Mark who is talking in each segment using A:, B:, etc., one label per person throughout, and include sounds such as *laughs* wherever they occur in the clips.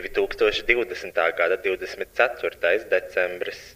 A: 2020. gada 24. decembris.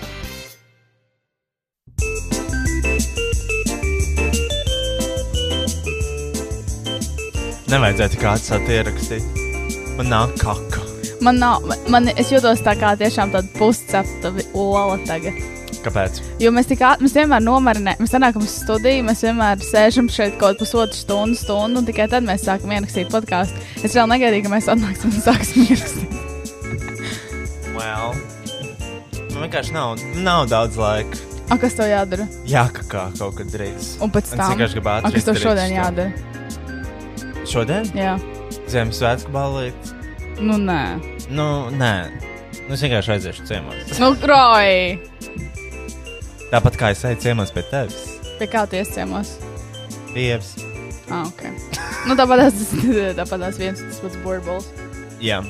B: Nevajadzētu kāds satierakstīt. Man nāk kaka.
C: Man nav, man, es jūtos tā kā tiešām tāda puscepta vi- ola tagad.
B: Kāpēc?
C: Jo mēs, tik, ā- mēs vienmēr nomarinām, mēs nākam uz studiju, mēs vienmēr sēžam šeit kaut pusotru stundu, stundu, un tikai tad mēs sākam ierakstīt podkāstu. Es vēl negaidīju, ka mēs atnāksim un sāksim ierakstīt.
B: Well. Man vienkārši nav, nav daudz laika.
C: A, kas tev jādara?
B: Jā, ka kā kaut kad drīz.
C: Un pēc
B: Es
C: tam,
B: vienkārši gribu
C: a, kas tev
B: ātri
C: šodien
B: izdarīt
C: jādara?
B: Šodien?
C: Jā,
B: Ziemassvētku balīt.
C: nu nē,
B: Nu, nē. Nu, es vienkārši aiziešu ciemos.
C: nu kroji!
B: Tāpat kā es eju ciemos pie tevis.
C: Pie kā tu iesciemos?
B: Dievs.
C: Ah, ok. Nu tāpat tas, tāpat tas viens un tas pats burbulis.
B: Jā.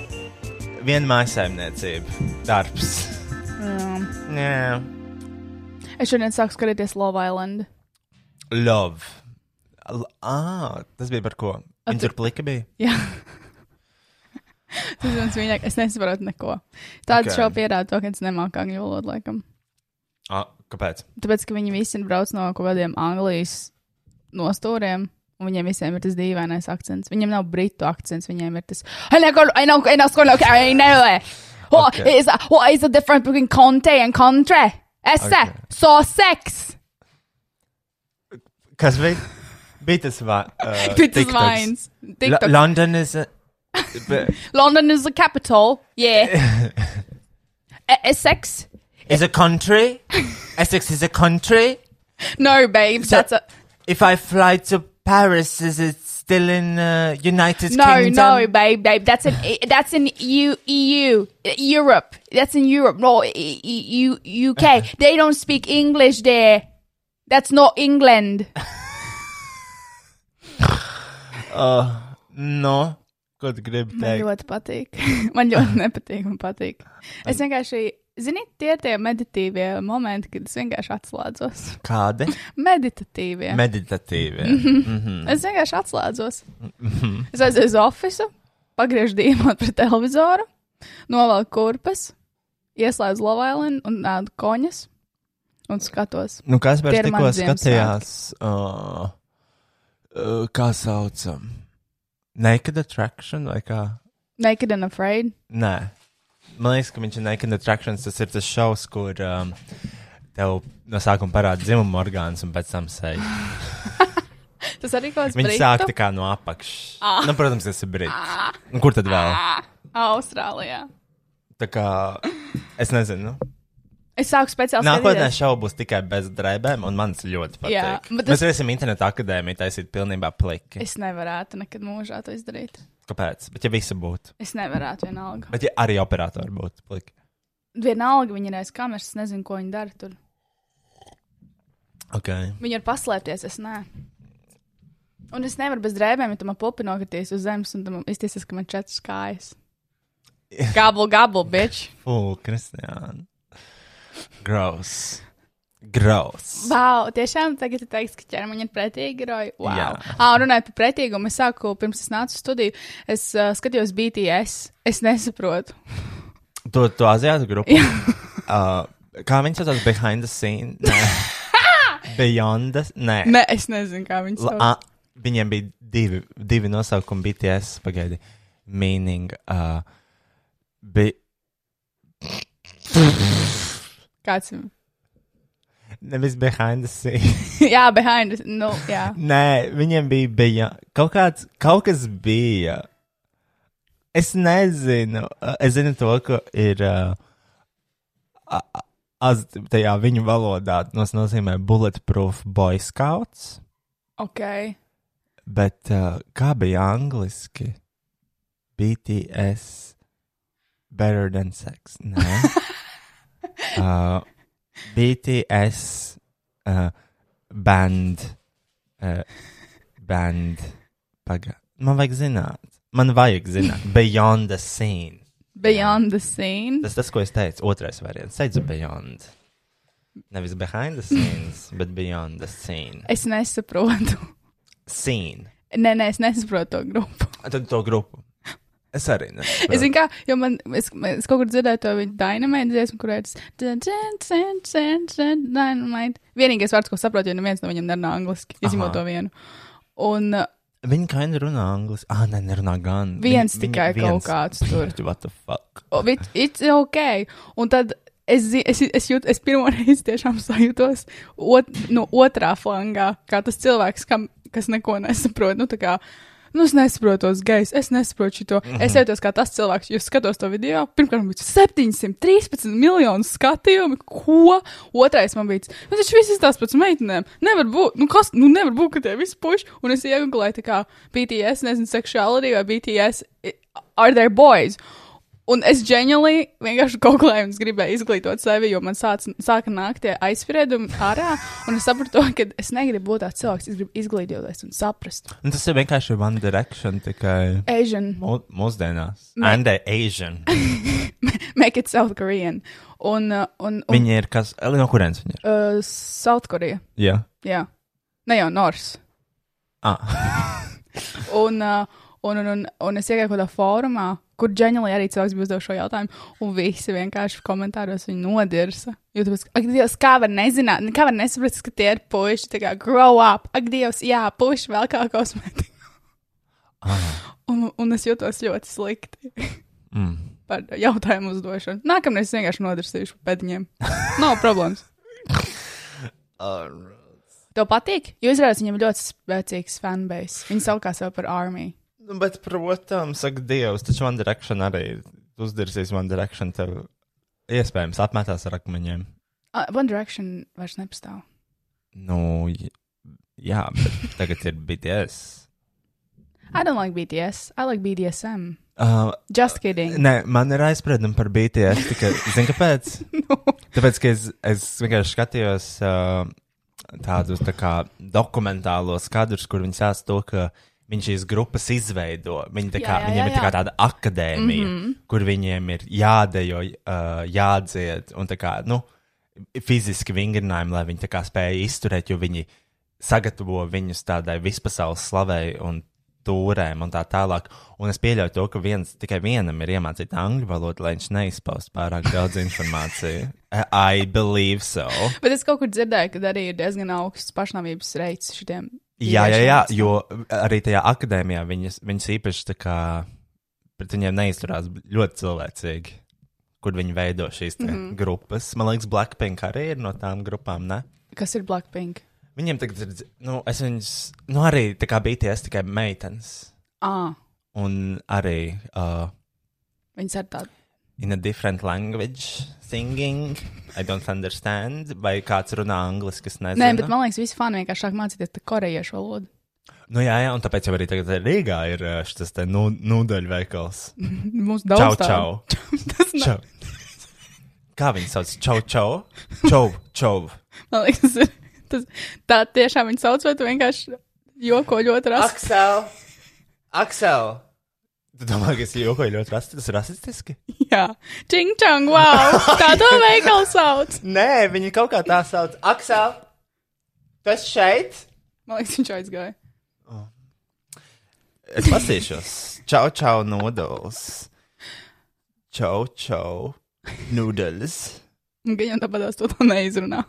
B: Viena mājsaimniecība. Darbs.
C: Um,
B: Nē.
C: es šodien sāku skatīties Love Island.
B: Love. L ah, tas bija par ko?
C: A,
B: Viņš
C: tu-
B: tur plika bija.
C: Jā. Tas ir viens mīļākais. Es nesaprotu neko. Tāda
B: Ok.
C: okay. šauba pierāda to, ka es nemāku angļu valodu laikam.
B: Ah, kāpēc?
C: Tāpēc, ka viņi visi brauc no kaut kādiem Anglijas nostūriem. Un viņiem visiem ir tas dīvainais akcents. Viņiem nav britu akcents, viņiem ir tas. "I know- I know- I know- I know it. What
B: Okay.
C: is- What is the difference between conte and contre? Es
B: Okay.
C: so seks!
B: Kas bija? Bija tas
C: *laughs*
B: va- uh,
C: Pitas
B: TikToks.
C: vines.
B: L-
C: TikTok.
B: London is. a- b-
C: London is the capital. Yeah.
B: *laughs*
C: E- Es seks?
B: is a
C: *laughs*
B: country. Essex is a country.
C: No, babe. That's a.
B: If I fly to Paris, is it still in uh, United
C: No,
B: Kingdom?
C: no, babe, babe. That's in that's E in EU, EU, Europe. That's in Europe. E, No, EU, UK. They don't speak English there. That's not England.
B: Uh, no. Ko tu gribi
C: Man
B: teikt?
C: ļoti patīk. Man ļoti nepatīk, man patīk. Es vienkārši, zini, tie ir tie meditīvie momenti, kad es vienkārši atslēdzos.
B: Kādi?
C: *laughs*
B: Mhm.
C: Meditatīvie. *laughs*
B: Meditatīvi.
C: Es vienkārši atslēdzos.
B: Mhm.
C: es aizēju uz ofisu, pagriežu dīvainu pret televizoru, novelku kurpes, ieslēdzu lovailinu un ēdu koņas un skatos.
B: nu, kas
C: Tie
B: pēc
C: ir
B: tikko
C: mani
B: skatījās? Uh, uh, kā saucam? Naked Attraction vai kā?
C: Naked and afraid.
B: Nē. man liekas, ka viņš ir Naked Attractions. Tas ir tas šovs, kur um, tev no sākuma parāda dzimumu orgāns un pēc tam
C: *laughs*
B: seju.
C: Tas arī kaut kāds
B: Viņi
C: britu?
B: sāk tā kā no apakšas. Ah. Nu, protams, tas ir brīdis. Ah. Kur tad vēl?
C: Ā, Austrālijā.
B: Tā kā es nezinu.
C: Es sāku speciāli
B: Nākotnē
C: skatīties.
B: šaubu būs tikai bez drēbēm, un man tas ļoti patīk.
C: Jā, bet
B: tas...
C: tas-
B: Mēs varēsim internetā akadēmiju taisīt pilnībā pliki. Es...
C: Es nevarētu nekad mūžā to izdarīt.
B: Kāpēc? Bet ja visi būtu,
C: Es nevarētu vienalga.
B: bet ja arī operatori būtu pliki.
C: Vienalga viņi ir aiz kameras, es nezinu, ko viņi dara tur.
B: Okay.
C: Viņi var paslēpties, es nē. Un es nevaru bez drēbēm, ja tam pupi nokritīs uz zemes, un tam iztiesas, ka man četras
B: *laughs*
C: kājas. Gablu, gablu, bitch.
B: Fū, Kristiāna. Gross. Gross.
C: Wow, tiešām tagad ir teiks, ka ķermeņa ir pretīgi roji. Wow.
B: Jā.
C: Ā, runājot par pretīgumu, es sāku, pirms es nācu uz studiju, es uh, skatījos BTS. Es nesaprotu.
B: To, to azijātu grupu. *laughs* uh, kā viņi saucās? Behind the scene? Nē. Beyond the... Nē.
C: Ne, es nezinu, kā viņi
B: La,
C: to
B: a, viņiem bija divi, divi nosaukumi BTS. Pagaidi, meaning. Uh, bi,
C: Kāds ir? *laughs*
B: nevis behind the scenes.
C: jā, behind. the- Nu, jā.
B: Nē, viņiem bija, bija kaut, kāds, kaut kas bija. Es nezinu. Uh, Es zinu to, ka ir. Uh, a- a- Az, tajā viņu valodā tas nozīmē bulletproof boy scouts,
C: Ok.
B: bet uh, kā bija angliski? BTS Better Than Sex. Nē, uh, BTS uh, band. Uh, band. Paga. Man vajag zināt, man vajag zināt, beyond the scene.
C: Beyond the scene.
B: Tas tas, ko es teicu, otrais variants. Es teicu, beyond. Nevis behind the scenes, bet beyond the scene.
C: Es nesaprotu. *laughs*
B: Scene.
C: Nē, nē, es nesaprotu to grupu.
B: Tad to grupu. Es arī nezinu.
C: Es zinu, kā, jo man, es, es kaut kur dzirdēju to viņa dynamite dziesmu, kur ir tas dynamite. Vienīgais vārds, ko saprotu, jo neviens no viņiem nerunā angliski, izņemot
B: Aha.
C: to vienu. Un uh,
B: Viņa kā viņa runā angliski. Ah, nē, nerunā gan.
C: Viens
B: Viņa-
C: tikai
B: viņa-
C: kaut kāds tur.
B: Pļaķ, What the fuck?
C: o, it, it's ok. Un tad es, zi- es, es, jūt, es pirmo *laughs* reizi tiešām sajūtos ot, no otrā flangā, kā tas cilvēks, kam, kas neko nesaprot. Nu, tā kā, Nu, es nesaprotu tos gejus, es nesaprotu to. Mm -hmm. Es jūtos kā tas cilvēks, jo skatos to video. Pirmkārt, man bija 713 miljonu skatījumu, ko otrais man bija. Nu, taču viss ir tās pats meitenēm. Nevar būt, nu, kas, nu, nevar būt, ka tie visi puši. Un es iegūlēju, tā kā BTS, nezinu, seksuality vai BTS, i- are there boys? Un es ģeniāli vienkārši googlēju, un es gribēju izglītot sevi, jo man sāc, sāka nākt tie aizspriedumi ārā. Un es sapratu, ka es negribu būt tāds cilvēks, es gribu izglītoties un saprast.
B: Un tas ir vienkārši One Direction, tikai
C: Asian,
B: mū- mūsdienās.
C: Mē-
B: And they're
C: *laughs*
B: Asian.
C: make it South Korean. Un, uh, un, un
B: Viņi ir kas. Eli, No kurienes viņi ir?
C: uh, Southkorea,
B: Jā.
C: jā. Ne jau Nors.
B: Ah,
C: Un, uh, un, un, un, un es iegāju kādā fórumā, kur ģeniāli arī cilvēks bija uzdevis šo jautājumu, un visi vienkārši komentāros viņu nodirsa. Jo tas, ak, Dievs, kā var nezināt, kā var nesaprast, ka tie ir puiši, tā kā grow up, ak, Dievs, jā, puiši vēl kā kosmētiku. Un, un es jūtos ļoti slikti
B: mm.
C: par jautājumu uzdošanu. Nākamreiz es vienkārši nodarsīšu pēdiņiem. Nav problēmas.
B: Ar-
C: Tev patīk? Jo izrādās, viņam ir ļoti spēcīgs fanbase. Viņi sauc sevi par armiju.
B: Nu, bet, protams, saka Dievs, taču One Direction arī uzdirsīs One Direction tev iespējams apmetās ar akmeņiem.
C: Uh, One Direction vairs nepastāv.
B: Nu, j- jā, bet tagad ir BTS.
C: I don't like BTS. I like BDSM.
B: Uh,
C: Just kidding.
B: Nē, man ir aizspriedumi par BTS. Tikai, zini, kāpēc? Tāpēc, ka es, es vienkārši skatījos uh, tādus tā kā, dokumentālos kadrus, kur viņi sāsta to, ka viņi šīs grupas izveido. Viņi tā kā,
C: Jā, jā,
B: jā, viņiem
C: jā,
B: jā, jā. ir tā kā
C: jā. Mhm.
B: tāda akadēmija, mm -hmm. kur viņiem ir jādejo, uh, jādzied un tā kā, nu, fiziski vingrinājumi, lai viņi tā kā spēja izturēt, jo viņi sagatavo viņus tādai vispasaules slavai un tūrēm un tā tālāk. Un es pieļauju to, ka viens, tikai vienam ir iemācīta angļu valoda, lai viņš neizpaust pārāk
C: *laughs*
B: daudz informāciju. I believe so.
C: Bet es kaut kur dzirdēju, ka arī ir diezgan augsts pašnāvības reits šitiem.
B: Jā, jā, jā,
C: vīriešiem.
B: jo eh, arī tajā akadēmijā viņas, viņas īpaši tā kā pret viņiem neizturās ļoti cilvēcīgi. kur viņi veido šīs mm
C: Mhm.
B: -hmm. grupas. Man liekas, Blackpink arī ir no tām grupām. Ne?
C: Kas ir Blackpink?
B: Viņiem tagad ir, dz- nu, es viņus, nu, arī tā kā BTS tikai meitenes.
C: Ah,
B: Un arī uh,
C: viņas ir tādas.
B: in a different language singing, I don't understand, vai kāds runā angliski, es nezinu.
C: Nē, bet man liekas, visi fani vienkārši sāk mācīties tā korejiešu valodu. *laughs*
B: Nu, jā, jā, un tāpēc jau arī tagad Rīgā ir uh, šis te nu, nūdeļveikals.
C: Mums
B: Čau,
C: daudz tādu.
B: čau!
C: *laughs*
B: Čau. Kā viņi sauc? Čau, *laughs* čau, čau, čau.
C: Man liekas, *laughs* tas ir. Tas, tā tiešām viņa sauc, vai tu vienkārši joko ļoti rasti?
B: Aksel! Aksel! Tu domā, ka es jokoju ļoti rasti, tas ir rasistiski?
C: Jā, čing čang, wow! Tā to veikalu sauc!
B: Nē, viņi kaut kā tā sauc. Aksel! Tas šeit!
C: Man liekas, viņš aizgāja.
B: Es lasīšos. Čau, čau, noodles. Čau, čau, noodles.
C: Viņa jau tāpat to tā neizrunā.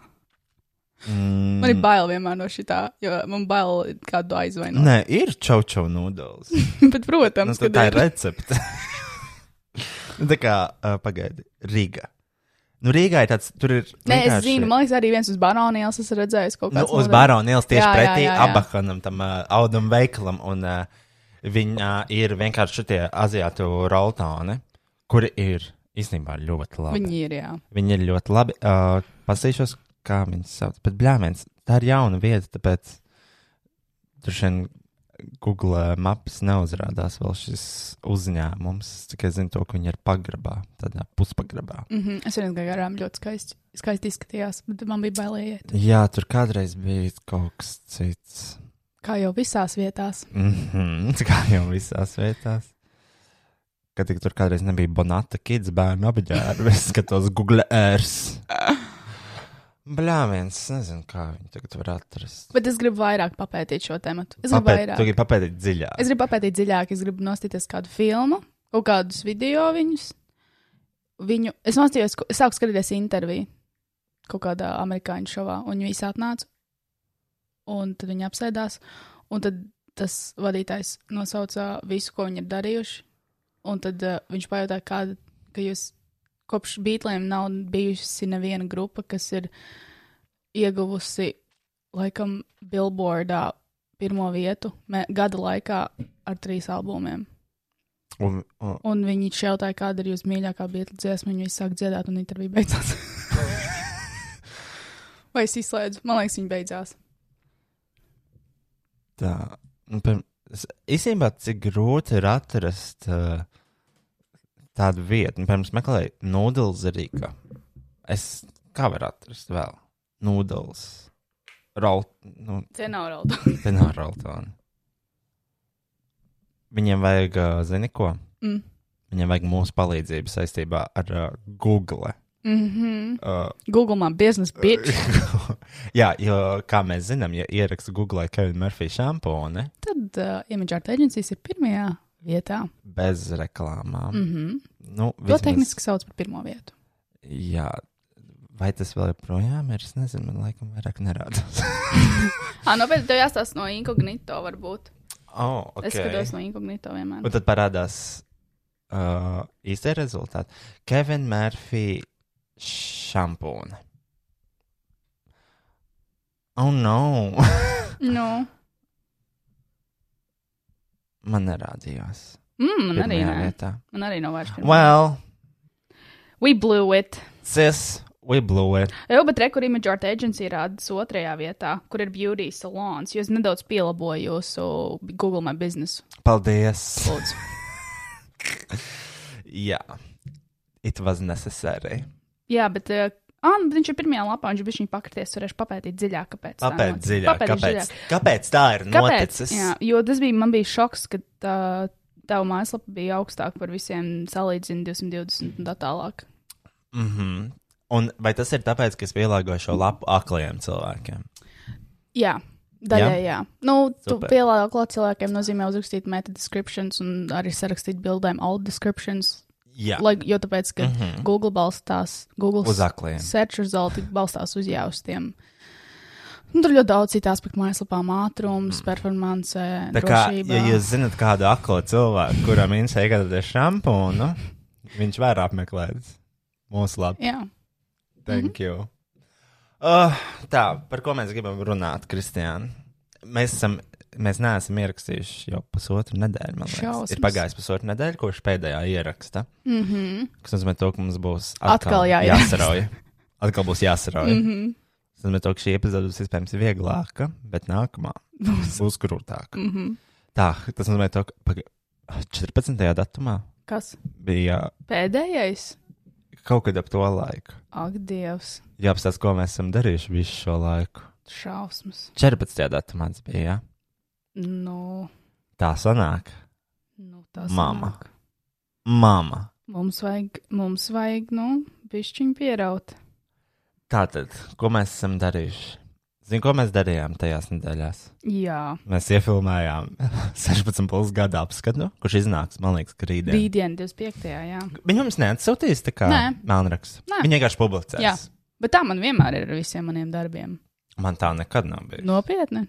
C: Mm. Man ir bail vienmēr no šī tā, jo man bail kādu aizvainot.
B: Nē, ir čau, čau, noodles.
C: *laughs*
B: Nu,
C: Bet, protams,
B: tā,
C: ka
B: tā ir recepte. *laughs* Nu, tā kā, uh, pagaidi, Rīga. Nu, Rīgā ir tāds, tur ir.
C: Nē, es
B: vienkārši-
C: zinu, man liekas, arī viens uz Banānijas esmu redzējis kaut
B: Nu,
C: kādu.
B: uz Baronas tieši
C: Jā, jā,
B: pretī
C: jā, jā.
B: abakanam, tam uh, audumu veikalam. Un, uh, viņa ir vienkārši tie aziātu roltāni, kuri ir īstenībā ļoti labi. Viņi,
C: Viņi ir, jā.
B: viņi ir ļoti labi. Uh, Pasīšos, kā viņas sauc. Bet, blēmēns, tā ir jauna vieta, tāpēc tur šodien Google maps neuzrādās vēl šis uzņēmums. Tikai zinu to, ka viņi ir pagrabā, tādā puspagrabā.
C: Mm -hmm. Es vienkārši garām ļoti skaisti, skaisti izskatījās, bet man bija bailējiet.
B: Jā, tur kādreiz bija kaut kas cits.
C: Kā jau visās vietās.
B: Mhm, tā kā jau visās vietās. Kad tik tur kādreiz nebija Bonata kids bērnu apģērba, es skatos Google Earth. Bļā, viens, es nezinu, kā viņi tagad var atrast.
C: Bet es gribu vairāk papētīt šo tēmu. Es gribu
B: Papēt-
C: vairāk.
B: Tu gribi papētīt dziļāk.
C: Es gribu papētīt dziļāk, es gribu nostīties kādu filmu, kaut kādus video viņus. Viņu, es nostījos, es sāku skatīties interviju kaut kādā amerikāņu šovā, un viņi visi atnāca. Un tad viņi apsēdās, un tad tas vadītājs nosauca visu, ko viņi ir darījuši. Un tad uh, viņš pajautāja, kāda, ka jūs kopš beatliem nav bijusi neviena grupa, kas ir ieguvusi laikam Billboardā pirmo vietu mē, gada laikā ar trīs albumiem.
B: Un, *laughs* un,
C: Un viņi šeit jautāja, kāda ir jūsu mīļākā bijusi dziesma. Viņi visi sāk dziedāt, un intervija beidzās. *laughs* Vai es izslēdzu? Man liekas, viņi beidzās.
B: tā, nu, pirm, es, īstenībā, cik grūti ir atrast uh, tādu vietu. Nu, Pirms meklēju Nūdeles Rīga. Es kā varu atrast vēl? Nūdeles. Rolt, nu,
C: Tie nav raudā.
B: Te nav Roltona. Viņiem vajag, ā, zini ko?
C: Mm.
B: Viņiem vajag mūsu palīdzību saistībā ar uh, Google.
C: Mm -hmm.
B: Uh,
C: Google man biznesa bitch.
B: *laughs* jā, jo, kā mēs zinām, ja ieraksta Google Kevina Murphy šampūni
C: Tad uh, Image Art Agencies ir pirmajā vietā.
B: bez reklāmām,
C: Mm -hmm.
B: nu,
C: To
B: Um, vismaz-
C: tehniski sauc par pirmo vietu.
B: Jā, vai tas vēl joprojām ir? Es nezinu, man laikam vairāk
C: *laughs*
B: nerādās.
C: Ah, no pēc tam jāstāsta no inkognito, varbūt.
B: oh,
C: Okay. Es skatos no inkognito vienmēr.
B: Un tad parādās uh, īstais rezultāts. Kevina Mārfija šampūna. Oh, no! *laughs*
C: Nu,
B: Man nerādījās.
C: mm, man arī
B: pirmajā
C: nē.
B: vietā.
C: Man arī nav vairs. pirmā.
B: Well,
C: We blew it.
B: sis, we blew it.
C: Jā, bet rekurīna Image Art Agency rādas otrajā vietā, kur ir beauty salons. Jūs nedaudz pielabojat jūsu Google My Business.
B: Paldies! *laughs*
C: Lūdzu.
B: Jā, it was necessary.
C: Jā, bet, uh, ah, bet viņš ir pirmajā lapā, viņš bija viņa pakrities, varēšu papētīt dziļāk, kāpēc. tā
B: Kāpēc
C: notic.
B: dziļāk?
C: Papētīšu
B: Kāpēc, kāpēc tā ir
C: Kāpēc?
B: noticis?
C: Jā, jo tas bija, man bija šoks, ka tā, tava mājaslapa bija augstāka par visiem salīdzinu 220 un tā tālāk.
B: Mm -hmm. Un vai tas ir tāpēc, ka es pielāgoju šo lapu aklajiem cilvēkiem?
C: Jā. Daļai, jā. jā. Nu, tu
B: Super.
C: pielāgo klāt cilvēkiem nozīmē uzrakstīt meta descriptions un arī sarakstīt bildēm all descriptions,
B: Jā, Mhm.
C: Lai, jo tāpēc, ka mm -hmm. Google balstās, Google
B: uz aklajiem.
C: search results balstās uz jau uz tiem. Nu, tur ļoti daudz citu aspektu mājaslapām, ātrums, performance,
B: Mhm. Tā kā,
C: drošība.
B: ja jūs zinat kādu aklo cilvēku, kuram interesē iegādāties šampūnu, viņš var apmeklēt Mums labi.
C: Jā.
B: Thank
C: Mhm.
B: you. Uh, tā, par ko mēs gribam runāt, Kristiāna? Mēs, esam, mēs neesam ierakstījuši jau pusotru nedēļu. Man liekas,
C: Šausmas.
B: ir pagājis pusotru nedēļu, kopš pēdējā ieraksta.
C: Mm -hmm.
B: Tas nozīmē, to, ka mums būs
C: Atkal jāieraksta. Mhm.
B: jāsarauj. Atkal būs jāsarauj. Mm
C: *laughs*
B: -hmm. Tas nozīmē, to, ka šī epizode būs iespējams vieglāka, bet nākamā būs, būs grūtāka. Mm
C: Mhm.
B: -hmm. Tā, tas nozīmē, to, ka paga- 14. datumā
C: Kas?
B: bija
C: Pēdējais?
B: kaut kad ap to laiku.
C: Ak, Dievs,
B: Jāapstāsta, ko mēs esam darījuši visu šo laiku.
C: šausmas.
B: 14. datumā tas bija. Ja?
C: Nu,
B: Tā sanāk.
C: nu tas
B: Mama.
C: nāk.
B: Mama.
C: Mums vajag, mums vajag, nu, pišķiņu pieraut.
B: Tātad, ko mēs esam darījuši? Zini, ko mēs darījām tajās nedēļās?
C: Jā,
B: Mēs iefilmējām *laughs* 16 plus gada apskatu, kurš iznāks, man liekas, ka rītdien. Rīt.
C: rītdien 25. jā.
B: Viņa mums neatsūtīs tā kā
C: Nē.
B: melnrakstu.
C: Nē.
B: Viņa vienkārši publicēs.
C: Jā. Bet tā man vienmēr ir ar visiem maniem darbiem.
B: Man tā nekad nav bijusi.
C: Nopietni.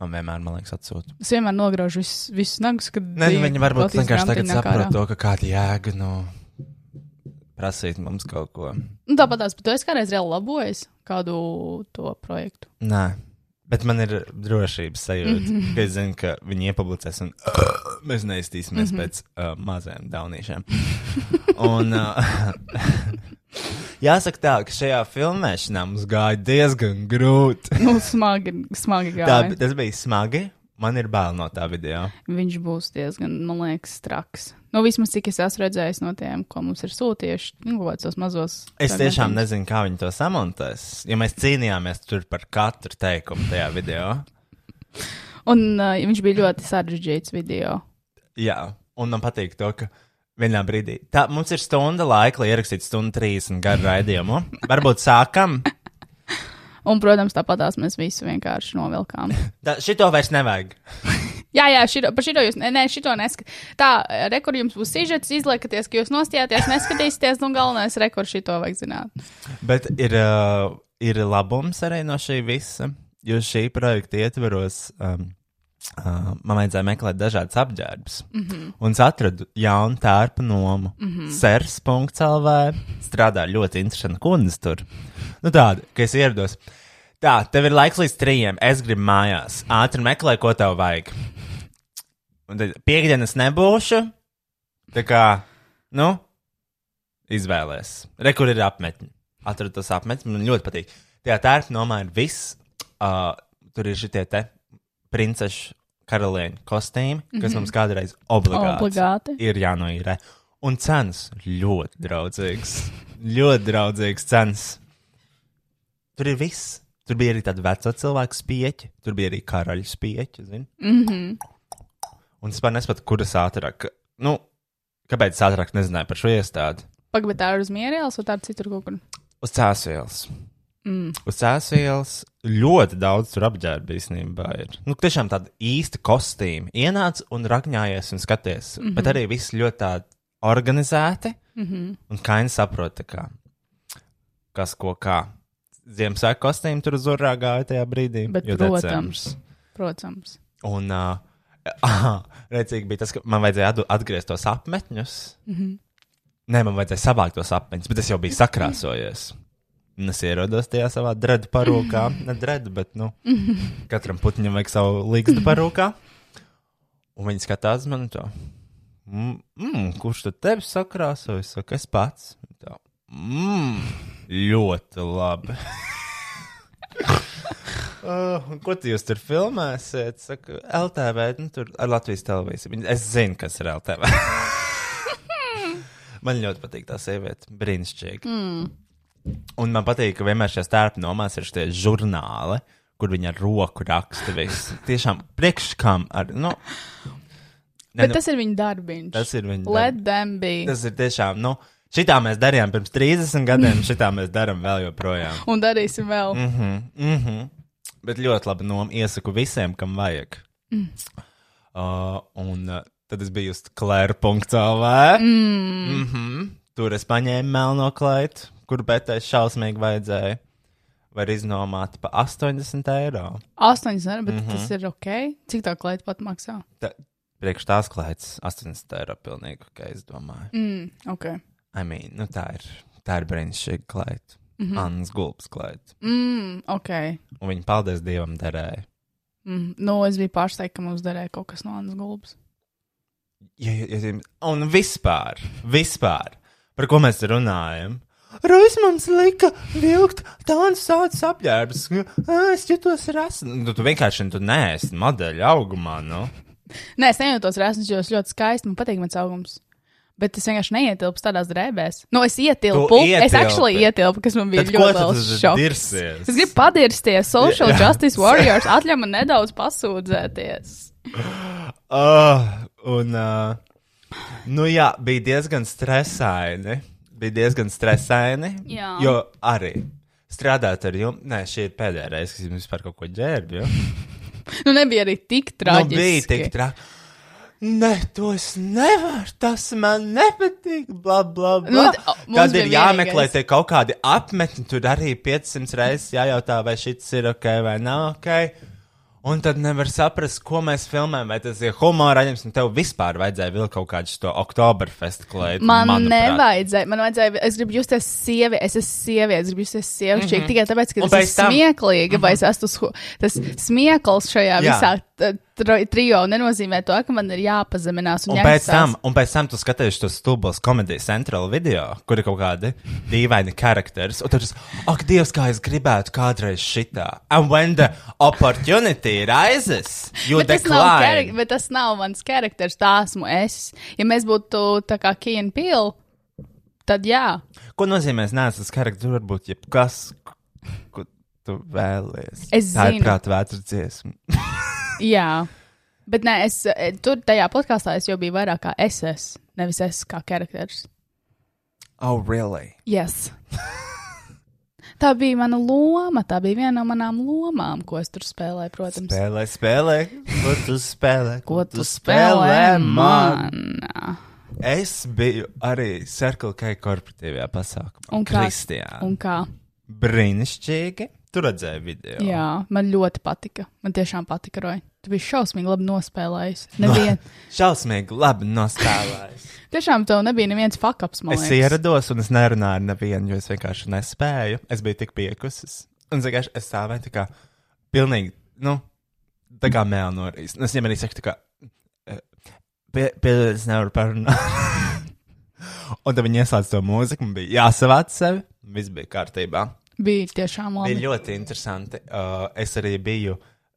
B: Man vienmēr, man liekas, atsūta.
C: Es vienmēr nograužu visus, visus nagus, kad.
B: Nē, nu,
C: bija
B: viņa varbūt
C: Latvijas
B: vienkārši tagad
C: grantiņā kārā.
B: saprot to, ka kāda jēga, nu, prasīt mums kaut ko.
C: Nu, tāpat tās, bet tu esi kādreiz reāli labojis kādu to projektu. *laughs*
B: Nē, bet man ir drošības sajūta, mm -hmm. ka es zinu, ka viņi iepublicēs, un uh, mēs neiztīsimies mm -hmm. pēc uh, mazajiem daunīšiem. un, uh, *laughs* jāsaka, tā, ka šajā filmēšanā mums gāja diezgan grūti.
C: Nu, smagi, smagi
B: Tā,
C: gāja.
B: tas bija smagi. Man ir bail no tā video.
C: Viņš būs diezgan, man liekas, traks. Nu, vismaz cik es esmu redzējis no tiem, ko mums ir sūtījuši, nu, kaut kādos mazos.
B: Es tiešām nezinu, kā viņi to samontēs. Ja mēs cīnījāmies tur par katru teikumu tajā video,
C: Un uh, viņš bija ļoti sarežģīts video.
B: Jā, un man patīk to, ka vienā brīdī. Tā mums ir stunda laika, lai ierakstītu stundu 30 garu raidījumu. Varbūt sākam.
C: Un, protams, tāpatās mēs visu vienkārši novilkām.
B: Tā, šito vairs nevajag.
C: jā, jā, šito, par šito jūs, nē, nē, šito neskatāt. Tā, rekord jums būs sižets, izliekaties, ka jūs nostājāties, neskatīsieties, nu, galvenais rekord šito vajag zināt.
B: Bet ir, uh, ir labums arī no šī visa. Jo šī projekta ietveros, um, uh, man vajadzēja meklēt dažādas apģērbus. Mm -hmm. Un es atradu jaunu tērpu nomu. Mm -hmm. Sers.CLV strādā ļoti interesanti kundze tur. Nu, tāda, ka es ierados. Tā, tev ir laiks līdz trijiem. Es gribu mājās. Ātri meklē, ko tev vajag. Un tad piekdienas nebūšu. Tā kā, nu, izvēlēs. Re, kur ir apmetņi. Atradu tos apmetņus, man ļoti patīk. Tajā tērpā nomā ir viss. Uh, tur ir šie te princešu karalieņu kostīmi, kas mm -hmm. mums kādreiz obligāti,
C: Obligāti.
B: ir jānoīrē. Un cenas ļoti draudzīgas. ļoti draudzīgas cenas. Tur ir viss. Tur bija arī tāda vecā cilvēka spieķa, tur bija arī karaļa spieķa. Zini?
C: Mm -hmm.
B: Un es pat nesaprotu, kuras ātrāk. Nu, kāpēc es ātrāk nezināju par šo iestādi?
C: Pagaidām, tā ir uz mierielas, vai tā ir citur kaut kur?
B: Uz cēsvielas.
C: Mm.
B: Uz cēsvielas ļoti daudz tur apģērba īstenībā ir. Nu, tiešām tāda īsta kostīma. Ienāc un rakņājies un skaties.
C: Mhm.
B: Mm -hmm. Bet arī viss ļoti tādi organizēti. Mm -hmm. Un kaini saprot, tā kā, kas ko kā. Ziemassvētku kostīmu tur uz urā gāja tajā brīdī.
C: Bet,
B: jo
C: protams, protams.
B: Un uh, *laughs* redzīgi bija tas, ka man vajadzēja atdu- atgriezt tos apmetņus. Mm
C: Mhm.
B: -hmm. Nē, man vajadzēja savākt tos apmetņus, bet es jau biju sakrāsojies. Un es ierados tajā savā dredu parūkā. Ne dredu, bet nu, katram putniņam vajag savu līgstu parūkā. Un viņi skatās man to. Mm, mm, kurš tad tevi sakrāsoja? Es saku, es pats. Viņi tā, Mm, ļoti labi. Uh, un ko tu jūs tur filmēsiet? Saku, LTV, nu, tur ar Latvijas televīziju. Viņa- Es zinu, kas ir LTV. man ļoti patīk tā sieviete. Brīnišķīgi. Mm. Un man patīk, ka vienmēr šajā starpā nomās ir šie žurnāli, kur viņa ar roku raksta visu. Tiešām priekškam ar. Nu,
C: Ne,
B: ne,
C: Bet
B: nu,
C: tas ir viņa darbiņš.
B: tas ir viņa.
C: Let them be. Tas...
B: Tas ir tiešām, nu, šitā mēs darījām pirms 30 gadiem, šitā mēs darām vēl joprojām.
C: Un darīsim vēl. Mm.
B: Mm -hmm. Bet ļoti labi nomu iesaku visiem, kam vajag. Mm. Uh, un uh, tad es biju uz klēra.cl. Mm. Mm -hmm. Tur es paņēmu melno klaitu, kur betai šausmīgi vajadzēja. Var iznomāt pa 80 eiro.
C: Astoņas zina,
B: Mhm.
C: bet mm -hmm. tas ir ok. Cik tā klāte pat maksā?
B: Ta, priekš tās klaitas 80 eiro pilnīgi, kā es domāju.
C: Mm, ok.
B: I mean, nu tā ir Tā ir brīnišķīga klaita.
C: Mhm.
B: Mm -hmm. Annas gulbs klaita.
C: Mm, ok.
B: Un viņa paldies Dievam derēja.
C: Mm, nu, es biju pārsteigts, ka mums derēja kaut kas no Annas gulbas.
B: Ja, ja, ja, un vispār, vispār, par ko mēs runājam? Rūs mums lika vilkt tādu sāpes apģērbus, ka es jutos rasnu. Nu, tu vienkārši tu neesi modeļa augumā, nu.
C: Nē, es nejūtos resns, jo es ļoti skaisti man patīk mans augums. Bet es vienkārši neietilpu tādās drēbēs. Nu, es ietilpu. Es
B: ietilpi.
C: actually ietilpu, kas man bija
B: Tad ko
C: ļoti
B: tad
C: liels
B: tu
C: šoks.
B: dirsies?
C: Es gribu padirsties, social
B: Jā.
C: justice warriors, atļauj man nedaudz pasūdzēties.
B: Ah, un, uh, nu jā, bija diezgan stresaini. Bija diezgan stresaini.
C: Jā.
B: Jo arī strādāt ar jums, nē, šī ir pēdējā reize, kad jums vispār kaut ko ģērbju.
C: Nu, nebija arī tik
B: Nu,
C: traģiski.
B: bija tik traki. Nē, to es nevaru. Tas man nepatīk. Bla, bla, bla.
C: Nu, t- o, mums
B: Tad
C: bija
B: ir jāmeklē
C: vienīgais.
B: tie kaut kādi apmetni. Tur arī 500 reizes jājautā, vai šis ir ok vai nav ok. Un tad nevar saprast, ko mēs filmējam. Vai tas ir humora raidījums, un tev vispār vajadzēja vilkt kaut kādu šo Oktoberfest klētu.
C: Man
B: manuprāt.
C: nevajadzēja, man vajadzēja, es gribu justies sievi, es esmu sieviete, es gribu justies sievišķīgi, mm -hmm. tikai tāpēc, ka
B: Mhm. Un
C: es esmu
B: pēc tam- Mhm.
C: smieklīga, mm -hmm. vai es esmu sku- tas smiekls
B: Jā.
C: šajā visā t- tro- trijo, nenozīmē to, ka man ir jāpazeminās un,
B: Un pēc, tam, un pēc tam tu skaties tos stulbos komēdijas centrālu video, kur ir kaut kādi dīvaini charakteri. Un tad, es- ak, Dievs, kā es gribētu kādreiz šitā. And when the opportunity rises, you
C: Bet tas, nav karak-
B: decline.
C: bet tas nav mans karakters, tā esmu es. Ja mēs būtu tā kā Keen Pil, tad jā.
B: Ko nozīmē, es neesmu tas karakters, varbūt jebkas, ko tu vēlies.
C: Es
B: Tā
C: zinu.
B: ir prāta vētra dziesma.
C: Jā. Bet nē, es e, tur tajā podkāstā es jau biju vairāk kā es esmu, nevis es kā karakters.
B: Oh, really?
C: *laughs* Yes. tā bija mana loma. Tā bija viena no manām lomām, ko es tur spēlēju, protams.
B: Spēlē, spēlē, ko tu spēlē,
C: Ko tu spēlē man?
B: Es biju arī Circle K korporatīvajā pasākumā.
C: Un kā?
B: Kristijā.
C: Un kā?
B: Brīnišķīgi. Tur redzēju video.
C: Jā, man ļoti patika. Man tiešām patika, Roja. Tu biji šausmīgi labi nospēlējis. Nevien...
B: Šausmīgi, labi nospēlējis.
C: tiešām tev nebija neviens fakaps, man
B: es
C: liekas.
B: ierados, un es nerunāju ar nevienu, jo es vienkārši nespēju. Es biju tik piekusis. Un es vienkārši es stāvēju tā kā pilnīgi, nu, tā kā mēlnorīs. Un es viņam arī saku, tā kā, eh, pie- piedod, es nevaru parunāt. *laughs* un tad viņi ieslēdz to mūziku, man bija jāsavāc sevi. Viss bija kārtībā.
C: Bija tiešām labi.
B: Bija ļoti interesanti. Uh, es arī biju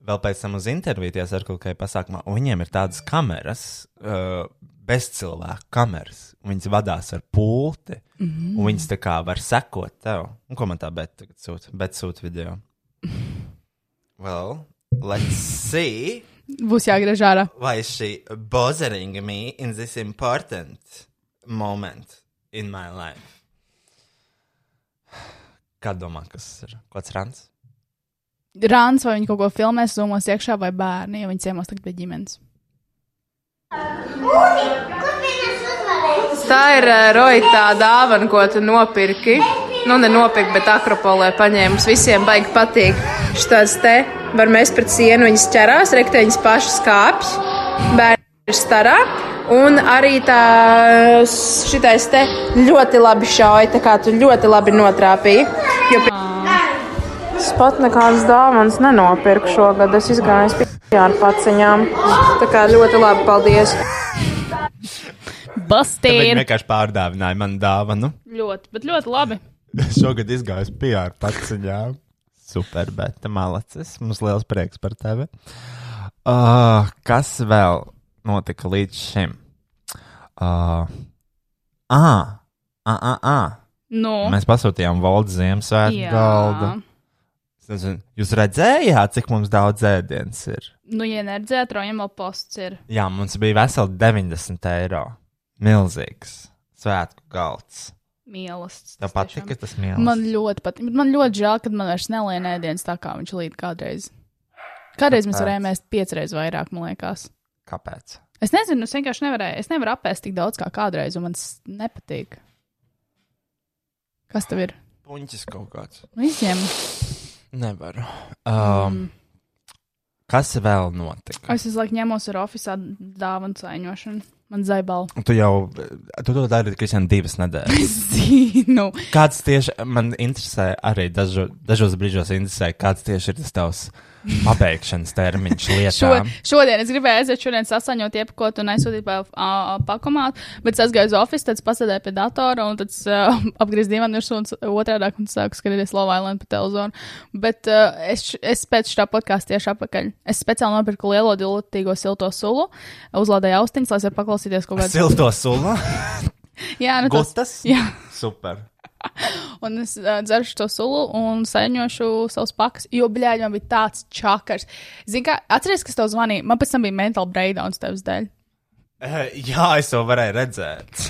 B: vēl pēc tam uz interviju tajā sarkanajā pasākumā, un viņiem ir tādas kameras, uh, bezcilvēku kameras. un Viņas vadās ar pulti, mm -hmm. un viņas tā kā var sekot tev. Un ko man tā bet tagad sūta? Bet sūta video. Well, let's see.
C: Būs jāgriež ārā.
B: Why is she bothering me in this important moment in my life? Kā domā, kas ir? Kāds rants?
C: Rāns vai viņi kaut ko filmēs, domās iekšā, vai bērni, ja viņi ciemos tagad pie ģimenes.
D: Tā ir eh, Roja tā dāvana, ko tu nopirki. Nu, ne nopirki, bet akropolē paņēma. Mums visiem baigi patīk. Šitās te var mēs pret sienu viņas ķerās, rekteņas pašas kāpj. Bērni ir starā. Un arī tā, šitais te ļoti labi šauja, tā kā tu ļoti labi notrāpīji. Jo... Es pat nekādas dāvanas nenopirku šogad. Es izgāju pie ar paciņām. Tā kā ļoti labi, paldies!
B: Viņi
C: Bastīna!
B: vienkārši pārdāvināja man dāvanu.
C: Ļoti, bet ļoti labi.
B: *laughs* Šogad izgājis PR paciņā. Super, bet malacis. Mums liels prieks par tevi. Uh, kas vēl notika līdz šim? Uh, ah, ah, ah, ah.
C: Nu,
B: Mēs pasūtījām valdu Ziemassvētku galdu. Es nezinu, Jūs redzējāt, cik mums daudz ēdienas ir?
C: Nu, ja neredzēt, Rojam vēl posts ir.
B: Jā, mums bija veseli 90 eiro. Milzīgs svētku galds.
C: Mīlestības.
B: Tev patika tas mīlestības?
C: Man ļoti patīk. Bet man ļoti žēl, ka man vairs nelienē dienas tā, kā viņš līdz kādreiz. Kādreiz mēs
B: Kāpēc?
C: varējām ēst piecreiz vairāk, man liekas.
B: Kāpēc?
C: Es nezinu, es vienkārši nevarēju. Es nevaru apēst tik daudz kā kādreiz, un man tas nepatīk. Kas tev ir?
B: Puņķis kaut kāds.
C: Nu, izņem.
B: Nevaru. Um, mm. Kas vēl notika?
C: Es visu laiku ņemos ar oficiālu dāvanu saiņošanu. Man zaibala.
B: Tu jau, tu to dari tikai divas nedēļas.
C: *laughs* Zinu.
B: Kāds tieši man interesē, arī dažu, dažos brīžos interesē, kāds tieši ir tas tavs pabeigšanas
C: *laughs*
B: termiņš
C: Šo,
B: lietām.
C: šodien es gribēju aiziet, šodien sasaņot, iepakot un aizsūtīt pa uh, pakomātu, bet es aizgāju uz oficiālu, tad pasēdēju pie datora un tad *laughs* uh, apgriezu divām virsū un s- otrādāk un sāku skatīties Love Island pa televizoru. Bet uh, es, š- es pēc šā podkāsta tieši apakaļ. Es speciāli nopirku lielo dilatīgo silto sulu, uzlādēju austiņas, lai es varētu paklausīties kaut kādu
B: Silto
C: *laughs*
B: sula,
C: Jā, nu tas-
B: gustas.
C: Jā.
B: Super.
C: Un es uh, dzeršu to sulu un saņošu savus pakas, jo, blēņ, man bija tāds čakars. Zini, kā atceries, kas tev zvanīja? Man pēc tam bija mental breakdowns tevs dēļ.
B: Eh, Jā, es to varēju
C: *laughs*
B: redzēt.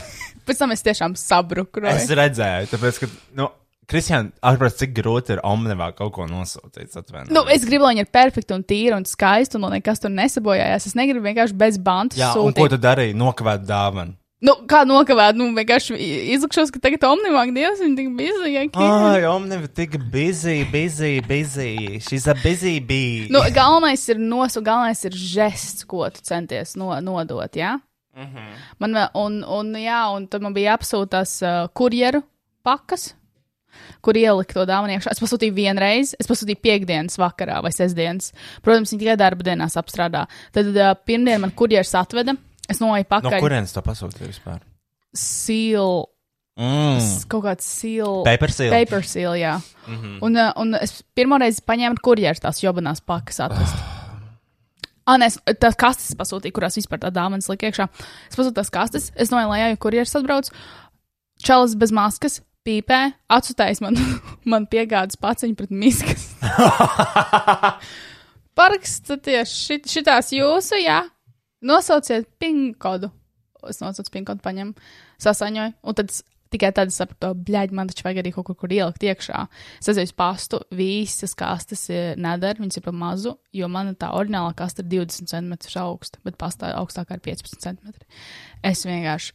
C: Pēc tam es tiešām sabruku.
B: Es
C: Es...
B: redzēju, tāpēc, ka, nu, Kristiāna, atprast, cik grūti ir omnivā kaut ko nosūtīt. atvainojiet.
C: Nu, es gribu, lai viņi ir perfekti un tīri un skaisti, un lai nekas tur nesabojājās. Es negribu vienkārši bez bantu
B: Jā, un ko
C: sūtīt.
B: tu darīji? Nokavēt dāvanu.
C: Nu, kā nokavēt, nu, vienkārši izlikšos, ka tagad omnivāk dievs, viņi tik bizīgi.
B: Ai, omniva tik busy, busy, busy. She's a busy bee.
C: Nu, galvenais ir nosu, galvenais ir žests, ko tu centies no, nodot. Ja?
B: Mhm.
C: Man vēl, un, un, jā, un tad man bija apsūtās uh, kurjeru pakas. Kur ielikt to dāvanu iekšā? Es pasūtīju vienu reizi, es pasūtīju piekdienas vakarā vai sestdienas. Protams, viņi tikai darba dienās apstrādā. Tad uh, pirmdienā man kurjeris atveda. Es noeju
B: no
C: pakaļ.
B: kurienes to pasūtīji vispār?
C: Sīl,
B: Mm.
C: kaut kāds sīl.
B: Paper seal. Mhm.
C: Paper seal, jā. Mm -hmm. un, uh, un es pirmo reizi paņēmu kurjeru tās jobanās pakas atrast. Ah, nē, es- tās kastes pasūtīju, kurās vispār tā dāvanas lika iekšā. Es pasūtīju tās kastes, es noju lejā, jo kurjeris atbrauc. Čalis bez maskas, pīpē, atsūtājis man, *laughs* man piegādas paciņu pret
B: *laughs*
C: miskas. Parakstieties šit, šitās jūsu, jā. Nosauciet pinkodu. Es nosaucu pinkodu, paņemu, sasaņoju, un tad s- tikai tad es sapratu, bļaigi, man taču vajag arī kaut kur, kur ielikt iekšā. Es aizēju uz pastu, visas kastes e, nedara, viņas ir pa mazu, jo man tā oriģinālā kaste ir 20 cm augsta, bet pastā augstākā ir 15 cm. Es vienkārši,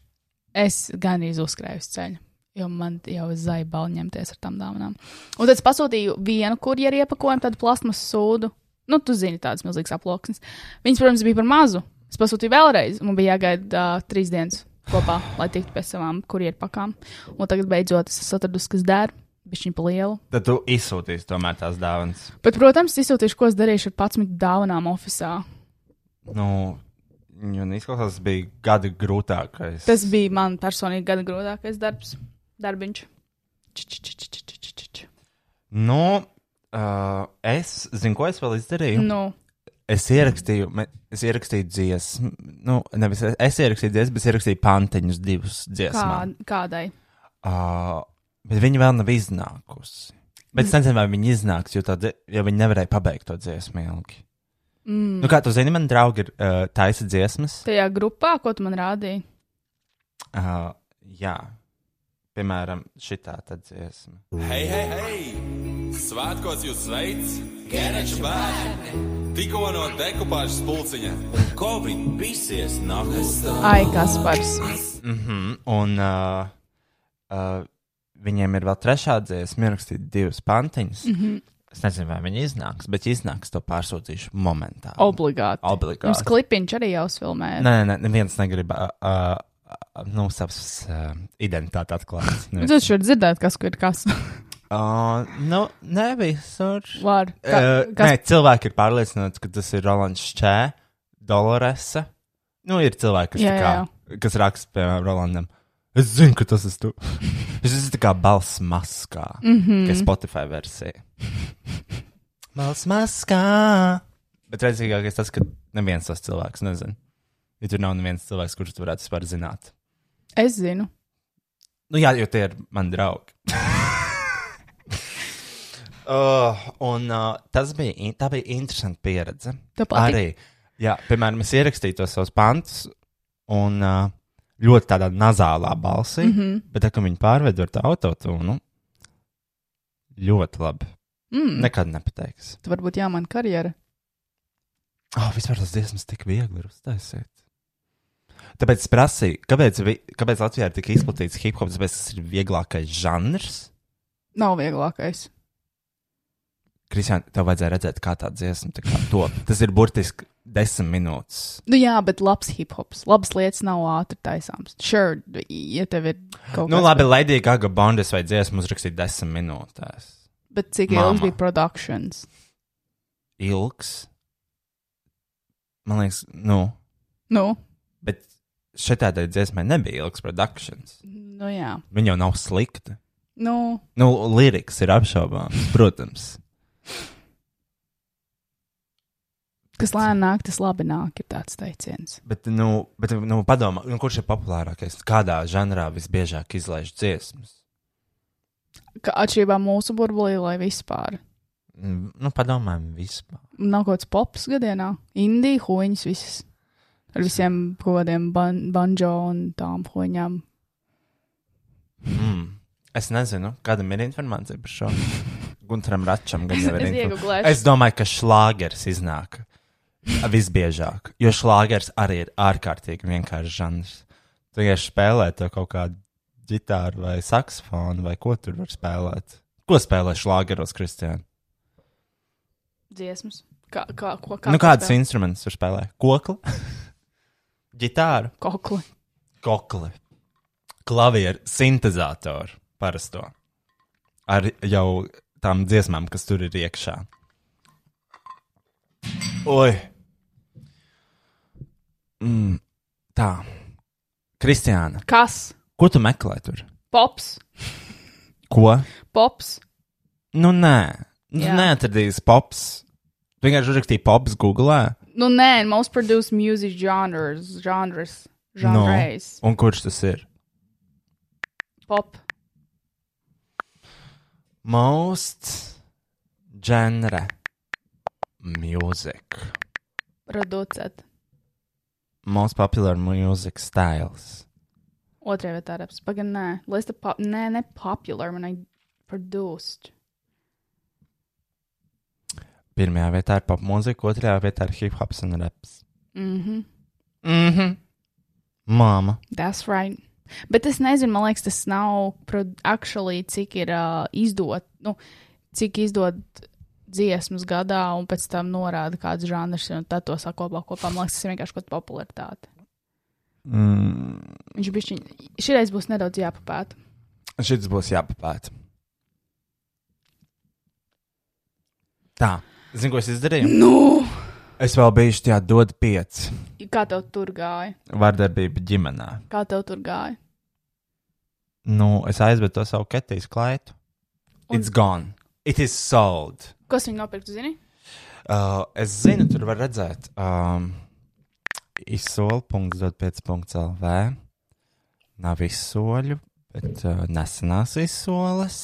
C: es gandrīz uzkrāju uz ceļu. Jo man jau ir zaibali ņemties ar tām dāvanām. Un tad es pasūtīju vienu kurjeru iepakojumu, tādu plasmasu sūdu. Nu, tu zini, tādas milzīgas aploksnes. Viņas, protams, bija par mazu. Es pasūtīju vēlreiz, un man bija jāgaida uh, trīs dienas kopā, lai tiktu pie savām kurjeru pakām. Un tagad beidzot es esmu atradusi, kas der, bet viņa pa lielu.
B: Tad tu izsūtīsi tomēr tās dāvanas.
C: Bet, protams, izsūtīšu, ko es darīšu ar 11 dāvanām oficiālā.
B: Nu, un izklausās, tas bija gada grūtākais.
C: Tas bija man personīgi gada grūtākais darbs, darbiņš. Č, č, č, č, č, č, č, č.
B: Nu, uh, es zinu, ko es vēl izdarīju.
C: Nu,
B: Es ierakstīju, me- es ierakstīju dziesmu. Nu, nevis es, es ierakstīju dziesmu, bet es ierakstīju pantiņus divus
C: kā,
B: dziesmās.
C: kādai?
B: Uh, bet viņi vēl nav iznākusi. Bet es nezinu, vai viņi iznāks, jo, tā dzi- jo viņi nevarēja pabeigt to dziesmu ilgi. Mm. Nu, kā tu zini, man draugi ir uh, taisa dziesmas.
C: Tajā grupā, ko tu man rādīji?
B: Uh, jā, piemēram, šī tā dziesma.
E: Hei, hei, hei! Svētkos jūs sveic! Gereču bērni! Tikko no dekupāžas pulciņa! Un Covid visies nākas!
C: Ai, Kaspars.
B: Un uh, uh, viņiem ir vēl trešā dziesma, ir rakstīta divas pantiņas. Mm
C: Mhm.
B: -hmm. Es nezinu, vai viņi iznāks, bet ja iznāks to pārsūtīšu momentā.
C: Obligāti.
B: Obligāti.
C: Mums klipiņš arī jau uzfilmē.
B: Nē, nē, neviens negrib uh, uh, uh, nu, savas uh, identitāti atklāt. Neviens.
C: Jūs šeit dzirdat, kas kur ir kas? *laughs*
B: uh, nu, nē, visur.
C: Var. Ka,
B: Uh,
C: kas?
B: nē, cilvēki ir pārliecināti, ka tas ir Rolands Čē, Doloresa. Nu, ir cilvēki, kas,
C: Jā,
B: tā kā, kas raksta, piemēram, Rolandam. Es zinu, ka tas
C: *laughs*
B: esmu. Es esmu tā kā balss maskā, mm -hmm.
C: Mhm.
B: kā Spotify versija.
C: *laughs*
B: balss maskā. Bet redzīgākais tas, ka neviens tas cilvēks nezina. Ja tur nav neviens cilvēks, kurš tu varētu vispār zināt.
C: Es zinu.
B: Nu, jā, jo tie ir mani *laughs* draugi. uh, un uh, tas bija, in- tā bija interesanta pieredze.
C: Tev patika?
B: Arī, jā, piemēram, es ierakstīju tos savus pantus, un uh, ļoti tādā nazālā balsī,
C: Mhm.
B: mm -hmm. bet tā, ka viņi pārved ar autotūnu, ļoti labi.
C: Mm,
B: Nekad nepateiks.
C: Tu varbūt jā, man karjera.
B: Oh, vispār tas dziesmas tik viegli ir uztaisīt. Tāpēc es prasīju, kāpēc, vi- kāpēc Latvijā ir tik izplatīts hip hop, tāpēc tas ir vieglākais žanrs.
C: Nav vieglākais.
B: Kristian, tev vajadzēja redzēt, kā tā dziesma tā kā top. Tas ir burtiski desmit minūtes.
C: Nu, jā, bet labs hip hops, labas lietas nav ātri taisāms. Sure, ja tev ir kaut kas
B: Nu, labi, Lady Gaga Bondas vai dziesmu uzrakstīt desmit minūtēs.
C: Bet cik
B: Mama.
C: ilgs bija produkcijas?
B: Ilgs. Man liekas, nu,
C: Nu,
B: bet šitādai dziesmai nebija ilgs produkcijas.
C: nu, jā.
B: Viņa jau nav slikta.
C: Nu,
B: Nu, liriks ir apšaubāms, protams.
C: kas lēnāk nāk, tas labi nāk, ir tāds teiciens.
B: Bet, nu, bet, nu padomā, nu, kurš ir populārākais? Kādā žanrā visbiežāk izlaiž dziesmas?
C: Ka atšķirībā mūsu burbulī, lai vispār
B: Mm, Nu, padomājam, vispār.
C: nav kaut kāds pops gadienā, indija huņas visas. Ar visiem kaut kādiem ban banjo un tām huņām.
B: Mm. Es nezinu, kādam ir informācija par šo. Gunteram Račam gan
C: *laughs*
B: jau ir.
C: Es
B: info-
C: iegooglēšu.
B: es domāju, ka šlāgers iznāk visbiežāk, jo šlāgers arī ir ārkārtīgi vienkāršs žanrs. Tu vienkārši spēlē to kaut kādu ģitāru vai saksofonu vai ko tur var spēlēt. Ko spēlē šlāgeros, Kristija?
C: Dziesmas. Kā, kā, ko, kā
B: Nu, kādus instrumentus tur spēlē? Kokli, *laughs* ģitāru,
C: Kokli.
B: kokli, klavieru, sintēzatoru parasto. Ar jau tām dziesmām, kas tur ir iekšā. Oi! Mm, tā. Kristiāna,
C: Kas?
B: ko tu meklē tur?
C: Pops.
B: Ko?
C: Pops.
B: Nu, nē, nu,
C: Jā.
B: neatradīs pops. Tu Vienkārši uzrakstīja pops Google.
C: Nu, nē, most produced music genres. Genres. Genres.
B: Nu, un kurš tas ir?
C: No. Pop.
B: Most genre music.
C: Producēt.
B: Most popular music styles.
C: Otrajā vietā raps. Pagaid, nē, lista pop. Nē, ne popular, man ir produced.
B: Pirmajā vietā ir pop mūzika, otrajā vietā ir hip hops un raps.
C: Mhm.
B: Mhm. Mm Māma.
C: That's right. Bet es nezinu, man liekas, tas nav pro- actually, cik ir uh, izdot, nu, cik izdot dziesmas gadā, un pēc tam norāda kāds žanrs, un tad to sakopā kopā. Man liekas, tas ir vienkārši kaut kāda popularitāte.
B: Mm.
C: Viņš bišķiņ, šireiz būs nedaudz jāpapēta.
B: Šis būs jāpapēta. Tā. Zini, ko es izdarīju? Nu! Es vēl biju šajā dod pieci.
C: Kā tev tur gāja?
B: Vardarbība ģimenē.
C: Kā tev tur gāja?
B: Nu, es aizvedu to savu ketijas klaitu.
C: Un-
B: It's gone. It is sold.
C: Kas viņu nopirka, zini?
B: Uh, es zinu, tur var redzēt, um, izsoli.5.lv. Nav izsoļu, bet uh, nesenās izsoles.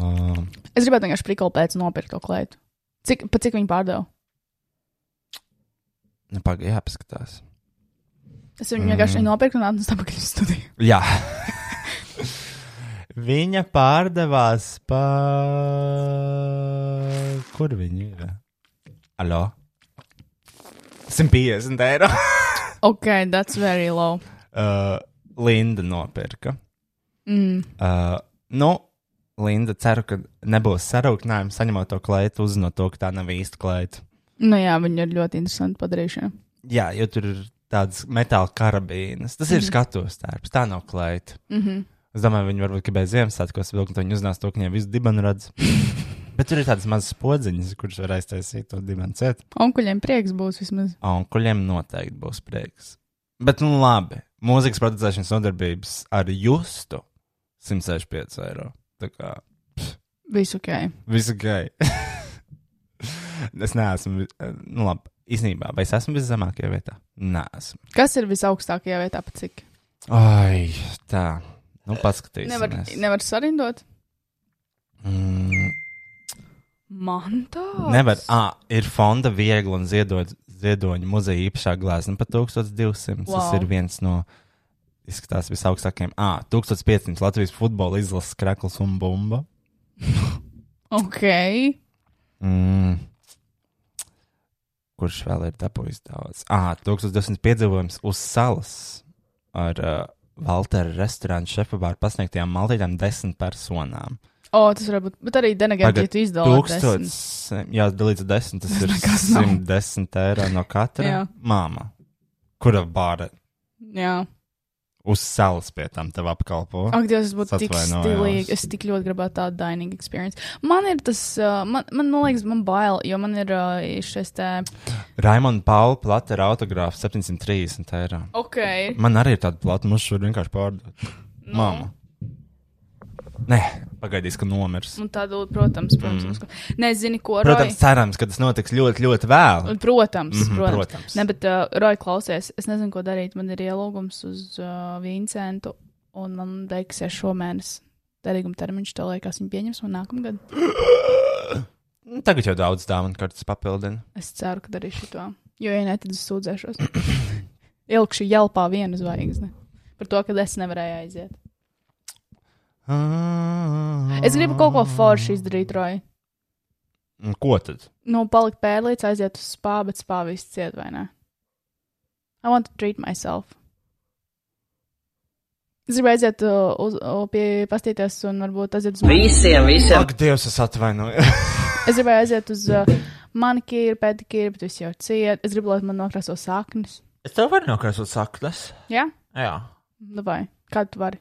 B: Um,
C: Es gribētu vienkārši priklu pēc nopirkt to klētu. Cik, pa cik viņi pārdeva?
B: nu, Pagaidām, jāpaskatās.
C: Es viņu vienkārši nopirku un atnesu atpakaļ uz studiju. *laughs*
B: Jā. *laughs* Viņa pārdevās par. Kur viņa ir? Alo? 150 eiro. *laughs*
C: Ok, that's very low.
B: uh, Linda nopirka.
C: Mm.
B: Uh, nu, Linda, ceru, ka nebūs sarūktinājuma saņemot to klētu, uzzinot to, ka tā nav īsta klēta.
C: Nu jā, viņi ir ļoti interesanti padarījuši.
B: Jā, jo tur ir tādas metāla karabīnas. Tas ir skatuves tērps, tā nav klēta.
C: Mm -hmm.
B: Es domāju, viņi varbūt gribēja Ziemassvētkos vilkt, un viņi uzzinās to, ka viņiem visu dibenu redz. Bet tur ir tādas mazas podziņas, kuras var aiztaisīt to dibenu ciet.
C: Onkuļiem prieks būs vismaz.
B: Onkuļiem noteikti būs prieks. Bet, nu, labi. Mūzikas producēšanas nodarbības ar justu 165 eiro. Tā kā
C: Visu ok.
B: visu gai. *laughs* es neesmu, vi- nu, labi. Īsnībā, vai es esmu viszemākajā vietā? Nē, esmu.
C: Kas ir visaugstākajā vietā, pa cik?
B: Ai, tā. Nu, paskatīsimies.
C: Nevar, nevar sarindot.
B: Mm.
C: Man tā.
B: Nevar. Ah, ir fonda viegli un ziedot, ziedoņa muzeja īpašā glāzē par 1200. Wow. Tas
C: Wow.
B: ir viens no izskatās visaugstākajiem. Ah, 1500 Latvijas futbola izlases krakls un bumba.
C: Ok.
B: Mm. Kurš vēl ir dabūjis daudz? Ah, 1200 piedzīvojums uz salas ar uh, Valteru restorānu šefa vārdu pasniegtajām maltītām desmit personām.
C: O, tas var būt. Bet arī denegēta, ja tu izdalīji
B: tūkstots, jā, līdz desmit, tas ir
C: nekas nav.
B: 110 eiro no katra.
C: Jā.
B: Māma, kura bāra
C: Jā,
B: uz salas pie tam tev apkalpo?
C: ak, Dievs, tas būtu tik
B: Atvainojos.
C: stilīgi. Es tik ļoti gribētu tādu dining experience. Man ir tas, uh, man, man man liekas, man bail, jo man ir uh, šis te.
B: Raimonda Paula plata ir autogrāfs 730 eiro.
C: Ok.
B: Man arī ir tāda plata, mums šur vienkārši pārdot.
C: Nu.
B: Māma. Nē, pagaidīs, ka nomirs.
C: Un tādu, protams, protams. Mm. Nezini, ko. Nu, Roy?
B: Protams, cerams, ka tas notiks ļoti, ļoti vēlu.
C: Protams,
B: Mhm,
C: mm -hmm, protams.
B: protams.
C: protams. Ne, bet, uh, Roja, klausies, es nezinu, ko darīt. Man ir ielūgums uz uh, Vincentu, un man beigsies šomēnes derīguma termiņš. Tā liekas, viņi pieņems man nākamgad.
B: Nu, Tagad jau daudz dāvanu kartes papildina.
C: Es ceru, ka darīšu to. Jo, ja nē, tad es sūdzēšos. Ilgšu jelpā vienu zvaigzni. Par to, ka es nevarēju aiziet. Es gribu kaut ko
B: Ah.
C: foršu izdarīt, Roja.
B: Un Ko tad?
C: Nu, palikt pēdlīdz, aiziet uz spā, bet spā viss ciet vai ne? I want to treat myself. Es gribu aiziet uh, uz, uh, pie pastīties un varbūt aiziet uz
D: Visiem, visiem.
B: Ak, Dievs, es atvainojos.
C: Es gribēju aiziet uz uh, manikīru, pedikīru, bet viss jau ciet. Es gribu, lai man nokrāso saknes.
E: Es tev varu nokrāsot saktas.
C: Jā?
E: Jā,
C: Nu vai? Kā tu vari?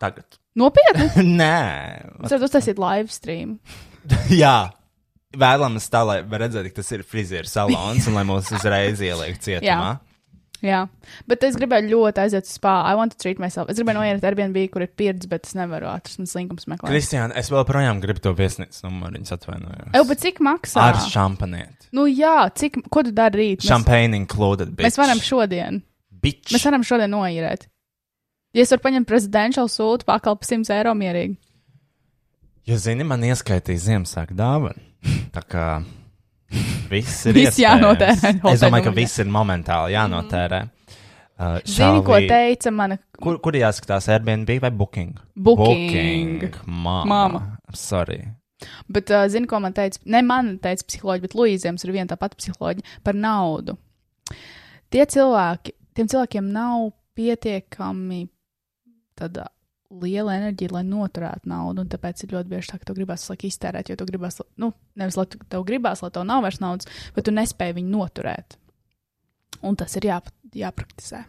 E: tagad.
C: Nopietni!
B: *laughs* Nē,
C: Es varu uztaisīt live stream.
B: Jā, vēlamies tā, lai var redzētu, ka tas ir frizieru salons un lai mūs uzreiz ieliek cietumā.
C: Jā, bet es gribēju ļoti aiziet uz spā. I want to treat myself. Es gribēju noiet ar Airbnb, kur ir pieredze, bet es nevaru atrast. Man slinkums meklēt.
B: Kristiāna, es joprojām gribu to viesnīcas numuru, viņas atvainojos.
C: Eju, bet cik maksā?
B: Ar šampanieti.
C: Nu, jā, cik, ko tu dari rīt? Mēs-
B: Champagne included. Bitch.
C: Mēs varam šodien,
B: Bitch.
C: mēs varam šodien noīrēt. Ja es varu paņemt prezidentuālu sūtu, pakalpu 100 eiro mierīgi.
B: Jo, zini, man ieskaitīja Ziemassvētku dāvanu. Tā kā viss ir
C: Viss
B: iespējams.
C: jānotērē
B: Es domāju, ka
C: hotelnumurā.
B: viss ir momentāli jānotērē. Uh,
C: Zini, ko
B: Šalvī-
C: teica mana
B: Kur, kur jāskatās? Airbnb vai Booking?
C: Booking.
B: Māma.
C: Māma.
B: Sorry.
C: Bet, uh, zini, ko man teica? Ne man teica psiholoģija, bet Luīzēms ir viena tā pati psiholoģija par naudu. Tie cilvēki, tiem cilvēkiem nav pietiekami tāda liela enerģija, lai noturētu naudu, un tāpēc ir ļoti bieži tā, ka tev gribās laik iztērēt, jo tu gribās, lai- nu, nevis lai tu- tev gribās, lai tev nav vairs naudas, bet tu nespēji viņu noturēt. Un tas ir jā, jāpraktizē.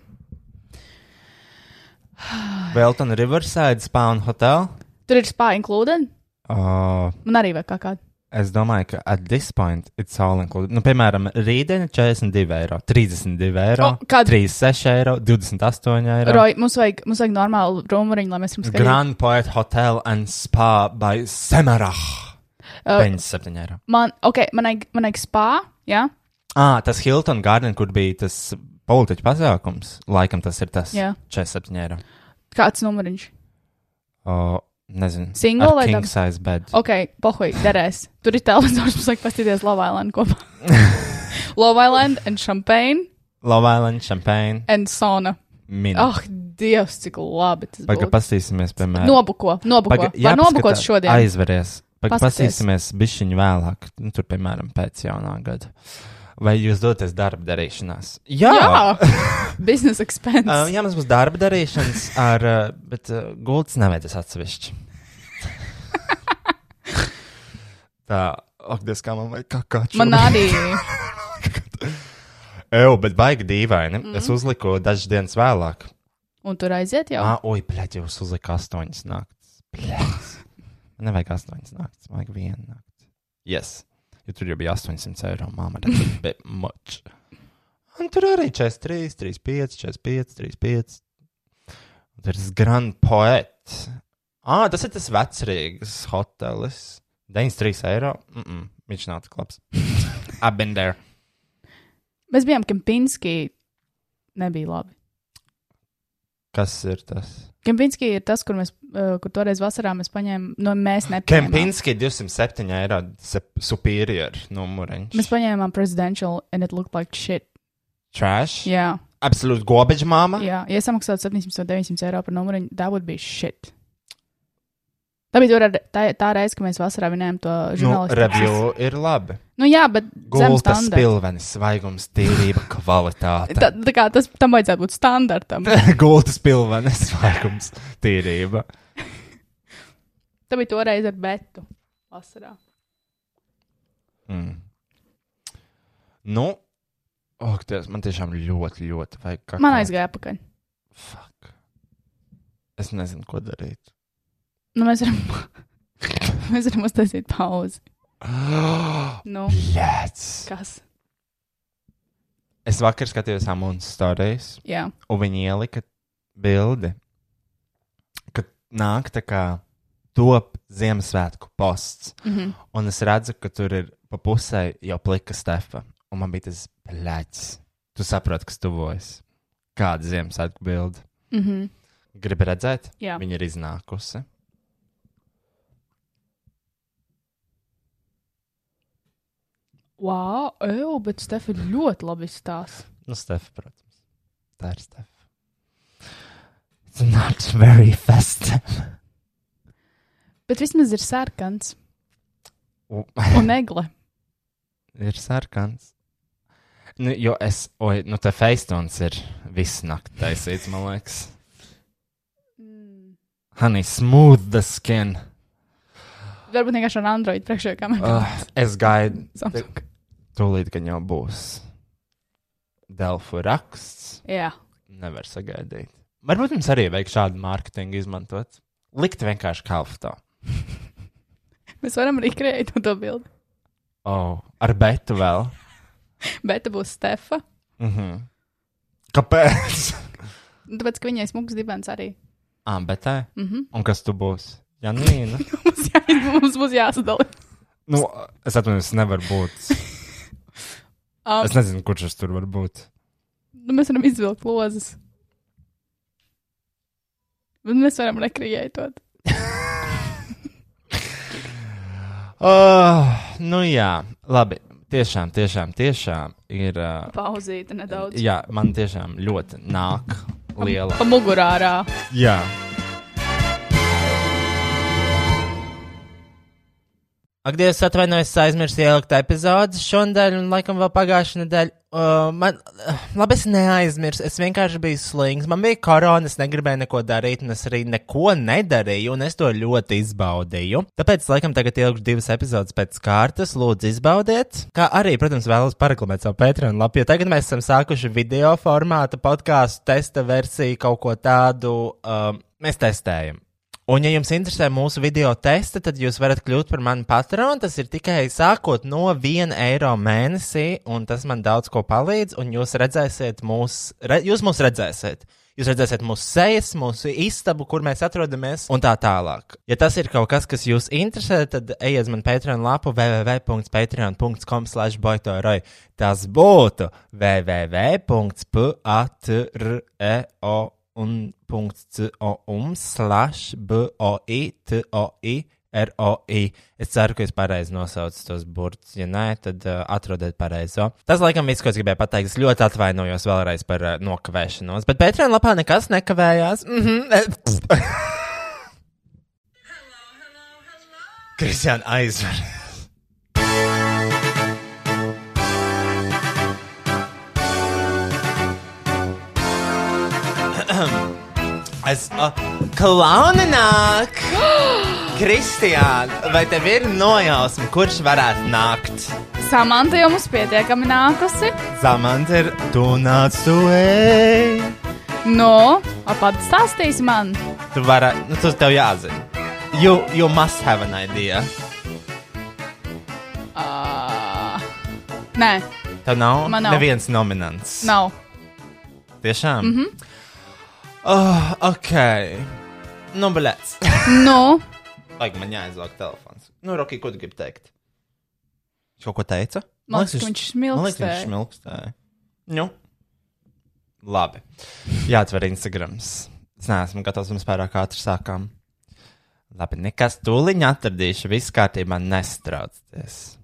B: Velton Riverside Spa un Hotel.
C: Tur ir spā inkludēta,
B: Uh,
C: man arī vajag kaut kādu.
B: es domāju, ka at this point it's all included. Nu, piemēram, rītdiena 42 eiro, 32 eiro,
C: O, kad-
B: 36 eiro, 28 eiro.
C: Roj, mums vajag, mums vajag normālu rumuriņu, lai mēs varam skatīties.
B: Grand Poet Hotel and Spa by Semerach.
C: Uh,
B: 57 eiro.
C: Man, ok, manai, manai spā, jā,
B: Ah, tas Hilton Garden, kur bija tas politiķu pasākums, laikam tas ir tas.
C: Jā.
B: 47 eiro.
C: kāds numuriņš.
B: Uh, nezinu.
C: Single
B: Ar
C: vai
B: King
C: dab-
B: size bed.
C: Ok, pohuj, derēs. Tur ir televizors, mums vajag paskatīties Love Island
B: *laughs*
C: kopā. Love Island and Champagne
B: Love Island, Champagne,
C: and Sauna.
B: Minna.
C: Ah, Dievs, cik labi tas
B: Pagaidām,
C: bija.
B: paskatīsimies, piemēram.
C: Nobuko, nobuko.
B: Paga-
C: Var nobukot
B: jāpaskatās-
C: šodien.
B: Aizveries. Pag-
C: Paskaties.
B: Paskatīsimies bišķiņu vēlāk, nu, tur, piemēram, pēc jaunā gada. Vai jūs doties darba darīšanās?
C: Jā, *laughs* biznesa expense.
B: Uh, Oh. jā, mums būs darba darīšanas, ar, uh, bet uh, gultas nevajadzēs
C: *laughs*
B: atsevišķi. Tā, ak, Dievs, kā man vajag kakāču.
C: Man arī.
B: *laughs* Eju, bet baigi dīvaini. Mm. Es uzliku dažas dienas vēlāk.
C: Un tur aiziet jau.
B: Ah, oi, plēķi, jūs uzliku astoņas naktis. Plēķis. Man nevajag astoņas naktis, man vajag vienu nakti. Yes. Jo tur jau bija 800 eiro, māma, tad bija much. Un tur arī 43, 35, 45, 35. Un tur ir tas Grand Poet. Ah, tas ir tas vecrīgas hotelis. 93 eiro. Mm -mm, viņš nav tik labs. I've been there.
C: Mēs bijām Kempinski. Nebija labi.
B: Kas ir tas?
C: Kempinski ir tas, kur mēs, uh, kur toreiz vasarā mēs paņēmām, no mēs nepaņēmām.
B: Kempinski 207 eiro sep- superior numuriņš.
C: Mēs paņēmām presidential and it looked like shit.
B: Trash.
C: Jā,
B: Absolūti gobeģa māma.
C: jā. ja samaksātu 700 vai 900 eiro par numuriņu, tā būtu bijis shit. Tā bija tur ar- tā, tā reize, kad mēs vasarā vinējām to
B: Nu,
C: žurnālistiku.
B: review ir labi.
C: Nu, jā, bet zem
B: Gulta
C: standarta.
B: spilvenis, svaigums,
C: *laughs*
B: tīrība, kvalitāte.
C: Tā, tā kā tas tam vajadzētu būt
B: *laughs*
C: standartam.
B: Gulta spilvenis, svaigums, tīrība.
C: Tā bija toreiz ar Betu. Vasarā.
B: Mm. Nu, ak, Dievs, man tiešām ļoti, ļoti vajag kaut
C: Man aizgāja pakaļ.
B: Fuck. Es nezinu, ko
C: *gasps*
B: darīt. *gasps*
C: Nu, mēs varam. *laughs* mēs varam uztaisīt pauzi. Nu,
B: Yes!
C: kas?
B: Es vakar skatījos Amundas stāstus,
C: Jā.
B: un viņi ielika bildi, kad nāk tā kā top Ziemassvētku posts.
C: Mm -hmm.
B: Un es redzu, ka tur ir pa pusē jau plika stefa. Un man bija tas plēķis. Tu saproti, kas tuvojas. Kāda Ziemassvētku bilde?
C: Mm -hmm.
B: Gribu redzēt,
C: Jā.
B: viņa ir iznākusi.
C: Wow, eju, bet Stefa ļoti labi stāsta.
B: Nu, stefa, protams. Tā ir stefa. It's not very festive. *laughs*
C: Bet vismaz ir sarkans
B: U-
C: un egle.
B: ir sarkans. Nu, jo es, oi, nu, tā feistons ir visu nakti taisīts, man liekas.
C: Mm.
B: Honey, smooth the skin.
C: Varbūt vienkārši ar Android priekšējā kamerā.
B: Uh, es gaidu.
C: Samsung.
B: Tūlīt, kad jau būs Delfu raksts,
C: Jā.
B: nevar sagaidīt. Varbūt mums arī vajag šādu mārketingu izmantot. Likt vienkārši kalftā.
C: Mēs varam rekreēt to bildi.
B: Oh, ar betu vēl.
C: Bet te būs Stefa.
B: Mm -hmm. Kāpēc? *laughs*
C: Nu, Tāpēc, ka viņai smags dibens arī.
B: ah, bet tā.
C: Mm -hmm.
B: Un kas tu būsi? Janīna.
C: *laughs* mums, jā, mums būs jāsadala.
B: nu, es atvainojos, nevar būt.
C: Um,
B: Es nezinu, kurš tas tur var būt.
C: nu, mēs varam izvilkt lozes. Bet mēs varam rekreēt.
B: Oh, nu jā, labi. Tiešām, tiešām, tiešām ir. Uh,
C: Pauzīt nedaudz.
B: jā, man tiešām ļoti nāk liela.
C: Pa mugurā ārā.
B: Jā. Ak, Dievs, atvainojos, aizmirsu ielikt epizodi šonadēļ, un laikam vēl pagājušā nedēļa. Uh, man, uh, labi, es neaizmirsu. Es vienkārši biju slings. Man bija korona, es negribēju neko darīt, un es arī neko nedarīju, un es to ļoti izbaudīju. Tāpēc, laikam, tagad ielikšu divas epizodes pēc kārtas. Lūdzu, izbaudiet. Kā arī, protams, vēlos paraklamēt savu Patreon lapu, jo tagad mēs esam sākuši video formāta podkāstu testa versiju, kaut ko tādu. Um, mēs testējam. Un, ja jums interesē mūsu video testa, tad jūs varat kļūt par mani patronu. Tas ir tikai sākot no 1 eiro mēnesī, un tas man daudz ko palīdz. Un jūs redzēsiet, mūs, re, jūs mūs redzēsiet. Jūs redzēsiet mūsu sejas, mūsu istabu, kur mēs atrodamies, un tā tālāk. Ja tas ir kaut kas, kas jūs interesē, tad ejiet uz manu Patreon lapu www.patreon.com. boytoroi. Tas būtu www.patreo un .com um slash E boi toi roi. E. Es ceru, ka es pareizi nosaucu tos burtus. Ja nē, tad uh, atrodiet pareizo. Tas, laikam, viss, ko es gribēju pateikt, es ļoti atvainojos vēlreiz par uh, nokavēšanos, bet Patreon lapā nekas nekavējās. Mm -hmm. *laughs* Kristiāna aizver. Es uh, klauni nāk! *gasps* Kristiāna, vai tev ir nojausma, kurš varētu nākt?
F: Samanta jau mums pietiekami nākusi.
B: Zamants ir tunāts tu ej!
F: Nu, apat stāstīs man.
B: Tu vari, nu tas tev jāzina. You, you must have an idea.
F: Uh, nē,
B: Tev nav,
F: Man nav.
B: neviens nominants.
F: nav.
B: Tiešām? Mhm. Mm oh, ok. Nu, blēc.
F: Nu,
B: Vajag man jāizlauka telefons. Nu, Roki, ko tu gribi teikt? Viņš kaut ko teica?
F: Man liekas, ka viņš
B: Man liekas,
F: smilkstēja.
B: viņš smilkstēja. Nu. Labi. Jāatver Instagrams. Es neesmu gatavs, mēs pārāk ātri sākām. Labi, nekas tūliņ atradīšu. Viss kārtībā nestraucieties.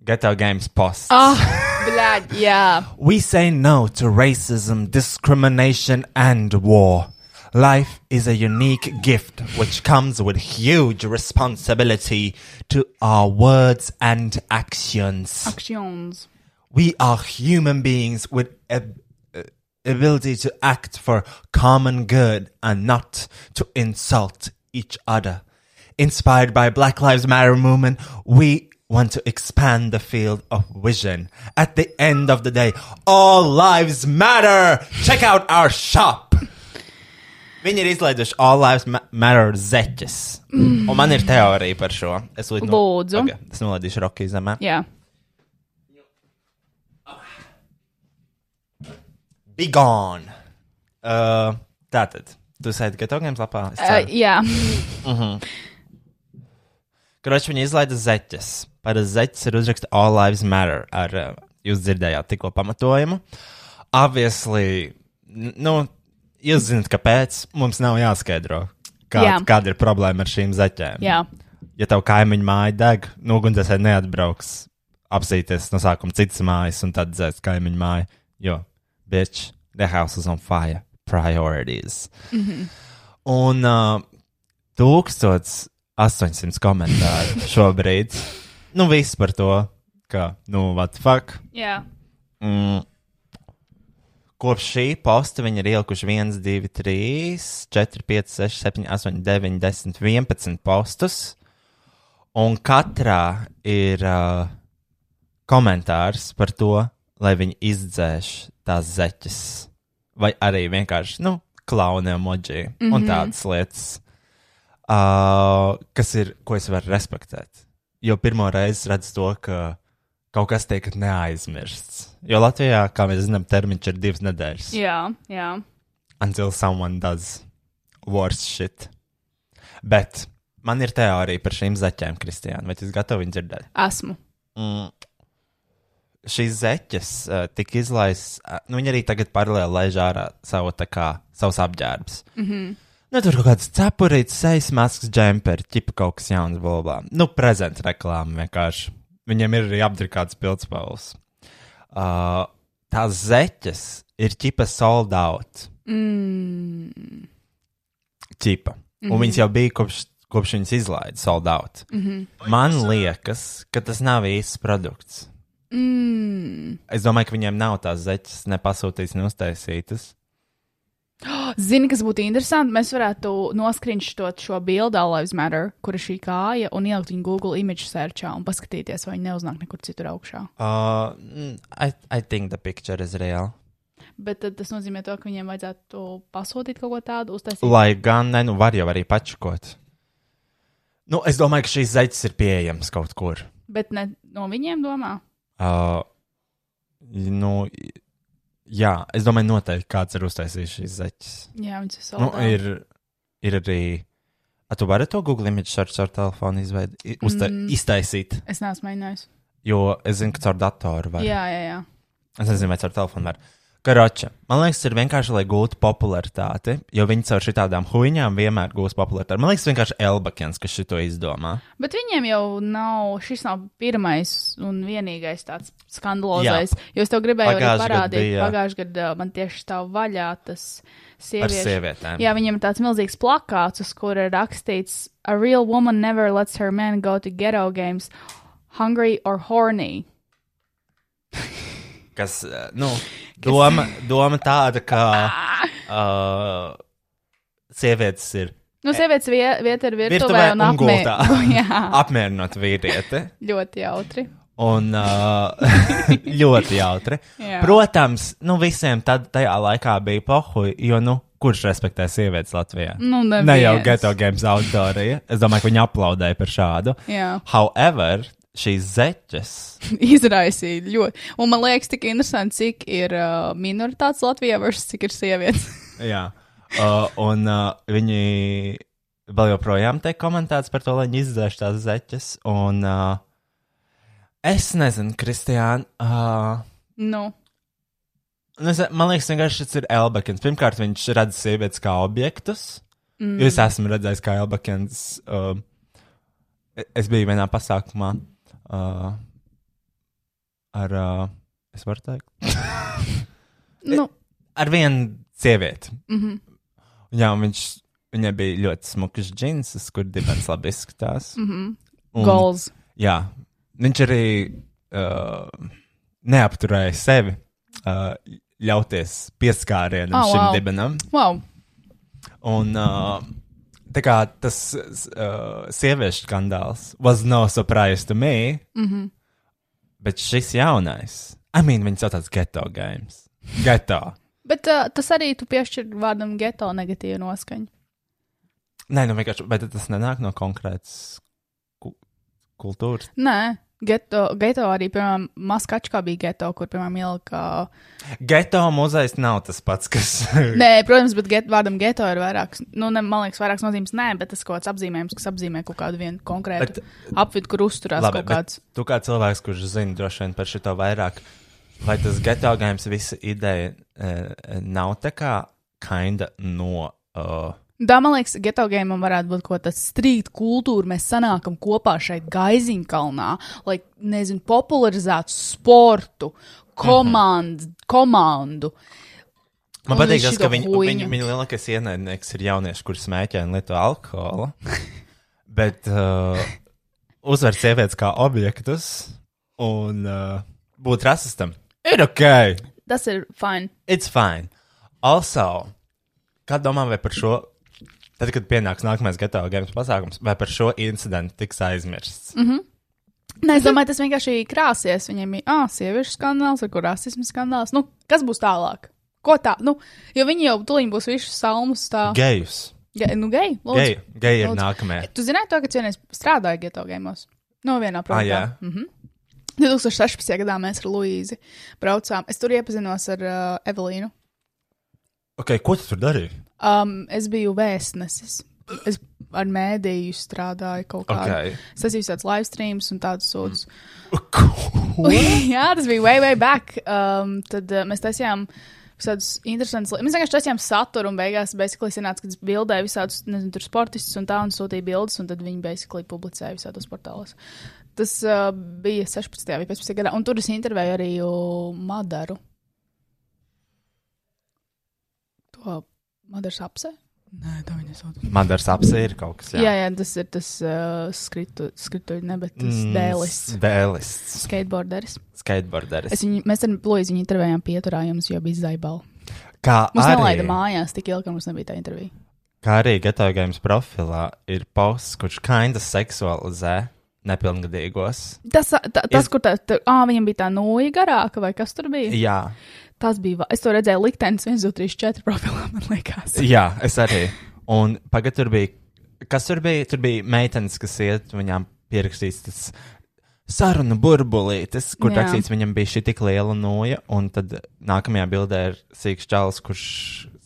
B: Ghetto Games posts.
C: Ah, blēģi, jā.
B: We say no to racism, discrimination, and war. Life is a unique gift which comes with huge responsibility to our words and actions.
C: Aktions.
B: We are human beings with ab- uh, ability to act for common good and not to insult each other. Inspired by Black Lives Matter movement, we want to expand the field of vision. At the end of the day, all lives matter. Check out our shop. Viņi ir izlaiduši All Lives Ma- Matter zeķes. Un man ir teorija par šo. Es lūdzu, nu-
C: Lūdzu.
B: Ok, es nolaidīšu Rocky zemē.
C: Jā,
B: Be gone! Uh, tātad, tu sēdi gataviem lapā? Es
C: uh,
B: ceru.
C: jā.
B: Kroči, viņi izlaida zeķes. Par zeķes ir uzraksta All Lives Matter ar, eh, jūs dzirdējāt, tikko pamatojumu. Obviously, n- nu, jūs zināt, kāpēc mums nav jāskaidro, kā,
C: Jā.
B: kāda ir problēma ar šīm zeķēm.
C: jā.
B: Ja tev kaimiņu māja deg, nogundzēsēji neatbrauks apsīties no sākuma citas mājas un tad dzēs kaimiņu māju, jo, bitch, the house is on fire, priorities. Un uh, 1800 komentāru šobrīd. nu, viss par to, ka, nu, what the fuck.
C: jā.
B: Mm. Kopš šī posta viņi ir ielikuši 1, 2, 3, 4, 5, 6, 7, 8, 9, 10, 11 postus. Un katrā ir uh, komentārs par to, lai viņi izdzēš tās zeķes. Vai arī vienkārši, nu, klauna emoji mm -hmm. un tādas lietas, uh, kas ir, ko es varu respektēt. Jo pirmo reizi es redzu to, ka kaut kas tiek neaizmirsts. Jo Latvijā, kā mēs zinām, termiņš ir divas nedēļas.
C: Jā, jā.
B: until someone does worse shit. Bet man ir teorija par šīm zeķēm, Kristija. Vai tu esi gatava viņu dzirdēt?
C: Esmu.
B: Mm. Šīs zeķes uh, tika izlaistas, uh, nu, viņi arī tagad paralēli laiž ārā savu, tā kā, savus apģērbus. Mm -hmm. Nu, tur kaut kāds cepurīts, sejas maskas, džemperi, ķipa kaut kas jauns, blabā. Nu, prezenta reklāma vienkārši. Viņiem ir arī apdrukāts pildspalvas. Uh, tās zeķes ir ķipa sold out. tipa. Mm -hmm. Un viņas jau bija kopš, kopš viņas izlaida sold out. Mm -hmm. Man liekas, ka tas nav īsts produkts. Mm. Es domāju, ka viņiem nav tās zeķes, nepasūtītas, neuztaisītas.
C: Zini, kas būtu interesanti? Mēs varētu noskrinšot šo bildi, All Lives Matter, kur ir šī kāja, un ielikt viņu Google image searchā un paskatīties, vai viņa neuznāk nekur citur augšā.
B: Uh, mm, I, I think the picture is real.
C: Bet tad tas nozīmē, to, ka viņiem vajadzētu pasūtīt kaut ko tādu, uztaisīt.
B: Lai gan, ne, nu, var jau arī pačukot. Nu, es domāju, ka šīs zeķes ir pieejamas kaut kur.
C: Bet ne no viņiem domā.
B: Uh, nu, jā, es domāju, noteikti kāds ir uztaisījis šīs zeķes.
C: Jā, viņas ir
B: Nu,
C: soldatāji.
B: ir, ir arī. A, tu vari to Google image search ar telefonu izveid, i- uzta, mm. iztaisīt,
C: Es neesmu mēģinājis.
B: jo es zinu, ka caur datoru var.
C: Jā, jā, jā.
B: Es nezinu, vai caur telefonu var. Karoča, man liekas, ir vienkārši, lai gūtu popularitāti, jo viņi caur šitām huīņām vienmēr gūs popularitāti. Man liekas, vienkārši Elbakens, kas šito izdomā.
C: Bet viņiem jau nav, šis nav pirmais un vienīgais tāds skandalozais.
B: Jā.
C: Jo es tev gribēju arī
B: Pagājuši gadu
C: parādīt,
B: bija, jā.
C: pagājušajā gadā uh, man tieši stāv vaļā tas
B: Par
C: sieviešu.
B: sievietēm.
C: Jā, viņam ir tāds milzīgs plakāts, uz kura ir rakstīts: A real woman never lets her man go to ghetto games, hungry or horny.
B: Kas, eh, nu, doma, doma tāda, ka
C: *laughs* Ah.
B: uh, sievietes ir
C: Nu, sievietes vie- vieta ir virtuvē
B: E, virtuvē
C: un
B: un
C: apmē.
B: gultā.
C: *laughs* Jā,
B: *laughs* apmierinot vīrieti.
C: ļoti jautri.
B: Un uh,
C: *laughs*
B: ļoti jautri.
C: Jā.
B: Protams, nu visiem tad tajā laikā bija pohuļi, jo nu, kurš respektē sievietes Latvijā?
C: Nu, neviens.
B: ne jau geto games autori. Es domāju, ka viņi aplaudēja par šādu.
C: Jā.
B: However, šīs
C: *laughs*
B: zeķes.
C: Izraisīja ļoti. Un man liekas, tik interesanti, cik ir uh, minoritātes Latvijā versus cik ir sievietes. *laughs*
B: Jā. Uh, un uh, viņi vēl joprojām tiek komentēts par to, lai viņi izdzēš tās zeķes. Un uh, es nezinu, Kristiāna. Uh,
C: nu,
B: Nu, es, man liekas, vienkārši tas ir Elbakins. Pirmkārt, viņš redz sievietes kā objektus. Mm. Es esmu redzējis, kā Elbakins. Uh, es biju vienā pasākumā uh, ar, uh, es varu teikt, E,
C: nu,
B: ar vienu sievieti. Mm -hmm. Jā, un viņš, viņai bija ļoti smukas džins, kur dibens labi izskatās. Mm -hmm.
C: goals.
B: Jā, viņš arī uh, neapturēja sevi uh, ļauties pieskārienam
C: Oh,
B: oh, šim
C: wow.
B: wow. dibenam.
C: Wow.
B: Un, uh, tā kā tas uh, sieviešu skandāls was no surprise to me. Mm -hmm. Bet šis jaunais, I mean, viņas jau tāds geto games. Geto.
C: Bet uh, tas arī tu piešķir vārdam geto negatīvu noskaņu.
B: Nē, nu vienkārši, bet tas nenāk no konkrētas ku- kultūras.
C: Nē, geto, geto arī, piemēram, Maskačkā bija geto, kur, piemēram, ielika.
B: Geto muzejs nav tas pats, kas.
C: Nē, protams, bet get, vārdam geto ir vairāks, nu, ne, man liekas, vairāks nozīmes, nē, bet tas kaut kāds apzīmējums, kas apzīmē kaut kādu vienu konkrētu
B: Bet-
C: apvidu, kur uzturās
B: Labi,
C: kaut
B: bet
C: kāds.
B: tu kā cilvēks, kurš zina droši vien par šito vairāk, vai tas geto games visa ideja eh, nav tā kā kinda no. Uh,
C: Tā, man liekas, geto gēmam varētu būt kaut kas strīt kultūra, mēs sanākam kopā šeit Gaiziņkalnā, lai, nezinu, popularizētu sportu, komandu, mm -hmm. komandu.
B: Man
C: Un
B: patīk
C: visu
B: tas,
C: to
B: ka viņu,
C: huiņu.
B: viņu, viņu lielākais ienaidnieks ir jaunieši, kurš smēķē un lieto alkoholu. Bet uh, uzvar sievietes kā objektus un uh, būt rasistam ir ok.
C: Tas ir fajn.
B: It's fine. Also, kā domā vai par šo, tad, kad pienāks nākamais gatavo games pasākums, vai par šo incidentu tiks aizmirsts? Mm.
C: Nē, Nu, es domāju, tas vienkārši krāsies. Viņiem ir ah, sieviešu skandāls, ar kur rasismu skandāls. Nu, kas būs tālāk? Ko tā? Nu, jo viņi jau tuliņ būs visus salmus tā.
B: Gejus.
C: Ge nu, geji. lūdzu.
B: Geji, geji ir
C: Lūdzu.
B: nākamie.
C: Tu zināji to, ka cienēs strādāja geto gaimos? No vienā
B: Ah,
C: projektā.
B: jā.
C: Mhm. 2016. gadā mēs ar Luīzi braucām. Es tur iepazinos ar uh, Evelīnu.
B: Ok, ko tu tur *laughs* darīji?
C: Um, es biju vēstnesis. Es ar mēdīju strādāju kaut kādā
B: Ok. Mm.
C: Es esmu tāds live streams un tādas sūdzības. *laughs* Jā, tas bija way, way back. Um, tad uh, mēs taisījām. Visādus interesantus lietas. Mēs vienkārši taisījām saturu, un beigās, basically, sanāca, ka bildēja visādus, nezinu, tur sportistus un tā, un sūtīja bildes, un tad viņi, basically, publicēja visādos portālos. Tas uh, bija 16. vai 15. gadā, un tur es intervēju arī uh, Madaru. To Madaras apse? Nē, tā viņa sauc.
B: Madars apsēra kaut kas.
C: Jā. Jā, jā, tas ir tas uh, skrituļs, ne, bet tas mm. dēlis,
B: Dēlists.
C: skateboarderis.
B: skateboarderis.
C: Es viņu, mēs ar Lūdzu viņu intervējām pieturā, jums jau bija zaibala.
B: Kā
C: Mums
B: arī,
C: nelaida mājās tik ilgi, ka mums nebija tā intervija.
B: kā arī gatavojums profilā ir posts, kurš kinda seksualizē nepilngadīgos.
C: Tas, tā, tas
B: Es-
C: kur tā, tā ā, viņam bija tā noja garāka, vai kas tur bija?
B: Jā,
C: Tas bija, va- es to redzēju liktenis 1, 2, 3, 4 profilā, man liekas.
B: *laughs* jā es arī. Un pagad tur bija, kas tur bija? Tur bija meitenes, kas iet, viņām pierakstīts tas sarunu burbulītis, kur
C: Jā.
B: jā. rakstīts, viņam bija šī tik liela noja, un tad nākamajā bildē ir sīks čalis, kurš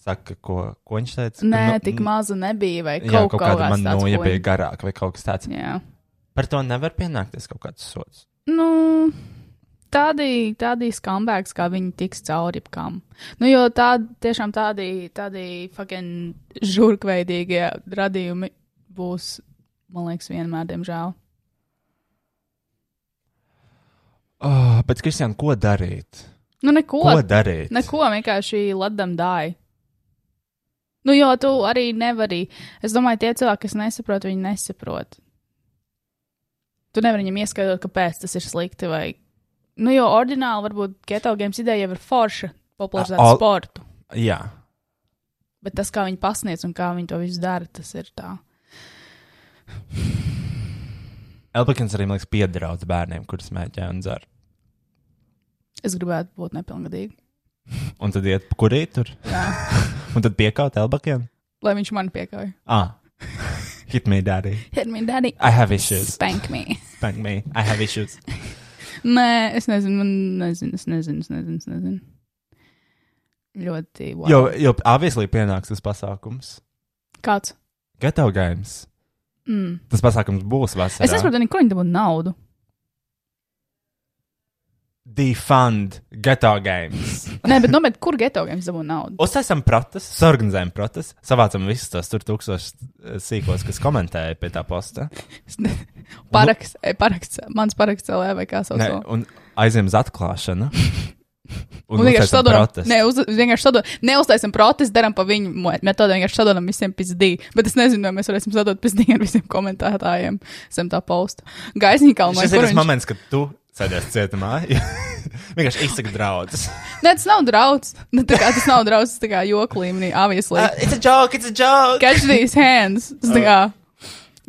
B: saka, ko, ko viņš teica.
C: Nē,
B: Nu,
C: tik maza nebija, vai
B: Jā,
C: kaut,
B: kaut kāda
C: kāds
B: man
C: tāds
B: noja
C: poņi.
B: bija garāka vai kaut kas tāds.
C: Jā.
B: Par to nevar pienākties kaut kāds sots.
C: Nu, tādi, tādi skambēks, kā viņi tiks cauri jebkam. Nu, jo tādi, tiešām tādi, tādi fucking žurkveidīgie radījumi būs, man liekas, vienmēr, diemžēl.
B: Oh, bet, Kristian, ko darīt?
C: Nu, neko.
B: Ko darīt?
C: Neko, vienkārši ledam dāj. Nu, jo tu arī nevari. Es domāju, tie cilvēki, kas nesaprot, viņi nesaprot. Tu nevari viņam ieskaidrot, kāpēc tas ir slikti. Vai... Nu, jo ordināli varbūt geto games ideja jau ir forša popularizēt
B: Al-
C: All... sportu.
B: Jā,
C: Bet tas, kā viņi pasniedz un kā viņi to visu dara, tas ir tā.
B: Elpakins arī, man liekas, piedraudz bērniem, kurus mēģina un dzer.
C: Es gribētu būt nepilngadīga.
B: Un tad iet, kurī tur?
C: Jā.
B: un tad piekaut Elpakiem?
C: Lai viņš man piekāpja.
B: Ah, *laughs* hit me, daddy.
C: Hit me, daddy.
B: I have issues.
C: Spank me.
B: Spank me. I have issues.
C: Nē, es nezinu, man nezinu, es nezinu, es nezinu. Es nezinu. Ļoti labi.
B: Jo, jo obviously pienāks tas pasākums.
C: Kāds?
B: Gatavo games.
C: Mm.
B: Tas pasākums būs vasarā.
C: Es nesaprotu, ne, kur viņi dabū naudu.
B: Defund Gatavo games.
C: Nē, bet, no, bet kur geto games dabū naudu?
B: Uztaisām protestu, sorganizējām protestu, savācam visus tos tur tūkstošus eh, sīkos, kas komentēja pie tā posta.
C: Es ne- Paraksts, eh, paraksts, mans paraksts LV vai kā sauc.
B: Nē,
C: to?
B: un aizjām uz
C: *laughs*
B: atklāšanu. Un
C: Un vienkārši
B: uztaisam
C: sadodam,
B: protestu.
C: ne, uz, vienkārši sadodam, neuztaisam protestu, darām pa viņu mo- metodi, vienkārši sadodam visiem pizdī. Bet es nezinu, vai mēs varēsim sadot pizdī ar visiem komentētājiem zem tā posta. Gaisnīgā kalnā.
B: Šis ir tas moments, kad tu sēdēs cietumā. *laughs* Vienkārši izsaka draudus.
C: Nē, tas nav draudz. Nu, tā kā tas nav draudz, tas tā kā joku līmenī, obviously.
B: it's a joke, it's a joke!
C: Catch these hands! Tas tā kā.
B: Oh.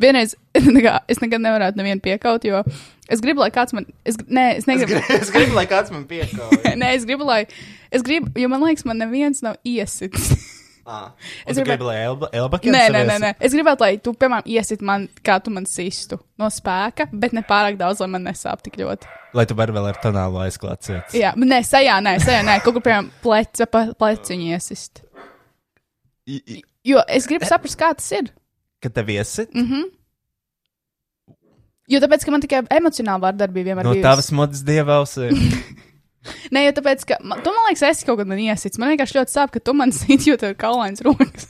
C: Vienreiz, *laughs* tā kā, es nekad nevarētu nevienu piekaut, jo es gribu, lai kāds man. Es, gr- nē, es negribu.
B: *laughs* es gribu, lai kāds man piekāpst.
C: *laughs* Nē, es gribu, lai. Es gribu, jo man liekas, man neviens nav iesits.
B: Ah.
C: *laughs*
B: Es
C: gribētu-
B: gribu, lai Elba, Elba
C: nē, nē, nē, nē. Es gribētu, lai tu, piemēram, iesit man, kā tu man sistu no spēka, bet ne pārāk daudz, lai man nesāp tik ļoti.
B: Lai tu vari vēl ar tonālu aizklāt cietu.
C: Jā, nē, sejā, nē, sejā, nē, kaut kur, piemēram, pleca, pa pleciņu iesist. Jo es gribu saprast, kā tas ir.
B: Kad tev iesit,
C: Mhm. Jo tāpēc, ka man tikai emocionāli vārdarbība vienmēr
B: no
C: bijusi.
B: tavas modes dievaus.
C: *laughs* Nē, jo tāpēc, ka man, tu man liekas, es kaut kad man iesits. Man vienkārši ļoti sāp, ka tu man *laughs* sīti, jo tev ir kaulains rokas.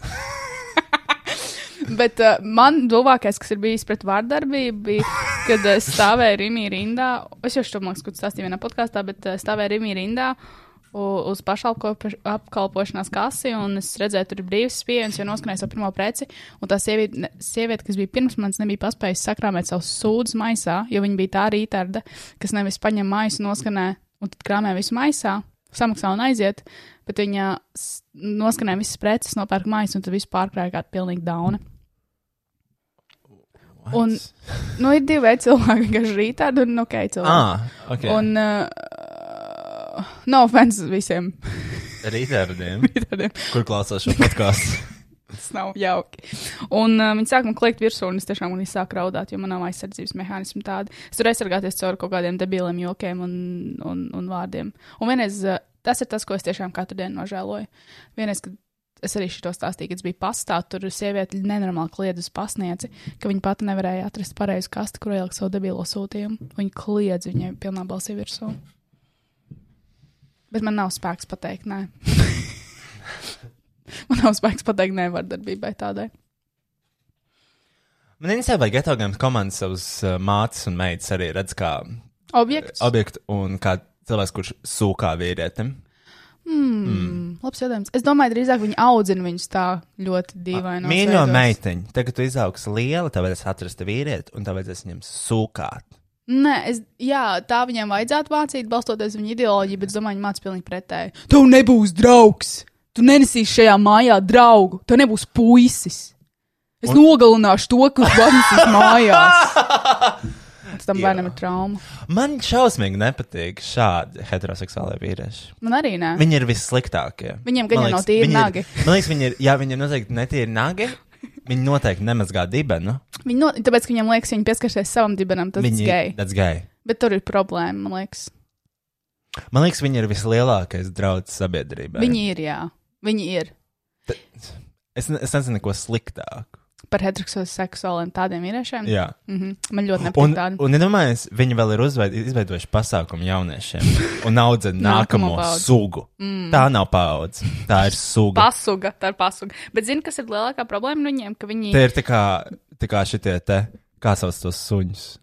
C: Bet uh, man tuvākais, kas ir bijis pret vārdarbību, bija, kad es stāvēju Rimī rindā. Es jau šo mākslu stāstīju vienā podkāstā, bet uh, stāvēju Rimī rindā u- uz pašapkalpošanās kasi, un es redzēju, tur ir brīvs spiediens, jo noskanēju savu pirmo preci. Un tā sieviete, ne- sieviete kas bija pirms manis, nebija paspējusi sakrāmēt savus sūdzes maisā, jo viņa bija tā rītarda, kas nevis paņem maisu, noskanē un tad krāmē visu maisā, samaksā un aiziet. Bet viņa s- noskanēja visas preces, nopērka maisu, un tad viss pārkrāja kā pilnīgi dauna. Un, nu, ir divi veidi cilvēki, kas rītā ir un nu, ok, cilvēki.
B: ah, ok.
C: Un, uh, no offenses visiem *laughs*
B: Rītdien,
C: tādiem.
B: kur klausās šo podkāstu.
C: Tas nav jauki. Un uh, viņi sāk man kliegt virsū, un es tiešām man sāku raudāt, jo man nav aizsardzības mehānismu tāda. Es tur aizsargāties caur kaut kādiem debiliem jokiem un, un, un vārdiem. Un vienreiz uh, tas ir tas, ko es tiešām katru dienu nožēloju. Vienreiz, kad es arī šo stāstīju, kad es biju pastā, tur sieviete nenormāli kliedz uz pasniedzi, ka viņa pati nevarēja atrast pareizu kastu, kur ielikt savu debilo sūtījumu. Viņa kliedz viņai pilnā balsī virsū. Bet man nav spēks pateikt, nē. *laughs* Man nav spēks pateikt, nē, vardarbībai tādai.
B: Man īstenībā vajag geto games komandas savus uh, mātes un meitas arī redz kā
C: Objekts.
B: objektu un kā cilvēks, kurš sūkā vīrietim.
C: Mm. Labs jautājums. Es domāju, drīzāk viņi audzina viņus tā ļoti dīvaini.
B: Mīļo meiteņu, tagad tu izaugs liela, tev vajadzēs atrast vīrieti un tev vajadzēs viņam sūkāt.
C: Nē, es, jā, tā viņiem vajadzētu mācīt, balstoties uz viņu ideoloģiju, bet es domāju, viņi mācīja pilnīgi pretēji. Tev nebūs draugs! Tu nenesīsi šajā mājā draugu! Tev nebūs puisis! Es Un... nogalināšu to, *laughs* kas vadīs *laughs* mājās! Un Tam bērnam ir trauma.
B: Man šausmīgi nepatīk šādi heteroseksuālie vīrieši.
C: Man arī nē.
B: Viņi ir vissliktākie.
C: Viņiem gan
B: Man
C: jau nav
B: liekas,
C: tīri
B: viņi ir-
C: nagi.
B: Man liekas, viņi ir, jā, viņi ir noteikti netīri nagi. Viņi noteikti nemazgā dibenu.
C: Viņi no, tāpēc, ka viņiem liekas, viņi pieskarsies savam dibenam, tas ir
B: Viņi
C: gej.
B: That's gay.
C: Bet tur ir problēma, man liekas.
B: Man liekas, viņi ir vislielākais draudz sabiedrībai.
C: Viņi ir, jā. Viņi ir
B: Es, ne- es nezinu, ko sliktāku.
C: par heteroseksuāliem tādiem vīriešiem.
B: Jā.
C: Mm -hmm. Man ļoti
B: Un,
C: nepatīk tādi.
B: un iedomājieties, ja viņi vēl ir uzveid- izveidojuši pasākumu jauniešiem un audzina nākamo
C: Nākamo paudzi.
B: sugu. Mm. Tā nav paudze, tā ir suga.
C: Pasuga, tā ir pasuga. Bet zini, kas ir lielākā problēma no viņiem? Ka viņi
B: Tie ir tā kā, tā kā šitie te, kā sauc tos
C: *laughs*
B: suņus.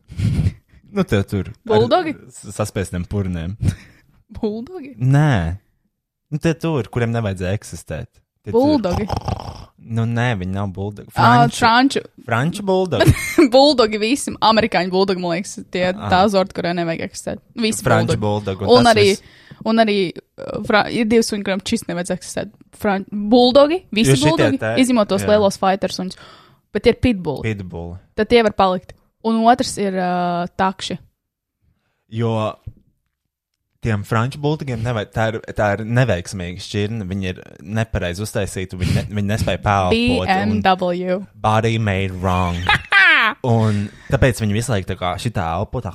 B: Nu, tie tur. ar
C: Buldogi?
B: s- Saspēstiem purniem.
C: buldogi.
B: Nē, nu, tie tur, kuriem nevajadzēja eksistēt. Tie tur.
C: Buldogi.
B: Nu, nē, viņi nav buldogi.
C: Ah,
B: Franču,
C: Franču. *laughs*
B: franču buldogi.
C: buldogi visiem. Amerikāņu buldogi, man liekas, tie tā zorti, kuriem nevajag eksistēt. Visi
B: Franču
C: buldogi.
B: buldogi.
C: Un
B: tas
C: arī,
B: viss.
C: un arī uh, fra, ir divi suņi, kuriem šis nevajag eksistēt. Fran buldogi, visi
B: Jo šitie
C: buldogi,
B: tā-
C: izņemot tos
B: jā.
C: lielos fighters un bet tie ir pitbulli.
B: Pitbull.
C: Tad tie var palikt. Un otrs ir uh, takši.
B: Jo tiem franču bultiem tā, ir- tā ir neveiksmīga šķirne. Viņi ir nepareizi uztaisīti, viņi, ne, viņi nespēja pelnīt.
C: BMW.
B: Body made
C: *laughs*
B: wrong. Un tāpēc viņi visu laiku tā kā šitā elpo tā.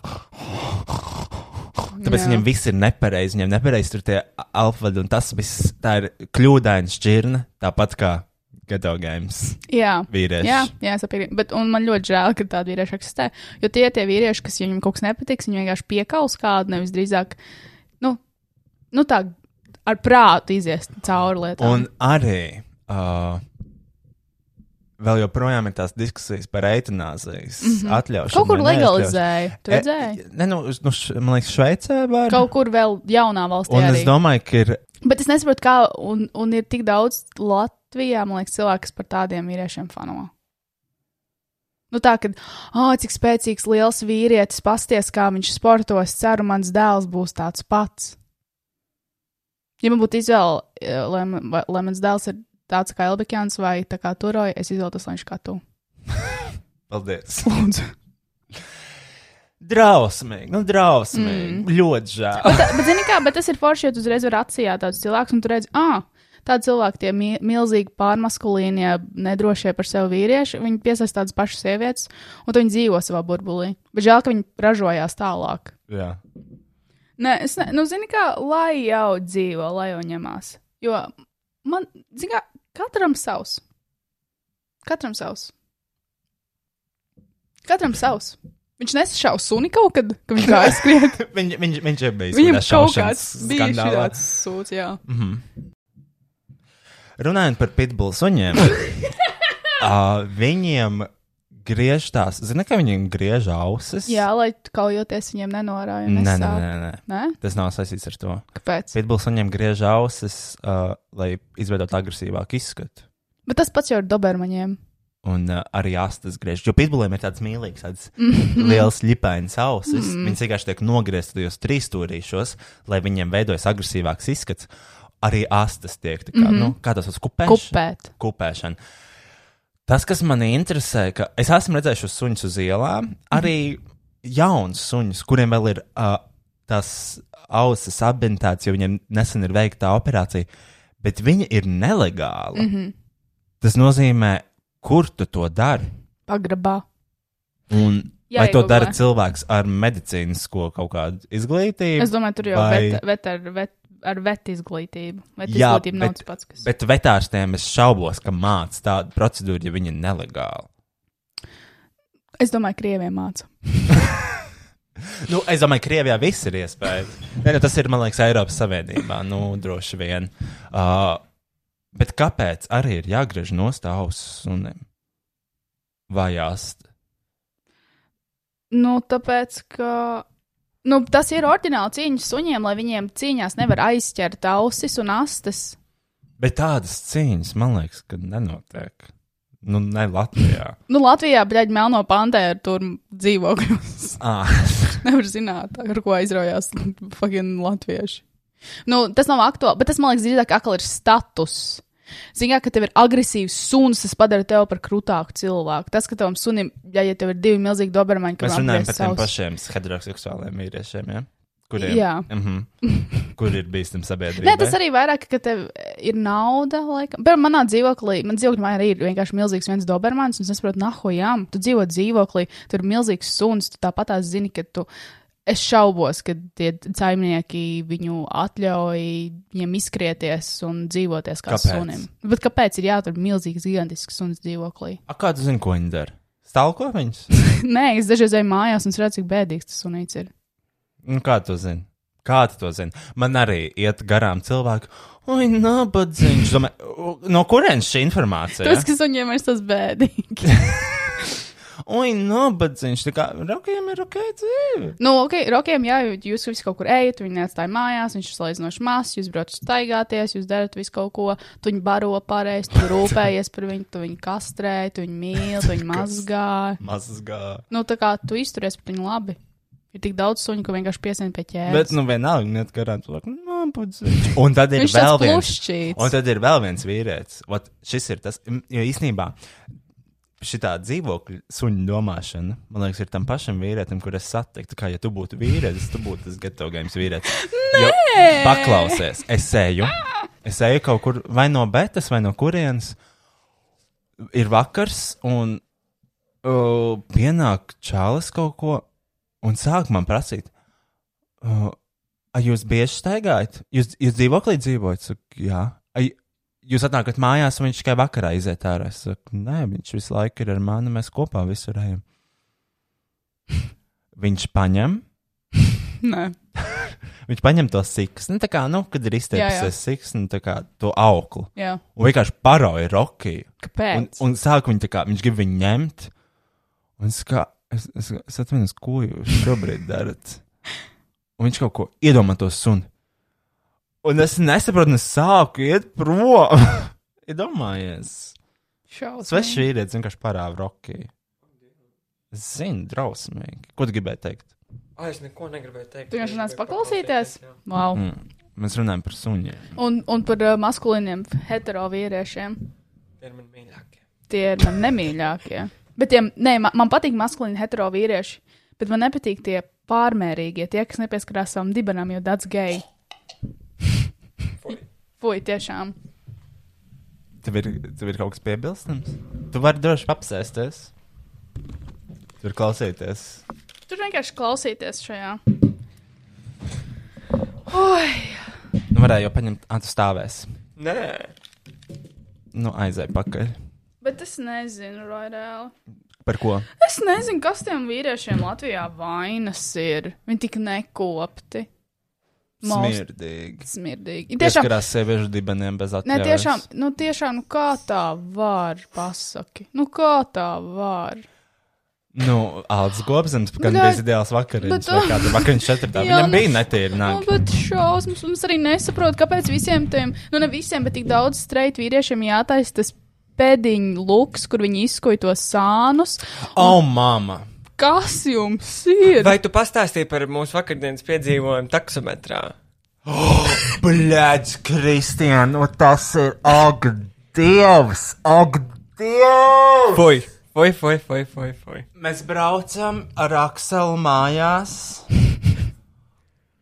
B: Tāpēc
C: Jā.
B: viņiem viss ir nepareizi. Viņiem nepareizi tur tie alfabēti, un tas viss tā ir kļūdaina šķirne. Tāpat kā Geto Games
C: Jā.
B: vīrieši.
C: Jā, jā, es saprotu. Bet un man ļoti žēl, ka tādi vīrieši eksistē. Jo tie ir tie vīrieši, kas, ja viņiem kaut kas nepatiks, viņi vienkārši piekaus kādu, nevis drīzāk, nu, nu tā ar prātu iziest cauri lietām.
B: Un arī uh, vēl joprojām ir tās diskusijas par eitanāzijas mm -hmm. atļaušanu.
C: Mhm. Kaut kur
B: vai
C: legalizēja. Tu redzēji?
B: neatļaušanu. E, ne, nu, uz- nu, š, man liekas, Šveicē var.
C: Kaut kur vēl jaunā valstī.
B: Un
C: arī.
B: es domāju, ka ir.
C: Bet es nesaprotu, kā, un, un ir tik daudz Latvijā, man liekas, cilvēku, kas par tādiem vīriešiem fano. Nu, tā kā, ah, cik spēcīgs liels vīrietis, pasties, kā viņš sportos, ceru, mans dēls būs tāds pats. Ja man būtu izvēle, eh, lai, man- vai- lai mans dēls ir tāds kā Elbekjans vai tā kā Turoja, es izvēlētos, lai viņš kā tu.
B: Paldies!
C: Lūdzu.
B: Drausmīgi, nu, drausmīgi. Mm. Ļoti žēl.
C: Bet, bet zini kā, bet tas ir forši, ja tu uzreiz var atsijāt tādus cilvēkus, un tu redzi, ah, tādi cilvēki, tie mi- milzīgi pārmaskulīnie, nedrošie par sevi vīrieši, viņi piesaista tādas pašas sievietes, un tad viņi dzīvo savā burbulī. Bet žēl, ka viņi ražojās tālāk.
B: Jā. *laughs*
C: Nē, es ne, nu, zini kā, lai jau dzīvo, lai jau ņemās. Jo man, zini kā, katram savs. Katram savs. Katram savs. Viņš nesašāva suni kaut kad, kad viņš gāja skriet.
B: Viņ, viņš, viņš ir bijis
C: Viņam
B: kādā
C: kaut kāds
B: šaušanas
C: bija
B: skandālā.
C: šāds sūds, jā.
B: Runājot par pitbull suņiem,
C: *laughs*
B: uh, viņiem griež tās, zina, ka viņiem griež ausis.
C: *laughs* Jā, lai kaujoties viņiem nenorāja.
B: nē, nē,
C: nesāp.
B: nē, nē.
C: Nē?
B: Tas nav saistīts ar to.
C: Kāpēc?
B: Pitbull suņiem griež ausis, uh, lai izveidotu agresīvāku izskatu.
C: Bet tas pats jau ir dobermaņiem.
B: Un uh, arī astes griež. Jo pitbulliem ir tāds mīlīgs, tāds liels lipainas ausis. Mm. Viņas vienkārši tiek nogrieztas tajos trīs stūrīšos, lai viņiem veidojas agresīvāks izskats. Arī astes tiek tā kā, mm -hmm. nu, kā tas uz kupēšanas.
C: Kupēt.
B: kupēšana. Tas, kas man interesē, ka es esmu redzējis šos suņus uz ielām, arī jaunus suņus, kuriem vēl ir uh, tas ausis abintēts, jo viņiem nesen ir veikta operācija, bet viņa ir nelegāla. Mm -hmm. Tas nozīmē, kur tu to dari.
C: Pagrabā.
B: Un
C: Jā,
B: Jā, vai to
C: iegooglē.
B: dara cilvēks ar medicīnisko kaut kādu izglītību?
C: Es domāju, tur jau
B: vai-
C: vet, vet ar, vet, ar vet izglītību. Vet
B: Jā,
C: izglītība nav
B: bet-
C: tas pats, kas.
B: Bet vetārstiem es šaubos, ka māca tādu procedūru, ja viņa ir nelegāla.
C: Es domāju, krieviem māca.
B: Nu, es domāju, ka Krievijā viss ir iespējams. Nē, nu, tas ir, man liekas, Eiropas Savienībā. Nu, droši vien. Uh, bet kāpēc arī ir jāgriež no stāvus sunim? Vai jāst?
C: Nu, tāpēc, ka. Nu, tas ir ordināli cīņas suņiem, lai viņiem cīņās nevar aizķert ausis un astes.
B: Bet tādas cīņas, man liekas, ka nenotiek. Nu, ne Latvijā.
C: Nu, Latvijā, bļaigi, melno pantēru tur dzīvokļos.
B: *laughs* ah,
C: *laughs* Nevar zināt, ar ko aizraujās fucking latvieši. Nu, tas nav aktuāli, bet tas man liekas, drīzāk akli ir status. Zinām, ka tev ir agresīvs suns, tas padara tevi par krūtāku cilvēku. Tas, ka tavam sunim, ja, ja tev ir divi milzīgi dobermaņi,
B: mēs
C: kuriem
B: runājam
C: apgriezt
B: par tiem
C: savus-
B: pašiem heteroseksuāliem vīriešiem, ja? kuriem
C: Jā.
B: Mm -hmm.
C: *laughs*
B: Kur ir bīstami sabiedrība?
C: Nē, tas arī vairāk, ka tev eh, ir nauda. Laikam. Bet manā dzīvoklī, man dzīvoklī man arī ir vienkārši milzīgs viens dobermans, un es saprotu, naho jām, tu dzīvo dzīvoklī, tur ir milzīgs suns, tu tāpat tās zini, ka tu. Es šaubos, ka tie saimnieki viņu atļauj viņiem izkrieties un dzīvoties kā
B: Kāpēc?
C: sunim. Bet kāpēc ir jāatur milzīgs, gigantisks suns dzīvoklī? *laughs*
B: A, kādu zinu, ko viņi dara? Stalko viņus?
C: Nē, es dažreiz eju mājās un es redzu, cik bēdīgs tas sunīts ir.
B: Nu, kā tu zini? Kā tu to zini? Man arī iet garām cilvēki. Oi, nabadzīgs. Domāju, No kurienes šī informācija?
C: Tas, kas suņiem ir tas bēdīgi.
B: Oi, nabadzīgs. Tā kā rokiem ir ok dzīve.
C: Nu, ok, rokiem, jā, jo jūs visi kaut kur ejat, viņi neatstāja mājās, viņš ir salīdzinoši mazs, jūs braucat staigāties, jūs darat visu kaut ko, tu viņu baro pareizi, tu rūpējies par viņu, tu viņu kastrē, tu viņu mīli, tu viņu mazgā.
B: Mazgā.
C: Nu, tā kā tu izturies pret viņu labi. Ir tik daudz suņu, ka vienkārši piesien pie ķēdes.
B: Bet, nu, vienalga, net garām cilvēki. Nabadzīgs. Un tad ir
C: Viņš
B: vēl
C: tāds
B: viens.
C: plušķīts.
B: Un tad ir vēl viens vīrietis. Vat, šis ir tas, jo īsnībā. Šī tā dzīvokļa suņa domāšana, man liekas, ir tam pašam vīrietim, kur es satiktu, kā ja tu būtu vīrietis, tu būtu tas gatavs vīrietis. Jo, paklausies, es eju. Es eju kaut kur vai no betas, vai no kurienes. Ir vakars, un uh, pienāk čālis kaut ko, un sāk man prasīt, uh, "Ai, jūs bieži staigājat? Jūs, jūs dzīvoklī dzīvojat? Saku, Jā. Ai, jūs atnākat mājās, un viņš tikai vakarā iziet ārā. Es saku, nē, viņš visu laiku ir ar mani, mēs kopā visur ejam. *laughs* Viņš paņem,
C: Nē.
B: viņš paņem to siksnu, tā kā, nu, kad ir
C: Jā, jā.
B: izteiksies siksnu, tā kā to auklu,
C: Jā,
B: un vienkārši paroja Rokiju. Un,
C: kāpēc?
B: un sāk viņu tā kā, viņš grib viņu ņemt. Un es, kā, es, es, es atceros, ko jūs šobrīd darat. Un viņš kaut ko iedomā to sunu. Un es nesaprotu, un es sāku iet prom. *laughs* Iedomājies.
C: Šausmīgi.
B: Svešs vīrietis vienkārši parāda rokkī. Zinu, drausmīgi. Ko tu gribēji teikt?
G: Ai, es neko negribēju teikt.
C: Tu vienkārši
G: Es
C: nāc
G: gribēju
C: paklausīties?
G: jā.
C: Wow.
B: Mm. Mēs runājam par suņiem.
C: Un, un par uh, maskulīniem hetero vīriešiem.
G: Tie ir mani mīļākie.
C: Tie ir man nemīļākie. Bet tiem, nē, man, man patīk maskulīni hetero vīrieši, bet man nepatīk tie pārmērīgie, tie, kas nepieskarās savam dibenam, jo tas gejs.
G: Fuj.
C: Fui, tiešām.
B: Tev ir, tev ir kaut kas piebilstams? Tu vari droši apsēsties. Tu vari klausīties.
C: Tur vienkārši klausīties šajā.
B: Nu, varēja jau paņemt, ah, tu stāvēsi.
G: Nē,
B: Nu, aizēj pakaļ.
C: Bet es nezinu, Royal.
B: Par ko?
C: Es nezinu, kas tiem vīriešiem Latvijā vainas ir. Viņi tik nekopti, Most-
B: Smirdīgi.
C: smirdīgi. Tiešām,
B: Pieskarās sieviešu dibeniem bez
C: ne,
B: atļaujas.
C: tiešām, nu, tiešām, nu kā tā var, pasaki. Nu kā tā var.
B: Nu, Alans Gobsams, gan bija
C: Bet-
B: ideāls vakariņš.
C: Nu, bet
B: Bet,
C: tu-
B: kāda vakariņš četrtā.
C: Jā,
B: Viņam
C: nu-
B: bija netīra
C: Nu,
B: nāk.
C: bet šausmas, un es arī nesaprotu, kāpēc visiem tiem, nu ne visiem, bet tik daudz streit vīriešiem jātaisa tas pēdiņu luks, kur viņi izskoja tos sānus.
B: O, oh, mama!
C: Kas jums ir?
G: vai tu pastāstīji par mūsu vakardienas piedzīvojumu taksometrā?
B: *gasps* Bļaģ, Kristija, nu tas ir ak, Dievs! Ak, Dievs!
G: Fui, fui, fui, fui, fui. fui.
B: Mēs braucam ar Akselu mājās.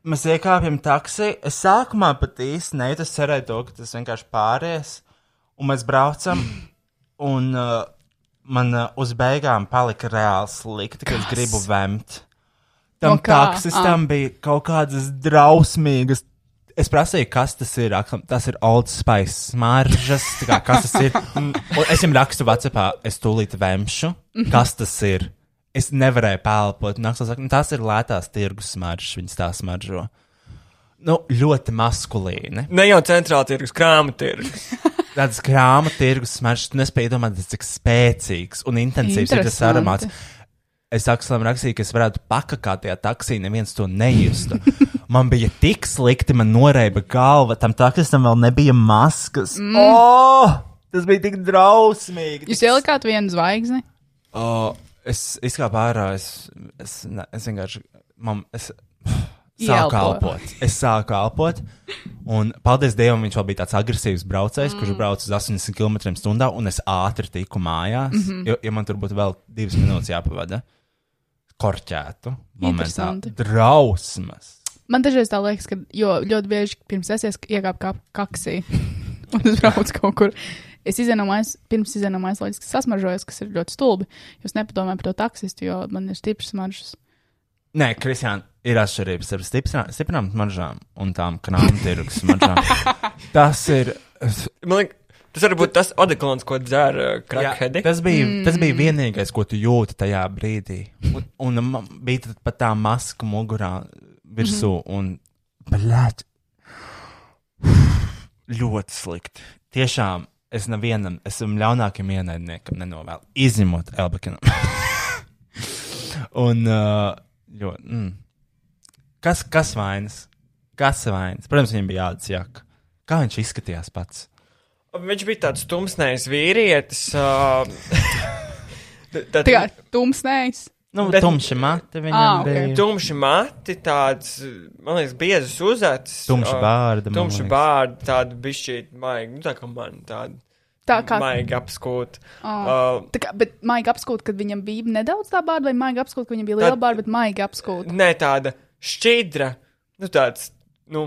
B: Mēs iekāpjam taksi. Es sākumā pat īsti neitu, es cerēju to, ka tas vienkārši pāries. Un mēs braucam, un uh, man uh, uz beigām palika reāli slikti, ka es gribu vemt. Tam
C: No kā? Ah.
B: taksistam bija kaut kādas drausmīgas. Es prasīju, kas tas ir. Aksam, Tas ir Old Spice smaržas. tā Kā, kas tas ir? Un un es viņam rakstu Vācijā, es tūlīt vemšu. Kas tas ir? Es nevarēju pēlpot. Un Aksels saka, "Nu, Tas ir lētās tirgus smaržas, viņas tā smaržo. Nu, ļoti maskulīni.
G: Ne jau centrāla tirgus, krāma tirgus.
B: Tāds krāma tirgus smaržas, tu nespēji iedomāties, cik spēcīgs un intensīvs ir tas
C: Interesanti.
B: aromāts. Es Akselam rakstīju, ka es varētu pakakāt tajā taksī, neviens to
C: *laughs*
B: nejustu. Man bija tik slikti, man noreiba galva, tam taksistam vēl nebija maskas. Mm. Oh, tas bija tik drausmīgi.
C: Jūs ielikāt vienu zvaigzni?
B: Oh, es izkāpu ārā, es, es, ne, es vienkārši. Man, es,
C: Ielpo.
B: Sāku kalpot. Es sāku kalpot. Un, paldies Dievam, viņš vēl bija tāds agresīvs braucējs, mm. kurš brauc uz 80 km/h, un es ātri tiku mājās. Mm -hmm. Jo ja man tur būtu vēl divas minūtes jāpavada. Korķētu, momentā,
C: Interesanti.
B: drausmas.
C: Man dažreiz tā liekas, ka jo, ļoti bieži pirms es iekāpu kā kaksī *laughs* un es braucu kaut kur. Es izēju no mājas, pirms izēju no mājas, loģiski sasmaržojos, kas ir ļoti stulbi. Jūs nepadomājat par to taksistu, jo man ir stiprs smaržas.
B: Nē, Kristiāna, ir atšķirības starp stiprā- stiprām smaržām un tām kanāla tirgus smaržām. Tas ir.
G: Man liekas, tas var būt tas odeklons, ko uh, dzēra
B: Jā,
G: krakheadi.
B: tas, bija, mm. tas bija vienīgais, ko tu jūti tajā brīdī. Un, un man bija tad pat tā maska mugurā virsū. Mm -hmm. un, bļaģ, ļoti slikti. Tiešām es nevienam, es esmu ļaunākam ienaidniekam nenovēlu, izņemot Elbakinam. *laughs* un uh, ļoti. Mm. Kas, kas vainas? Kas vainas? Protams, viņam bija jāatzīst. Kā viņš izskatījās pats?
G: Viņš bija tāds tumsnējs vīrietis.
B: *laughs*
G: Uh, tad,
C: Tā kā tumsnējs.
B: Nu,
G: Bet-
B: tumši mati viņam
C: Ah,
B: ah,
C: ok.
B: okay. bija.
G: Tumši mati, tāds, man liekas, biezs uh, uzats.
B: Tumša
G: ā,
B: bārda, man
G: Tumša
B: liekas.
G: bārda, tāda bišķīta, maiga, nu tā kā man tāda.
C: Tā kā
G: Maiga apskūta.
C: Ah.
G: Uh,
C: Tā kā, bet maigi apskūta, kad viņam bija nedaudz tā bārda, vai maigi apskūta, ka viņam bija liela
G: Tad-
C: bārda, bet maigi apskūta.
G: nē, tāda šķidra, nu tāds, nu,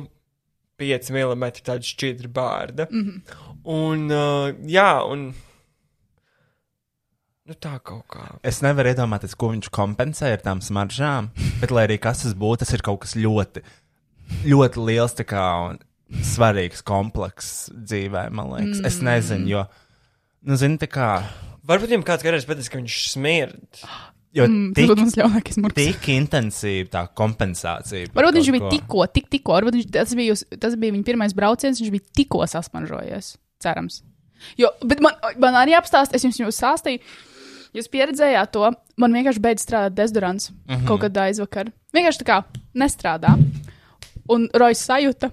G: 5 mm tāda šķidra bārda. Mm -hmm. Un, uh, jā, un. Nu tā kaut kā.
B: Es nevaru iedomāties, ko viņš kompensē ar tām smaržām, bet, lai arī kas tas būtu, tas ir kaut kas ļoti, ļoti liels tā kā, un svarīgs komplekss dzīvē, man liekas. Mm. Es nezinu, jo, nu, zini, tā kā,
G: Varbūt viņam kāds garš pateiks, ka viņš smird.
B: jo
C: Mm,
B: mm,
C: Tas būtu
B: tik,
C: mans ļaunākais murgs.
B: tik intensīva tā kompensācija. par
C: Varbūt viņš
B: kaut
C: bija
B: ko.
C: tikko, tik, tikko, varbūt viņš, tas, bija uz, tas bija viņa pirmais brauciens, viņš bija tikko sasmaržojies. Cerams. Jo, bet man, man arī apstāst, es jums jau stāstīju, jūs pieredzējāt to. Man vienkārši beidz strādāt dezodorants mm
B: Mhm.
C: -hmm. kaut kad aizvakar. Vienkārši tā kā nestrādā. Un Rojas sajūta.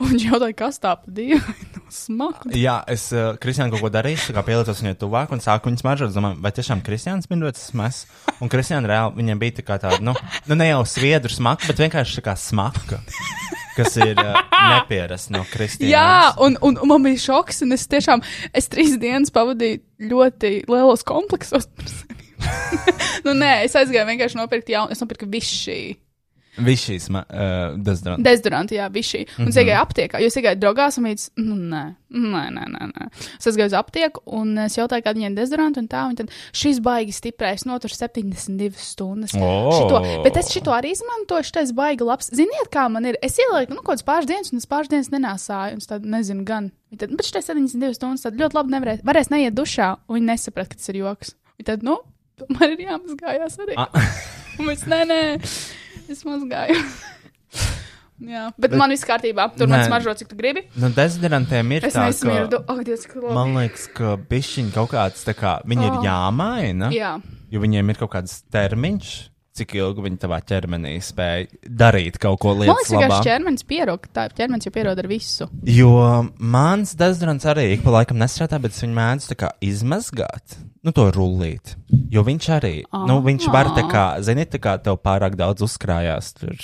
C: Un viņš jautāja, kas tā padīja. *laughs* Smaku.
B: Jā, es uh, Kristiānu kaut ko darīšu, tā kā pielicos viņai tuvāk un sāku viņas mažot. Domāju, vai tiešām Kristiāns min rotas smas? Un Kristiāna reāli viņam bija tā kā tāda, nu, nu ne jau sviedru smaka, bet vienkārši tā kā smaka, kas ir uh, nepierasta no Kristiāna.
C: Jā, un, un, un man bija šoks, un es tiešām, es trīs dienas pavadīju ļoti lielos kompleksos. par sevi. *laughs* nu, nē, es aizgāju vienkārši nopirkt jaunu, es nopirku visu šī.
B: Viss šīs, uh, tas drāmas.
C: Dezodorants, jā, bija šī. Un es iegāju aptiekā, jo es iegāju draugās, un viņš teica, nu, nē, nē, nē, nē, nē. Es aizgāju uz aptieku, un es jautāju, kāda viņiem ir dezodorants, un tā, un tad šis baigi stiprais notur 72 stundas.
B: O!
C: Šito, bet es šito arī izmantoju, šitais baigi labs. Ziniet, kā man ir? Es ielieku, nu, kaut kāds pāris dienas, un es pāris dienas nenāsāju, un es tad nezinu gan. Viņa Tad, bet šitais 72 stundas, tad ļoti labi nevarēs, varēs neiet dušā, un viņi nesaprat, ka tas ir joks. Viņa Tad, nu, man ir jāmazgājās arī. Un mēs, nē, nē, es mazgāju. *laughs* Jā, bet, bet man viss kārtībā. Tur
B: Nē.
C: man smaržo, cik tu gribi.
B: Nu, dezodorantiem ir
C: Es
B: tā,
C: nesmirdu.
B: ka,
C: Ak, oh, Dievs, kā
B: man
C: labi.
B: liekas, ka bišķiņi kaut kāds, tā kā, viņi oh. ir jāmaina.
C: Jā,
B: Jo viņiem ir kaut kāds termiņš, cik ilgi viņi tavā ķermenī spēj darīt kaut ko
C: man
B: lietas
C: liekas, ka
B: labā.
C: ķermenis pierod. Tā ķermenis jau pierod ar visu.
B: Jo mans dezodorants arī ik pa laikam nestrādā, bet es viņu mēdzu tā kā izmazgāt, nu, to rullīt. Jo viņš arī, oh. nu, viņš var tā kā, zini, tā kā tev pārāk daudz uzkrājās tur.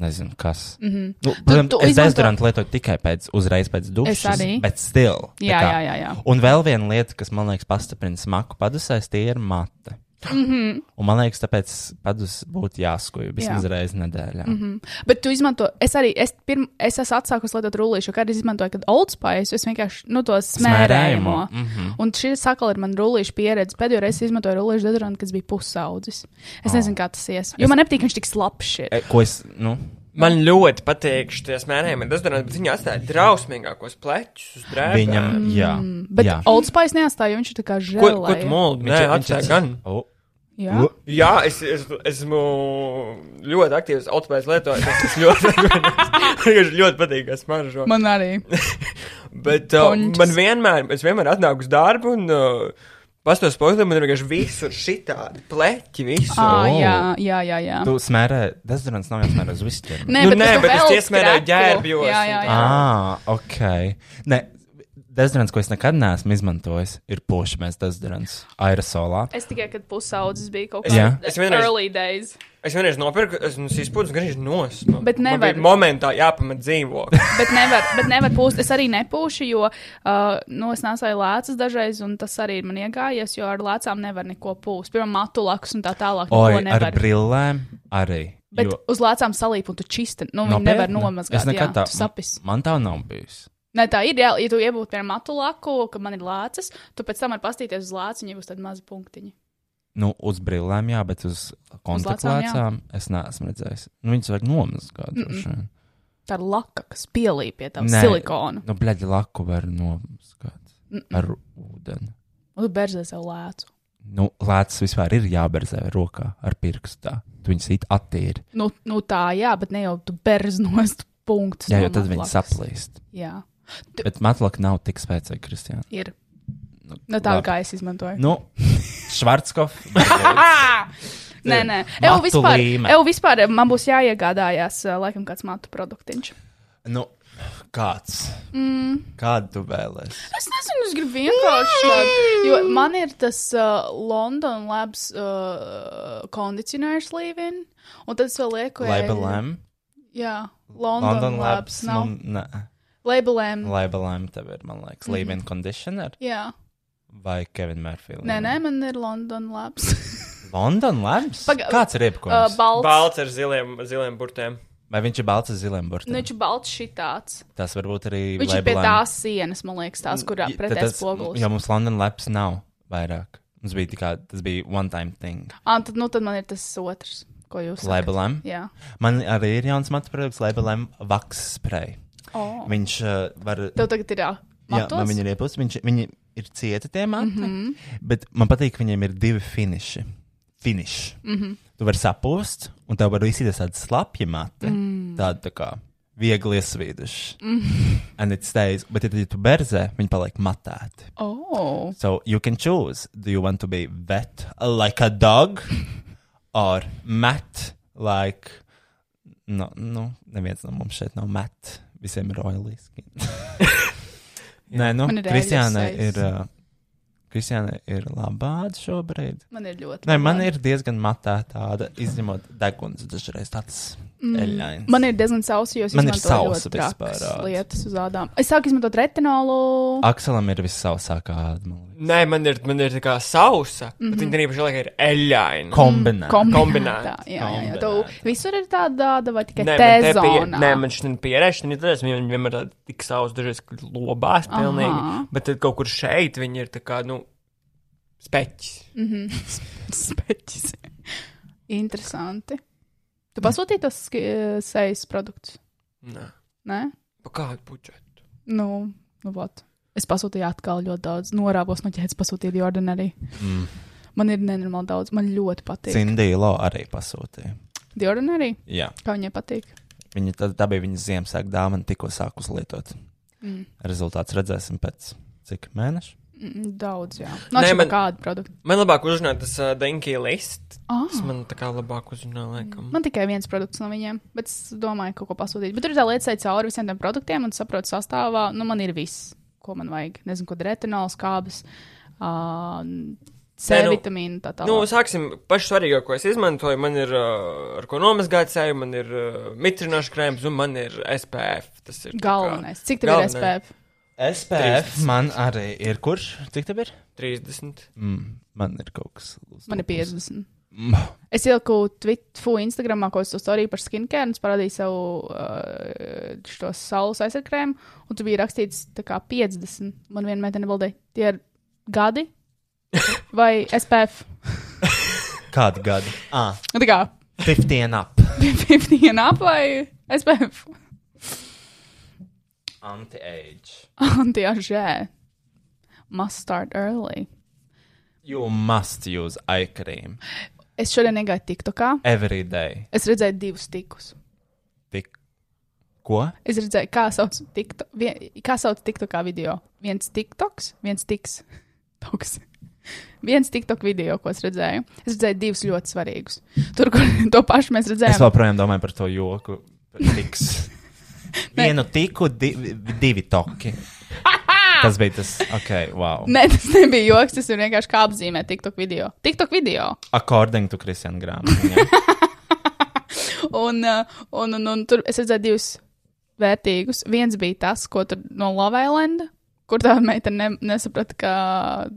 B: Nezinu, kas. Mm -hmm. nu, protams,
C: Mhm. tu
B: es
C: izmanto-
B: dezodorantu lietoju tikai pēc, uzreiz pēc dušas,
C: arī.
B: bet still. tā
C: Jā,
B: kā.
C: jā, jā, jā.
B: Un vēl viena lieta, kas man liekas pastiprina smaku padusēs, tie ir mati. Mm -hmm. Un man liekas, tāpēc padus būtu jāskuja vismaz
C: Mhm. Jā. Mhm.
B: jā. reizi nedēļā. Mm -hmm.
C: Bet tu izmanto, es arī, es, pirm, es esmu atsākusi lietot rullīšu, kad es izmantoju, kad Old Spice, es vienkārši, nu, to smērējumu.
B: Smērējumu,
C: Mm -hmm. Un šī sakala ir man rullīšu pieredze. Pēdējo reizi es izmantoju rullīšu dezodorantu, kas bija pusaudzis. Es oh. nezinu, kā tas ies. Jo man nepatīk, ka viņš tik slapjš ir.
B: E, ko es, nu,
G: Man ļoti patīk šīs mērējumi, tas darām, bet viņi atstāja drausmīgākos plečus uz drēbēm.
B: viņam, jā.
C: Mm, Bet
B: jā.
C: Old Spice neatstāja, jo viņš ir tā kā
G: Ko, ko tu
C: žēl.
G: mūldi? Nē, atstāja gan.
B: O,
C: Jā,
G: Jā, es, es, esmu ļoti aktīvs autobēs lietotājs. Es ļoti, vienkārši ļoti *laughs* patīk, kas man žo.
C: man
B: *laughs*
C: arī.
G: Bet uh,
C: Končs.
G: man vienmēr, es vienmēr atnāku uz darbu un uh, pastos poguļu, man ir vienkārši visur šitādi pleķi, visu.
C: Ah, jā, jā, jā. jā.
B: Oh. tu smērē, dezodorants nav jāsmērē uz visu ķermeni.
C: Nē,
G: Nu,
C: bet,
G: nē,
C: tu
G: bet es
C: velc
G: iesmērēju
C: kraku.
G: ģērbjos.
C: Jā, jā, jā.
B: Ah, ok. Nē, dezodorants, ko es nekad neesmu izmantojis, ir pošamēs dezodorants aerosolā.
C: Es tikai, kad pusaudzis bija kaut
G: Es-
B: Jā.
C: kāda
G: es vienreiz-
C: early days.
G: Es vienreiz nopirku, es nu, izpūstu gandrīz nosmu.
C: Bet nevar.
G: Momentā jāpamat dzīvokli.
C: Bet nevar, bet nevar pūst. Es arī nepūšu, jo uh, nu, es nesāju lēcas dažreiz, un tas arī man iegājies, jo ar lēcām nevar neko pūst. Pirmā matu lakus un tā tālāk.
B: Oi,
C: Neko
B: ar
C: nevar.
B: brillēm arī.
C: Bet
B: jo-
C: uz lēcām salīp, un tu čisti. Nu, viņi nevar
B: Nopietni?
C: nomazgāt.
B: Es nekad
C: jā,
B: tā,
C: tu sapis.
B: man tā nav bijusi.
C: Nē, tā ir. Jā, ja tu iebūti pie matu laku, ka man ir lēcas, tu pēc tam vari pastīties uz lēcu, un jau būs tādi mazi punktiņi.
B: Nu, uz brillēm, jā, bet uz
C: lacām, jā.
B: kontaktlēcām es neesmu redzējis. Nu, viņas vajag nomazgāt. droši vien.
C: Tā ir laka, kas pielīp pie tā
B: Nē,
C: silikona.
B: Nu, bleģi, laku var nomazgāt ar ūdeni.
C: Un Nu, tu berzē sev lēcu.
B: Nu, lēcas vispār ir jāberzē rokā ar pirkstā. Tu viņas it attīri.
C: Nu, nu tā, jā, bet ne jau tu berz nost punktus.
B: Jā,
C: no
B: jo tad viņas
C: matlakas.
B: saplīst.
C: Jā,
B: Bet matlaka nav tik spēcīga, Kristiāna.
C: ir. Nu, tā
B: labi.
C: kā es *laughs* izmantoju.
B: Nu, Švarckof.
C: Nē, nē, jau
B: Matu
C: vispār,
B: līme.
C: jau vispār eh, man būs jāiegādājās, eh, laikam, kāds matu produktiņš.
B: *laughs* nu, kāds? Mm. Kādu tu vēlēsi?
C: Es nezinu, es gribu vienkārši tādu. Jo man ir tas uh, London Labs uh, kondicionērs līvin, un tad es vēl lieku. eh,
B: Labelēm.
C: Jā, London, London Labs. Nav. Mm. Mhm.
B: Nu, nē.
C: Labelēm. Lab
B: Labelēm tev ir, man liekas, mm. Leave-in Conditioner
C: jā,
B: vai Kevin Murphy.
C: nē, nē, man ir London Labs.
B: London Labs?
C: Paga-
B: Kāds ir
C: *laughs* uh,
B: iepakojums? Uh,
C: balts. Balts.
G: Balts ar ziliem, ziliem burtiem.
B: vai viņš ir balts ar ziliem burtiem?
C: Nu, viņš ir balts šitāds.
B: Tas varbūt arī
C: Viņš ir pie tās sienas, man liekas, tās, kurā
B: Mm,
C: pretēs spogulis.
B: Jo mums London Labs nav vairāk. Mums bija tikai, tas bija one time thing.
C: Ah, tad, nu, tad man ir tas otrs, ko jūs sakat.
B: Labelēm.
C: Jā,
B: Man arī ir jauns matu produkts, labelēm Vax spray.
C: oh.
B: Viņš uh, var.
C: tev tagad ir jā.
B: Jā, man
C: Matos? Mhm.
B: viņi ir iepūsti. Viņš, viņi ir cieti tie mati, mm -hmm. bet man patīk, ka viņiem ir divi finiši. Finiši. Mm
C: Mhm.
B: -hmm. Tu vari sapūst, un tev var izsīties tāda slapja mati, mm. tāda tā kā viegli iesvīduši. Mm. *laughs* And it stays, bet, ja tad, ja tu berzē, viņi paliek matēti.
C: Oh.
B: So you can choose. Do you want to be wet like a dog or matte like. No, nu, neviens no mums šeit nav matte. Visiem ir oily skin. Nē, nu,
C: Man ir
B: Kristiāna
C: ēļas
B: ir,
C: sejas.
B: uh, Kristiāna ir labāda šobrīd.
C: Man ir ļoti.
B: Nē, man
C: labāk.
B: ir diezgan matā tāda, izņemot deguns dažreiz tāds eļains.
C: Mm. Man ir diezgan sausa, jo es
B: Man ir
C: izmantoju
B: sausa
C: ļoti trakas
B: vispārāds.
C: lietas uz ādām. Es sāku izmantot retinolu.
B: Akselam ir vissausākā āda, man liekas.
G: Nē, man ir, man ir tā kā sausa,
C: Mhm.
G: mm -hmm. bet viņa darība šajā laikā ir
C: Mm,
G: eļaina.
B: Kombinēta.
G: Kombinēta.
C: Kombinētā. Jā, jā, jā. Tu visur ir tāda āda vai tikai
G: Nē, man te pie-
C: T-zonā?
G: nē, man šī pieredze, viņa tādas viņa vienmēr tāda tik savs, dažreiz ka lobās pilnīgi,
C: Aha.
G: bet tad kaut kur šeit viņa ir tā kā, nu, speķis.
C: Speķis. Interesanti. Tu pasūtīji tos ski- eh, sejas produktus?
G: Nē,
C: Nē?
G: pa kādu budžetu?
C: Nu, nu vot. Es pasūtīju atkal ļoti daudz. Norāvos no ķēdes, pasūtīju Jordan arī.
B: Mm.
C: Man ir nenormāli daudz. Man ļoti patīk. Cin.
B: Cindīlo arī pasūtīja.
C: Jordan arī.
B: Jā,
C: Kā viņai patīk?
B: viņa tad tā bija viņas Ziemassvētku dāvana, tikko sākus lietot.
C: Mm.
B: Rezultāts redzēsim pēc cik mēneša.
C: Mm, Daudz, jā.
G: Nē,
C: No Nē,
G: man-
C: man... kāda produkta.
G: Man labāk uzrunāt tas uh, Denki list.
C: Ah,
G: Tas man tā kā labāk uzrunā, laikam.
C: man tikai viens produkts no viņiem, bet es domāju, kaut ko pasūtīt. Bet tur ir tā lieta, ka cauri visiem tiem produktiem un saprotu sastāvā, nu man ir viss, ko man vajag. Nezinu, ko retinols, kābas, uh, C
G: Nē, nu-
C: vitamīnu tā tālāk.
G: Nu, sāksim pašu svarīgāko, ko es izmantoju. Man ir uh, ar ko nomazgāt seju, man ir uh, mitrinošs krēms un man ir SPF. Tas ir tā kā
C: Galvenais. Cik tev ir
G: Galvenais.
C: SPF?
B: SPF man arī ir kurš? Cik tev ir?
G: 30.
B: Mm, man ir kaut kas. uz
C: Man ir
B: lūpas.
C: 50.
B: Mm.
C: Es ieliku Twitterī, Instagramā, ko es to stāstīju par skincare, un es parādīju savu uh, šo saules aizsarkrēmu, un tur bija rakstīts, tā kā 50. Man viena meitene bildēja, tie ir gadi vai SPF.
B: Kādu gadu? *laughs* Ah,
C: Nu, tā kā
B: 15 up.
C: *laughs* 50 and up vai SPF.
B: Anti-age.
C: Un tie ir žē. Must start early.
B: You must use eye cream
C: Es šodien negaidu TikTokā.
B: every day.
C: Es redzēju divus tikus.
B: Tik. Ko?
C: Es redzēju, kā sauc TikTok, vien, kā sauc TikTokā video. Viens TikToks, viens tiks. Toks. Viens TikTok video, ko es redzēju. Es redzēju divus ļoti svarīgus. Tur, kur to pašu mēs
B: Es
C: redzējām.
B: joprojām domāju par to joku. par Tiks. Vienu tiku, divi, divi toki. Tas bija tas, ok, wow.
C: Nē, tas nebija joks, tas ir vienkārši kā apzīmē TikTok video. TikTok video.
B: According to Kristiāna grāmatu. jā.
C: Un, uh, un, un, un tur es redzēju divus vērtīgus. Viens bija tas, ko tur no Lavailenda, kur tā meitene ne, nesaprata, ka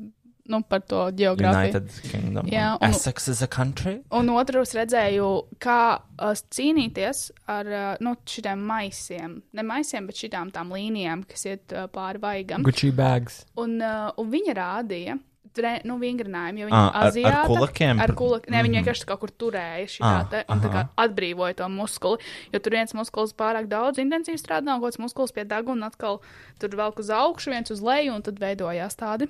C: nu, par to geogrāfiju.
B: United Kingdom.
C: Jā, un-
B: Essex is a country.
C: Un otrs redzēju, kā uh, cīnīties ar uh, nu, šiem maisiem. Ne maisiem, bet šīm tām līnijām, kas iet uh, pāri vaigam.
G: Gucci bags.
C: Un, uh, un viņa rādīja. tre- Nu, vingrinājumu, jo viņi
B: Ah,
C: ir
B: ar- ar
C: aziāti.
B: kulakiem? Mm.
C: Ar kulakiem. Nē, viņi vienkārši kaut kur turēja šī
B: Ah,
C: tā, un tā kā
B: aha.
C: atbrīvoja to muskuli. Jo tur viens muskulis pārāk daudz intensīvi strādā, un otrs muskulis pie dabas, un atkal tur velk uz augšu, viens uz leju, un tad veidojās tādi.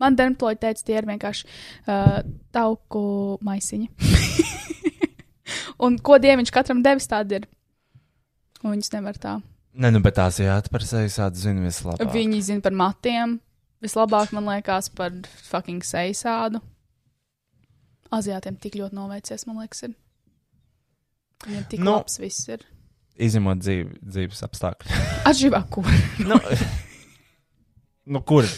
C: Man dermatologi teica, tie ir vienkārši uh, tauku
B: *laughs*
C: maisiņi. un ko dieviņš katram devis, tādi ir. Un viņas nevar tā.
B: Nē, nu, bet tās jāatparsējas, atzina vislabāk.
C: Viņi zina par matiem. Vislabāk, man liekas, par fucking seju sādu. Aziātiem tik ļoti noveicies, man liekas, ir. Viņiem tik
B: Nu.
C: no. labs viss ir.
B: Izņemot dzīvi, dzīves apstākļus.
C: Atšķirībā, kur.
B: nu, *laughs* nu, kur?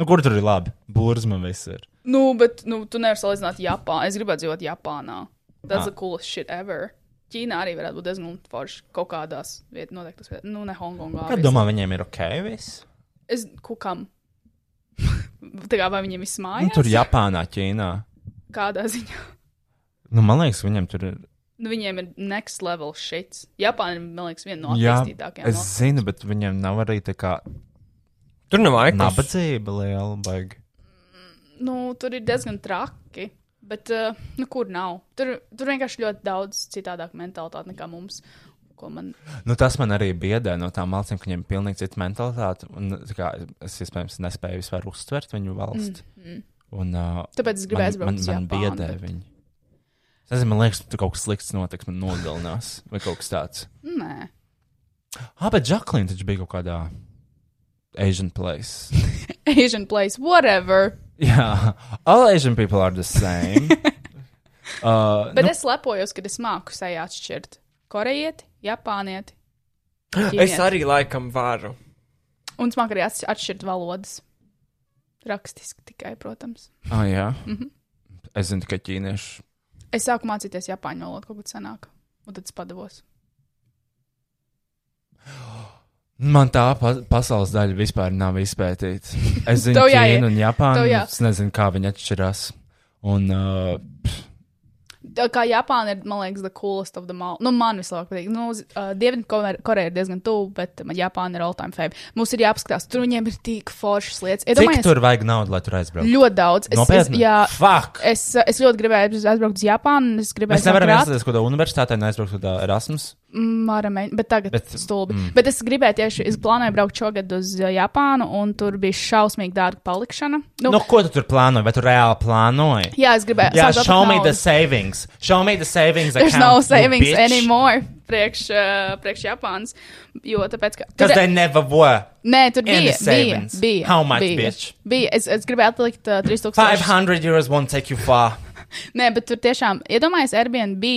B: Nu, kur tur ir labi? Būrs man viss ir.
C: *laughs* Nu, bet, nu, tu nevari salīdzināt Japānu. Es gribētu dzīvot Japānā. That's ah. the coolest shit ever. Ķīnā arī varētu būt diezgan forši kaut kādās vietās, noteikti. Nu, ne Hongkongā.
B: Kā
C: viss.
B: domā, viņiem ir ok viss?
C: Es kukam. *laughs* Tā kā vai viņiem viss
B: Nu,
C: mājās?
B: tur Japānā, Ķīnā.
C: Kādā ziņā?
B: Nu, man liekas, viņiem tur ir.
C: Nu, viņiem ir next level shit. Japāna ir, man liekas, viena no
B: Jā,
C: attīstītākajām.
B: es zinu, bet viņiem nav arī tā kā
G: Tur nav aikas.
B: nabadzība liela baigta.
C: valstīm. Nu, tur ir diezgan traki, bet uh, nu, kur nav? Tur, tur vienkārši ļoti daudz citādāk mentalitāte nekā mums. ko Man...
B: Nu, tas man arī biedē no tām valstīm, ka viņiem ir pilnīgi cita mentalitāte. Un, tā kā, es iespējams nespēju vispār uztvert viņu valsti. Mm, mm. Un, uh,
C: Tāpēc es gribēju aizbraukt
B: man,
C: uz
B: man, man
C: Japānu,
B: biedē
C: bet-
B: viņi. Es nezinu, man liekas, tur kaut kas slikts notiks, man nogalinās vai kaut kas tāds.
C: Nē,
B: Ah, bet Džaklīna taču bija kaut kādā Asian place. *laughs*
C: Asian place, whatever.
B: Jā, all Asian people are the
C: *laughs*
B: same. Uh,
C: Bet nu? es lepojos, ka es māku sevi
B: *gasps*
C: atšķirt. Korejieti, Japānieti.
G: Es arī laikam varu.
C: Un smagi arī atš- atšķirt valodas. Rakstiski tikai, protams.
G: Ah, jā.
C: Mhm.
G: Es zinu, ka ķīnieši.
C: Es sāku mācīties japāņu valodu kaut kad senāk, un tad es padavos.
G: Man tā pa pasaules daļa vispār nav izpētīta. Es
C: *laughs*
G: zinu,
C: Tev
G: ka
C: jāiet.
G: Ķīna un Japāna.
C: Tev jā.
G: Es nezinu, kā viņi atšķirās. Un, uh,
C: Tā kā Japāna ir, man liekas, the coolest of them all. Nu, man vislabāk patīk. Nu, uz, uh, Dienvidkoreja ir diezgan tuvu, bet man Japāna ir all time fave. Mums ir jāpaskatās, tur viņiem ir tik foršas lietas.
B: Cik
C: Iedomājies,
B: tur vajag naudu, lai tur aizbrauktu?
C: Ļoti daudz. Es, es,
B: Nopietni?
C: jā,
B: Fuck!
C: es, uh, es ļoti gribēju aiz- aizbraukt uz Japānu, un es gribēju
B: Mēs nevaram
C: sākt rāt-
B: iestāties kaut kādā universitātē, neaizbraukt kaut kādā Erasmus.
C: Māra mēģināja, bet tagad
B: Bet,
C: bet, stulbi. Mm. Bet es gribēju tieši, es plānoju braukt šogad uz uh, Japānu, un tur bija šausmīgi dārga palikšana. Nu,
B: Nu,
C: no.
B: nu, ko tu tur plānoji? Vai tu reāli plānoji?
C: Jā, es gribēju.
B: Jā,
C: sākt
B: show
C: atlikt
B: me the
C: naudu.
B: savings. Show me the savings.
C: There's
B: account,
C: no
B: you
C: savings
B: bitch.
C: anymore priekš, uh, priekš Japānas. Jo tāpēc, ka.
B: Because they never were.
C: nē, tur
B: any
C: bija. bija,
B: savings.
C: bija
B: How much,
C: bija,
B: bitch?
C: Bija. Es, es gribēju atlikt uh, 3000
B: 500 euros won't take you
C: *laughs*
B: far.
C: Nē, bet tur tiešām iedomājies, Airbnb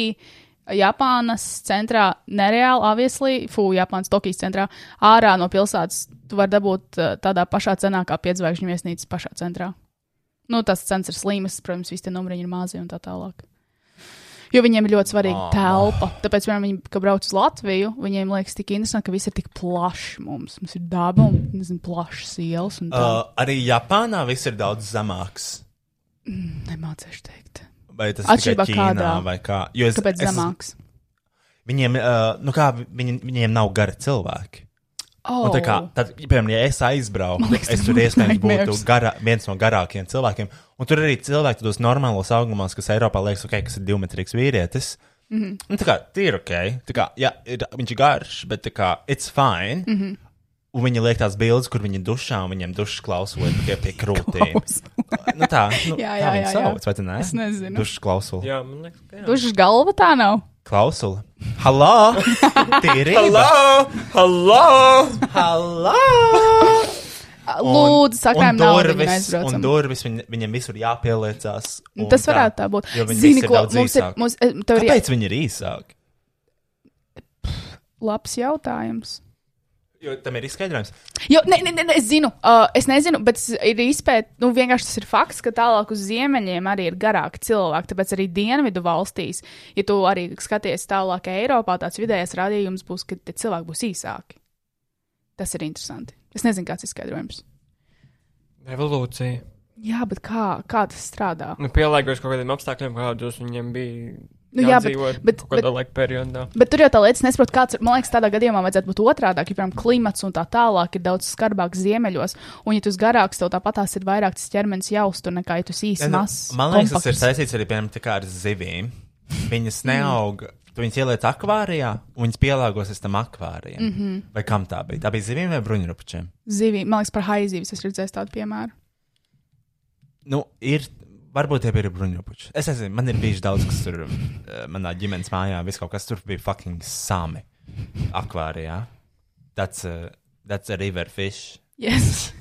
C: Japānas centrā, nereāli, obviously, fū, Japānas Tokijas centrā, ārā no pilsētas. Tu vari dabūt uh, tādā pašā cenā kā piedzvaigžņu viesnīcas pašā centrā. Nu, tas cenas ir slimas, protams, visi tie numuriņi ir mazi un tā tālāk. Jo viņiem ir ļoti
B: Ah.
C: svarīga oh. telpa. Tāpēc, piemēram, viņi, kad brauc uz Latviju, viņiem liekas tik interesanti, ka viss ir tik plašs mums. Mums ir daba un, nezinu, plašs ielas un tā.
B: Uh, arī Japānā viss ir daudz zemāks.
C: Uh. Nemācīšu teikt.
B: Vai tas ir
C: Atšķirībā
B: tikai Ķīnā
C: kādā?
B: vai kā? Jo es-
C: Kāpēc
B: es-
C: zemāks?
B: Viņiem, uh, nu kā, viņi, viņiem nav gari cilvēki.
C: Oh.
B: Un tā kā, tad, piemēram, ja es aizbraucu,
C: liekas,
B: es
C: tas
B: tur
C: būtu
B: iespējams būtu
C: nightmares.
B: gara, viens no garākajiem cilvēkiem. Un tur arī cilvēki tādos normālos augumos, kas Eiropā liekas, ok, kas ir divmetrīgs vīrietis.
C: Mhm.
B: Mm -hmm. Tā kā tie ir ok. Tā kā, jā, ir, viņš ir garš, bet tā kā, it's fine. Mm
C: Mhm.
B: -hmm. Un viņi liek tās bildes, kur viņi dušā, un viņiem dušas klausot tikai
C: *laughs*
B: pie krūtīm. nu tā, nu, tā
C: Jā, jā,
B: viņi
C: jā, jā.
B: sauc, vai ne?
C: Es nezinu.
B: Dušas klausula.
G: jā, man liekas, ka jā.
C: Oh. Dušas galva tā nav.
B: Klausula.
C: *laughs*
B: Halo! Tīrība!
G: Hello! Hello!
B: Halo!
C: Lūdzu, sakām, nav
B: durvis, un
C: aizbraucam.
B: durvis viņ, viņam visur jāpieliecās. un
C: Tas
B: tā.
C: varētu tā būt.
B: Jo viņi
C: Zini,
B: visi ir
C: ko
B: daudz
C: mums ir,
B: īsāki.
C: mums, e, tev ir jā-
B: Kāpēc viņi ir īsāki?
C: labs jautājums.
B: Jo tam ir izskaidrojums.
C: Jo, ne, ne, ne, ne, es zinu, uh, es nezinu, bet es- ir izpēta, nu, vienkārši tas ir fakts, ka tālāk uz ziemeļiem arī ir garāki cilvēki. Tāpēc arī dienvidu valstīs, ja tu arī skaties tālāk Eiropā, tāds vidējais rādījums būs, ka tie cilvēki būs īsāki. Tas ir interesanti. Es nezinu, kāds ir skaidrojums.
G: Revolūcija.
C: Jā, bet kā, kā tas strādā?
G: Nu, pielāgojas kaut kādiem apstākļiem, kādus viņiem bija.
C: Nu, jā, bet-
G: jādzīvot
C: bet-
G: kaut kādā laika periodā.
C: Bet tur jau tā lieta, es nesaprotu, kāds ir. Man liekas, tādā gadījumā vajadzētu būt otrādi. Ja, piemēram, klimats un tā tālāk ir daudz skarbāks ziemeļos, un, ja tu esi garāks, tev tāpat tās ir vairāk tas ķermenis jaustu nekā, ja tu esi īsi mazs.
B: Nu, Man liekas, tas ir
C: kompakts.
B: saistīts arī piemēram, tā kā ar zivīm. Viņas neaug. Tu Viņas ieliec akvārijā, un viņas pielāgosies tam akvārijam. Mm -hmm.
C: Mhm.
B: Vai kam tā bija? Tā bija zivīm vai bruņurupučiem?
C: Zivī, man liekas, par haizīvis es redzēju tādu piemēru. *laughs*
B: Nu, ir, varbūt tie bija bruņurupuči. Es nezinu, man ir bijis daudz, kas tur eh, manā ģimenes mājā, viss kaut kas tur bija fucking sami akvārijā. That's a, that's a river fish.
C: Yes.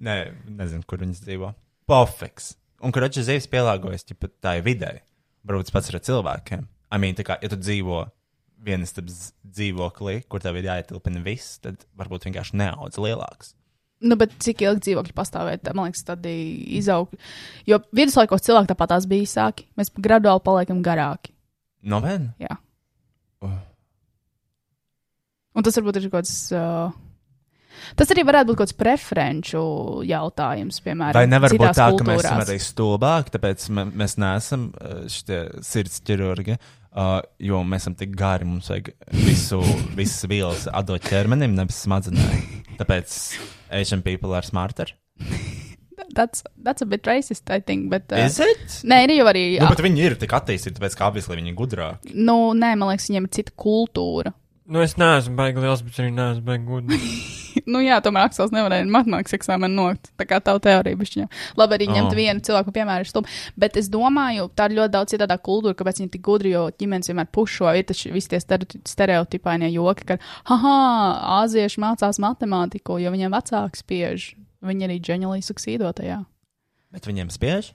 B: Nē, nezinu, kur viņas dzīvo. Pofeks. Un kur atšķiras zivs pielāgojas ķipa, tai vidē. Varbūt tas pats ir ar cilvēkiem. I mean, tā kā, ja tu dzīvo vienas dzīvoklī, kur tev ir jāietilpina viss, tad varbūt vienkārši neaudz lielāks.
C: Nu, bet cik ilgi dzīvokļi pastāvēt, tā, man liekas, tad izaug. Jo viduslaikos cilvēki tāpat tās bija īsāki, mēs graduāli paliekam garāki.
B: Nopietni.
C: Jā.
B: Oh.
C: Un tas varbūt ir kaut kāds. Uh, tas arī varētu būt kaut kāds preferenču jautājums, piemēram,
B: Vai nevar būt
C: citās
B: tā, ka mēs
C: kultūrās.
B: esam arī stulbāki, tāpēc me- mēs neesam eh, šitie sirds ķirurgi, uh, jo mēs esam tik gari, mums vajag visu, visas vielas atdot ķermenim, nevis smadzenēm. Tāpēc Asian people are smarter.
C: That's, that's a bit racist, I think. Bet, uh,
B: Is it?
C: nē, ir jau arī.
B: Nu, bet viņi ir tik attīstīti, tāpēc kā apgleznoti viņi ir gudrāki.
C: Nu, nē, man liekas, viņiem ir cita kultūra.
G: Nu, es neesmu baigi liels, bet arī neesmu baigi gudrs.
C: nu, jā, tomēr Aksels nevarēja matemātikas eksāmenu nokļūt. Tā kā tava teorija bija viņa. Labi, arī ņemt
B: Oh.
C: oh. vienu cilvēku, piemēram, stūmu. Bet es domāju, tā ir ļoti daudz citādāk kultūra, kāpēc viņi tik gudri, jo ģimenes vienmēr pušo. Ir taču visi tie stere- stereotipainie joki, ka, haha, āzieši mācās matemātiku, jo viņiem vecāks spiež. Viņi arī ģeniāli suksīdotajā.
B: Bet viņiem spiež?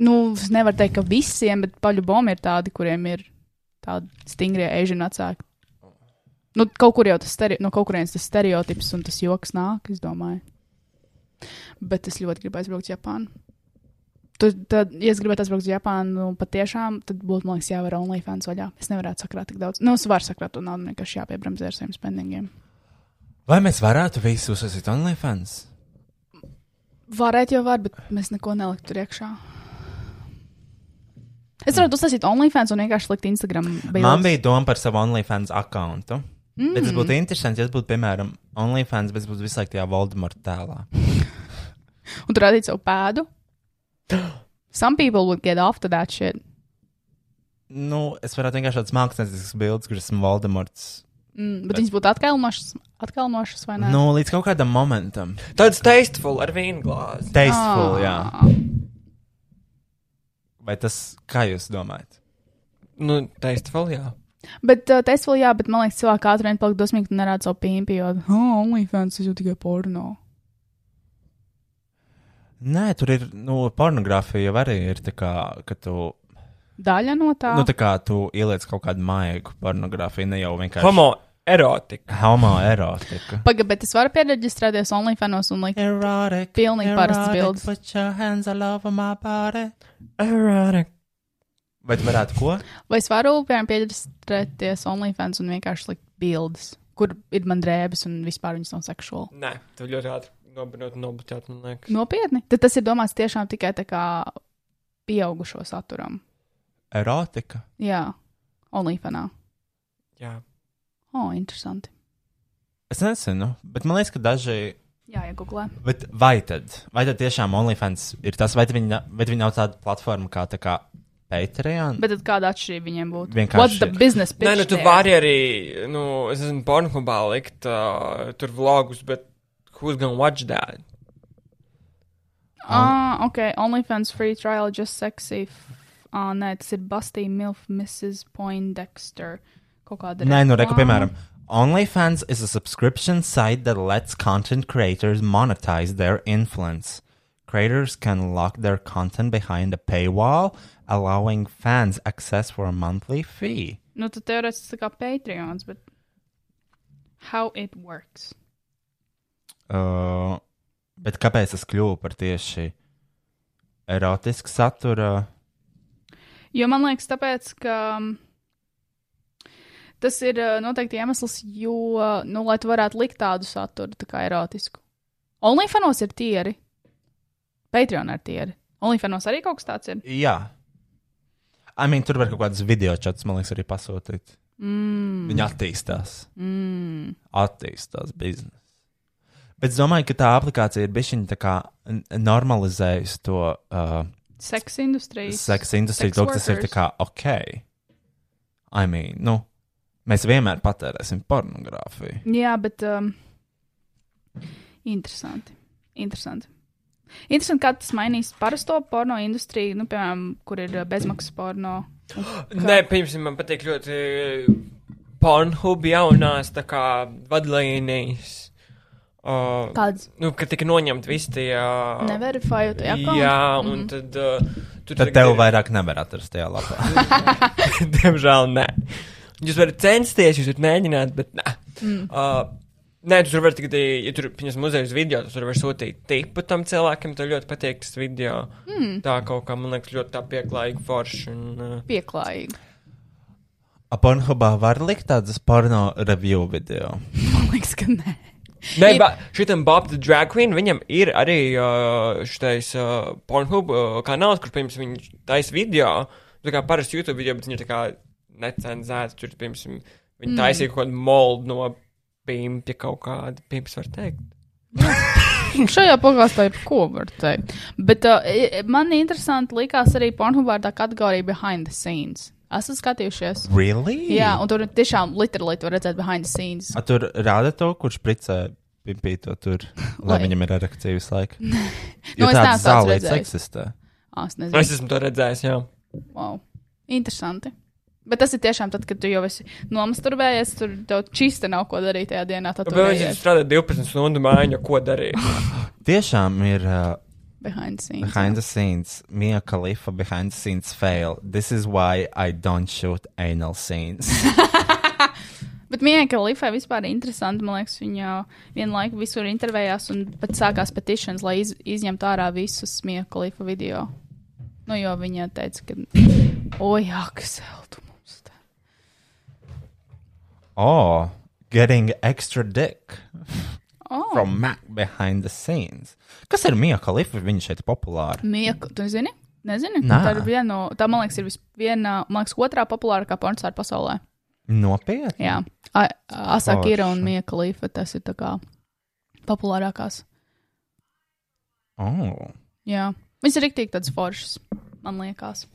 C: Nu, es nevaru teikt, ka visiem, bet paļu bombi ir tādi, kuriem ir tādi stingri ēžina vecāki. Nu, kaut kur jau tas, stereo, no kaut kurienes tas stereotips un tas joks nāk, es domāju. Bet es ļoti gribu aizbraukt uz Japānu. Tad, tad, ja es gribētu aizbraukt uz Japānu, patiešām, tad būtu, man liekas, jāvar OnlyFans vaļā. Es nevaru sakrāt tik daudz. Nu, es varu sakrāt to naudu, man vienkārši jāpiebremzē ar saviem spendingiem.
B: Vai mēs varētu visu uzsākt OnlyFans?
C: Varētu jau var, bet mēs neko neliktu tur iekšā. Es varētu uztaisīt OnlyFans un vienkārši likt Instagram. bildes.
B: Man bija doma par savu OnlyFans akkontu. Mm. Bet tas būtu interesanti, ja tas būtu, piemēram, OnlyFans, bet es būtu visu laiku tajā Voldemorta tēlā.
C: Un tur redzēt savu pēdu. *gasps* Some people would get off to that shit.
B: Nu, es varētu vienkārši tādas mākslinieckas bildes, kuras esmu Voldemorts.
C: Mm, bet viņas būtu atkalnošas, atkalnošas vai ne? Ah.
B: Nu, līdz kaut kādam momentam.
G: Tāds tasteful ar vīnu glāzi.
B: Tasteful,
C: Ah.
B: jā. Vai tas, kā jūs domājat?
G: Nu, tasteful, jā.
C: Bet uh, tas vēl jā, bet man liekas, cilvēki ātri vien paliek dosmīgi, un nerāda savu pīmpi, jo, oh, OnlyFans tas jau tikai porno.
B: Nē, tur ir, nu, pornogrāfija jau arī ir tā kā, ka tu,
C: Daļa no tā.
B: nu, tā kā tu ieliec kaut kādu maigu pornogrāfiju, ne jau vienkārši
G: Homo erotika.
B: homoerotika.
C: Pagaid, bet es varu pieregistrēties OnlyFans un likt.
B: Erotic.
C: Pilnīgi parasts bildes.
B: Put your hands all over my body.
G: Erotika.
B: Vai tu varētu ko?
C: Vai es varu, piemēram, pieregistrēties OnlyFans un vienkārši likt bildes, kur ir man drēbes un vispār viņas nav seksuāli?
G: Nē, tu ļoti ātri nobinot, nobutēt, man
C: Nu,
G: liekas.
C: Nopietni. Tad tas ir domāts tiešām tikai tā kā pieaugušo saturam.
B: Erotika.
C: Jā, OnlyFanā.
G: Jā.
C: O, oh, interesanti.
B: Es nezinu, bet man liekas, ka daži.
C: Jā, iegūlē.
B: Bet vai tad, vai tad tiešām OnlyFans ir tas, vai tad viņi, na- vai tad viņi nav tāda platforma kā, tā kā Patreon?
C: Bet tad kāda atšķirība viņiem būtu?
B: Mm. Vienkārši-
C: What's the business pitch?
G: Nē, nu, tu
C: there?
G: vari arī, nu, es esmu pornogrāfā likt uh, tur vlogus, bet who's gonna watch that?
C: Ah, ok, OnlyFans free trial just sexy. F- Ah, nē, tas ir Bastī Milf, Mrs. Poindexter. Kaut kāda.
B: Nē, nu, reku,
C: reklāma.
B: piemēram, OnlyFans is a subscription site that lets content creators monetize their influence. Creators can lock their content behind a paywall, allowing fans access for a monthly fee.
C: Nu, tad teorētiski tas ir kā Patreons, bet. How it works?
B: Uh, bet kāpēc tas kļuva par tieši erotisku saturu?
C: Jo man liekas, tāpēc, ka mm, tas ir eh, noteikti iemesls, jo, nu, lai tu varētu likt tādu saturu, tā kā erotisku. OnlyFanos ir tieri. Patreon ir tieri. OnlyFanos arī kaut kas tāds ir.
B: Jā. I mean, tur var kaut kādas video čats, man liekas, arī pasūtīt. Mm. Viņa attīstās. Mm. Attīstās biznesa. Bet es domāju, ka tā aplikācija ir bijusi tā kā n- normalizējusi to uh,
C: Seksa industrija.
B: seksu industriju. To, ka tas ir tā kā ok. I mean, nu, mēs vienmēr patērēsim pornogrāfiju.
C: Jā, bet. Um, interesanti. Interesanti. Interesanti, kā tas mainīs parasto porno industriju, nu, piemēram, kur ir eh, bezmaksas porno.
G: Nē, pirmsim, man patīk ļoti Pornhub jaunās tā kā vadlīnijas. Uh,
C: Kāds
G: Nu, kad tika noņemti visi tie. Uh,
C: neverificējot, jā, kaut
G: Jā, un tad. Uh, tur
B: Tad
G: tagad
B: tev
G: ir-
B: vairāk nevar atrast tajā lapā.
G: *laughs* Diemžēl nē. Jūs varat censties, jūs varat mēģināt, bet nē. Mm. Uh, nē, tu tur var tikai, ja tur viņas muzeja uz video, tad tur var sūtīt tipu tam cilvēkam, tev ļoti patīk tas video. Mm. Tā kaut kā, man liekas, ļoti tā pieklājīga forša. Un, uh,
C: pieklājīgi.
B: A Pornhubā var likt tādas porno review video.
C: Man liekas, ka nē.
G: Nē,
C: Ir-
G: ba, šitam Bob the Drag Queen, viņam ir arī uh, šitais uh, Pornhub uh, kanāls, kurš, piemēram, viņš taisa video, tā kā parasti YouTube video, bet viņš ir tā kā necenzēts, tur, piemēram, viņi taisīja kaut kādu moldu no pimpja kaut kāda, pimps var teikt.
C: Nu, Šajā pogāstā ir ko var teikt. Bet uh, i- man interesanti likās arī pornogrāfijā tā kategorija behind the scenes. Esmu skatījušies.
B: Really?
C: Jā, un tur ir tiešām literāli var redzēt behind the scenes.
B: A, tur rāda to, kurš pricē pimpīto tur, lai, lai
C: Lai-
B: viņam ir erekcija visu laiku.
C: Nu,
B: Jo
C: es
B: tāda
C: neesmu tāds
B: zālīts
C: redzējis.
B: eksistē.
C: Ah, es nezinu.
G: Nu, Es esmu to redzējis, jā.
C: Wow. Interesanti. Bet tas ir tiešām tad, kad tu jau esi nomasturbējies, tur tev čista nav ko darīt tajā dienā. Tad tu
G: Bet viņš
C: redzēji
G: strādā 12 stundu mājiņu, ko darīt.
B: Tiešām ir uh,
C: behind the scenes.
B: behind the scenes, Mia Khalifa behind the scenes fail. This is why I don't shoot anal scenes.
C: Bet Bet minēja, ka Līfai vispār ir interesanti. Man liekas, viņa vienlaikus visur intervējās un pat sākās petitions, lai iz, izņemtu ārā visus smieku Līfa video. Nu, jo viņa teica, ka, oi, Aksel, tu mums tā.
B: Oh, getting extra dick
C: Oh,
B: from Mac behind the scenes. Kas ir Mija Kalifa? Viņa šeit ir populāra.
C: mieku, tu zini? Nezinu.
B: Nā.
C: Tā ir viena no, tā man liekas, ir vis- viena, man liekas, otrā populārākā porcelāna pasaulē.
B: Nopietni.
C: Jā, A- Asakira
B: Forši.
C: un Mieka Līfa, tas ir tā kā populārākās.
B: Oh.
C: Jā, viņas ir rīktīgi tādas foršas, man liekas.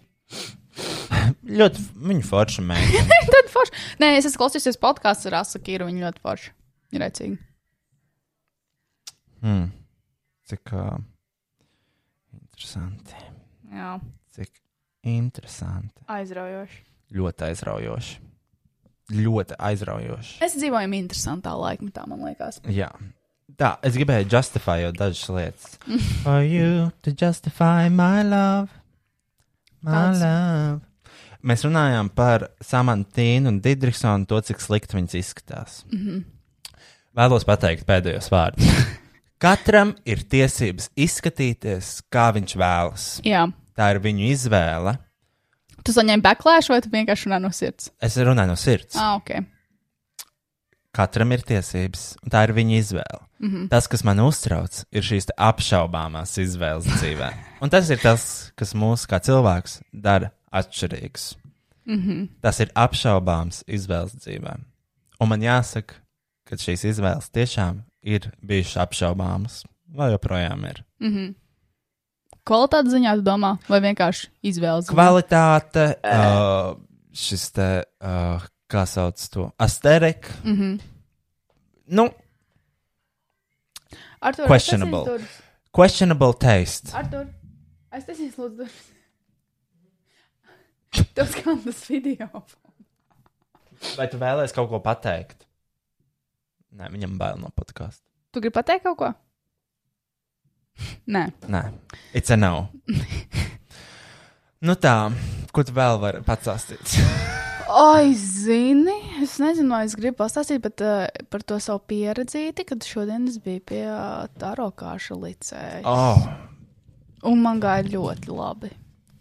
B: Ļoti f- viņa forša meitene.
C: Tad forši. Nē, es esmu klausījusies podkāstu ar Asakiru, viņa ļoti forša. Ir aicīgi.
B: Hmm. Cik uh, interesanti.
C: Jā,
B: Cik interesanti.
C: aizraujoši.
B: Ļoti aizraujoši. Ļoti aizraujoši.
C: Mēs dzīvojam interesantā laikmetā, man liekas.
B: Jā. Tā, es gribēju justifikēt dažas lietas. For you to justify my love. My
C: Tāds.
B: love. Mēs runājām par Samantīnu un Digitrisonu, to cik slikti viņas izskatās. Mm
C: Mhm.
B: -hmm. Vēlos pateikt pēdējos vārdus. Katram ir tiesības izskatīties, kā viņš vēlas.
C: Jā,
B: Tā ir viņu izvēle.
C: tu saņem backlash vai tu vienkārši runā no sirds?
B: Es runāju no sirds.
C: Ah, ok.
B: Katram ir tiesības, un tā ir viņa izvēle. Mm -hmm. Tas, kas man uztrauc, ir šīs te apšaubāmās izvēles dzīvē. un tas ir tas, kas mūs kā cilvēkus dara atšķirīgus. Mm -hmm. Tas ir apšaubāms izvēles dzīvē. Un man jāsaka, ka šīs izvēles tiešām ir bijušas apšaubāmas, vai joprojām ir.
C: Kvalitātes ziņā tu domā, vai vienkārši izvēles? ziņā?
B: Kvalitāte, uh, šis te, uh, kā sauc to, asterika. Mm -hmm. Nu,
C: Artur,
B: questionable.
C: aiztaisīs durvis.
B: questionable taste.
C: Artur, aiztaisīs lūdzu durvis. Tev skan tas video.
B: Vai tu vēlēsies kaut ko pateikt? Nē, viņam bail no podkāstu.
C: Tu gribi pateikt kaut ko? Nē,
B: Nē, it's a
C: *laughs*
B: no. nu tā, ko tu vēl vari pacāstīt?
C: Ai, zini, es nezinu, vai es gribu pastāstīt bet, uh, par to savu pieredzīti, kad šodien es biju pie uh, Taro kāša
B: *laughs*
C: licēja.
B: oh,
C: Un man gāja ļoti labi.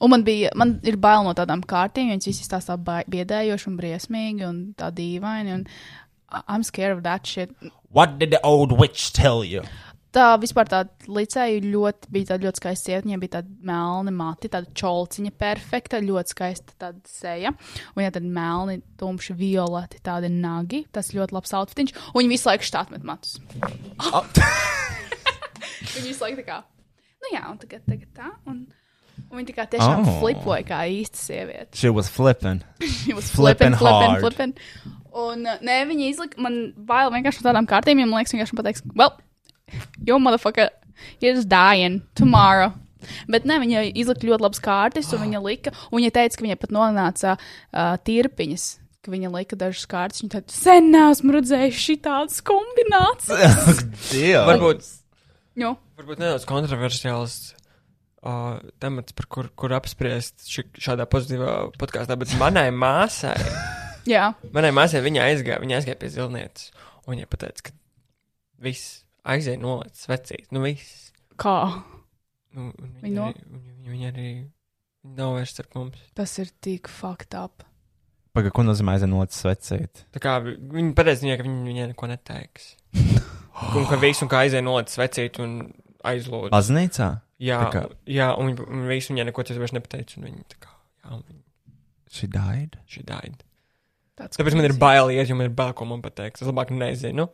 C: Un man bija, man ir bail no tādām kārtīm, jo viņas visas tās tā bai- biedējoši un briesmīgi un tā dīvaini. Un I- I'm scared of that shit.
B: what did the old witch tell you?
C: Tā vispār tā licēja ļoti, bija tāda ļoti skaista sieviete. Viņai bija tāda melna mati, tāda čolciņa, perfekta, ļoti skaista tāda seja. Un viņa tāda melna, tumša, violeti, tāda nagi. Tas ļoti labs outfits. Un viņa visu laiku štātmet matus. *laughs* viņa visu laiku tā kā, nu jā, un tagad, tagad tā. Un, un viņa tā kā tiešām
B: Oh.
C: oh. flipoja kā īsta sieviete.
B: She was flipping.
C: She was
B: Flippin'
C: flipping, flipping,
B: hard.
C: flipping. Un, uh, nē, viņi izlika, man bail vienkārši no tādām kārtīm, ja man liekas, vienkārši pateiks, well, yo, motherfucker, you're just dying tomorrow. Bet nē, viņa izlika ļoti labas kārtas, un viņa lika, un viņa teica, ka viņai pat nonāca uh, tirpiņas, ka viņa lika dažas kārtas, viņa teica, sen neesmu redzējusi šitādas
G: *laughs*
C: kombinācijas.
B: Dievs.
G: *laughs* Varbūt,
C: Nu,
G: varbūt nedaudz kontroversiāls uh, temats, par kur, kur apspriest ši, šādā pozitīvā podkāstā, bet manai māsai,
C: jā,
G: manai māsai viņa aizgāja, viņa aizgāja pie zilnietes, un viņa pateica, ka viss aizēja nolaicis vecīt, nu viss.
C: kā
G: Nu, un
C: Viņa no-
G: viņa, arī, viņa, viņa arī nav vairs starp mums.
C: tas ir tik fucked up.
B: Pagaid, ko nozīmē aizenots svecīt?
G: Tā kā vi- viņa pateica, viņai, ka viņa, viņa neko
C: *laughs*
G: neteiks. Un ka viss, un kā aizēja nolaicis vecīt un aizlūdz.
B: Baznīcā?
G: Jā,
B: Tā kā-
G: jā un viņi- un visu viņai neko citu vairs nepateica. un Viņa tā kā, jā, un viņa
B: She died.
G: šī daida.
C: Tāds
G: Tāpēc man ir
C: crazy.
G: bail iet, jo man ir bail, ko man pateiks. Es labāk nezinu.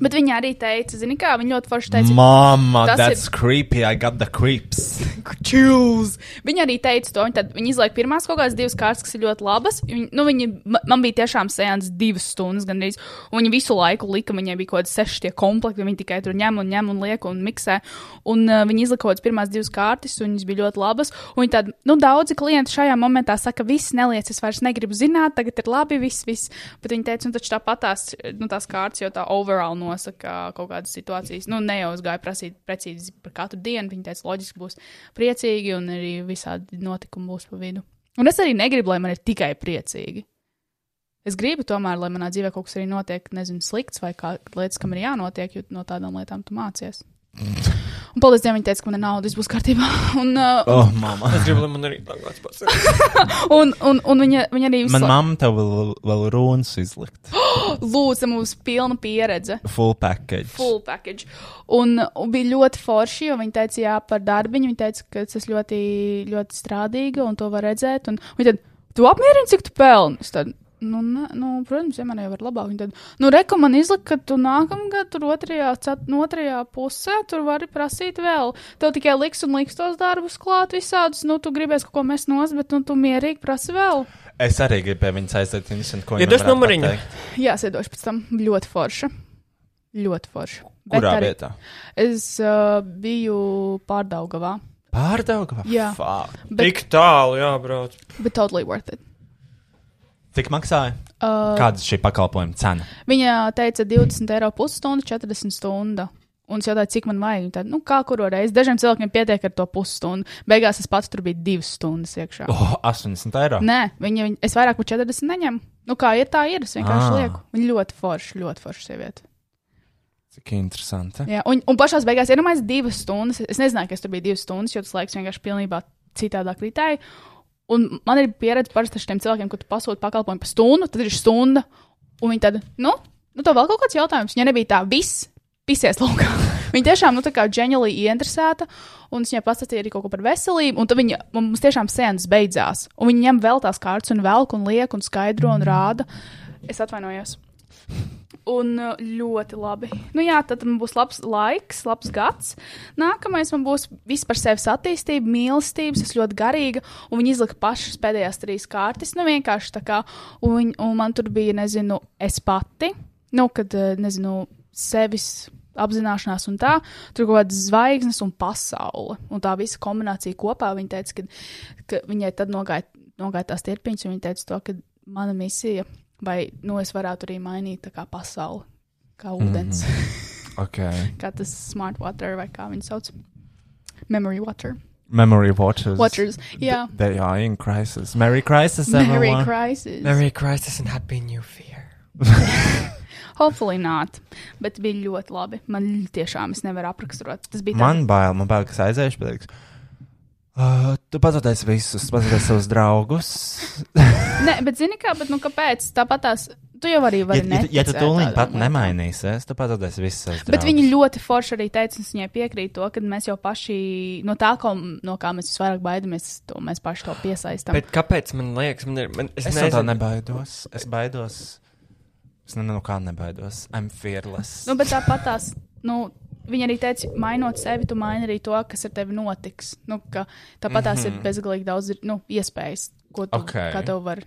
C: Bet viņa arī teica, zini kā, viņa ļoti forši teica,
B: Mama,
C: Tas
B: that's
C: ir-
B: creepy. I got the creeps.
C: Čūs! Viņa arī teica to. Viņa, tad, viņa izlaika pirmās kaut kādas divas kārtas, kas ir ļoti labas. Viņa, nu, viņa, ma- man bija tiešām sēns divas stundas gandrīz. Un viņa visu laiku lika, viņai bija kaut kādi seši tie komplekti. Viņa tikai tur ņem un ņem un liek un miksē. Un uh, viņa izlika kaut kādas pirmās divas kārtas, un viņas bija ļoti labas. Un viņa tad, nu, daudzi klienti šajā momentā saka, viss neliec, es vairs negribu zināt, tagad ir labi, viss, viss. Bet viņa teica, nu, taču tāpat tās, nu, tās kārtas jau tā overall nosaka kaut kādas situācijas. Nu, ne jau es gāju prasīt precīzi par katru dienu. Viņa teica, loģiski būs priecīgi un arī visādi notikumi būs pa vidu. Un es arī negribu, lai man ir tikai priecīgi. Es gribu tomēr, lai manā dzīvē kaut kas arī notiek, nezinu, slikts vai kā lietas, kam ir jānotiek, jo no tādām lietām tu mācies. Un paldies Dievam, viņa teica, ka man ir nauda, viss būs kārtībā. *laughs* Un, uh,
B: Oh, mama.
G: Es gribu, lai man arī tā kāds pats ir.
C: un, un, un viņa, viņa arī
B: Man
C: visu-
B: mamma tev vēl, vēl runas izlikt.
C: lūdza mums pilnu pieredzi.
B: Full package.
C: Full package. Un, un bija ļoti forši, jo viņi teica, jā, par darbiņu. Viņi teica, ka tas ļoti, ļoti strādīgi un to var redzēt. Un viņi tad, tu apmierini, cik tu pelni. Es Tad, nu, ne, nu, protams, vienmēr jau var labāk. Viņi tad, nu, reko man izlika, ka tu nākamgad tur otrajā, cet, no otrajā pusē tur vari prasīt vēl. Tev tikai liks un liks tos darbus klāt visādus. Nu, tu gribēsi kaut ko mest nos, bet nu, tu mierīgi prasi vēl.
B: Es arī gribu pie viņas aiziet, viņas un ko
G: Ja
B: viņa
G: dos
B: varētu
G: numuriņu?
B: pateikt.
C: Jā, sēdošu pēc tam ļoti forši. Ļoti forši. Bet
B: Kurā
C: arī-
B: vietā?
C: Es uh, biju pārdaugavā.
B: Pārdaugā?
C: Jā.
B: Fuck.
C: Bet,
G: Tik tālu jābrauc.
C: bet totally worth it.
B: Cik maksāja?
C: Uh,
B: Kāda ir šī pakalpojuma cena?
C: viņa teica 20 eiro pusstunda, 40 stundu. Un es jautāju, cik man vajag. Viņa Tad, nu, kā kuru reizi? Dažiem cilvēkiem pietiek ar to pusstundu. Beigās es pats tur biju divas stundas iekšā. Oh.
B: Oh, 80 eiro.
C: Nē, viņa, viņa, es vairāk par 40 neņemu. Nu, kā ir, tā ir. Es vienkārši ah.
B: Ah.
C: lieku. Viņa ļoti forša, ļoti forša sieviete.
B: Cik interesanti.
C: Jā, un, un pašā beigās iedomājās divas stundas. Es nezināju, ka es tur biju divas stundas, jo tas laiks vienkārši pilnībā citādāk ritēja. Un man ir pieredze parasti ar šiem cilvēkiem, kad pasūta pakalpojumu par stundu, tad ir stunda. Un viņi tad, nu, nu tā vēl kaut kāds jautājums. Viņa nebija tā, viss, pisies laukā. *laughs* Viņa tiešām, nu, tā kā ģeniāli ieinteresēta, un es viņai pastāstīju arī kaut ko par veselību, un tad viņa un mums tiešām sēnes beidzās. Un viņa ņem vēl tās kārtas, un velk, un liek, un skaidro, un rāda. Es atvainojos. Un uh, ļoti labi. Nu, jā, tad man būs labs laiks, labs gads. Nākamais man būs viss par sevis attīstība, mīlestības, es ļoti garīga. Un viņi izlika pašas pēdējās trīs kārtas. Nu, vienkārši tā kā. Un, viņ- un man tur bija, nezinu, es pati. Nu, kad, eh, nezinu, sevis apzināšanās un tā. Tur kaut kādas zvaigznes un pasaule. Un tā visa kombinācija kopā. Viņa teica, ka, ka viņai tad nogāja, nogāja tās tirpiņas, un viņa teica to, ka mana misija vai nu, es varētu arī mainīt tā kā pasauli, kā
B: Mhm.
C: ūdens, *laughs* mm
B: Okay.
C: -hmm. kā tas smart water vai kā viņi sauc. Memory water.
B: Memory watchers.
C: Watchers.
B: *laughs*
C: Jā,
B: They are in crisis. Merry crisis,
C: Merry
B: everyone.
C: crisis. Merry.
G: Merry Christmas and Happy New Year.
C: Hopefully not. Bet bija ļoti labi. Man ļ- tiešām es nevaru apraksturot. Tas bija
B: Man bail, man bail, ka es aiziešu, bet teiks, "Ah, tu pazudēsi visus, pazudēsi savus draugus.
C: tāds. Ne, bet zini kā, bet nu kāpēc? Tāpat tās, tu jau arī
B: Ja,
C: vari
B: ja, ja tu
C: neticēt
B: tūlīt
C: tādām
B: pat
C: lietām.
B: nemainīsies, tu pazudēsi visus savus draugus.
C: Bet viņi ļoti forši arī teica, un es viņai piekrītu, to, ka mēs jau paši no tā, ko, no kā mēs visvairāk baidamies, to mēs paši to piesaistām.
G: Bet kāpēc man liekas, man ir. Man, es
B: Es no tā
G: nezinu,
B: nebaidos. Es baidos. Es ne, no kā nebaidos. I'm fearless.
C: Nu, bet tāpat tās, nu, viņa arī teica, mainot sevi, tu maini arī to, kas ar tevi notiks. Nu, ka tāpat tās mm -hmm. ir bezgalīgi daudz nu, iespējas, ko tu,
B: Mhm. Ok.
C: okay. kā tev var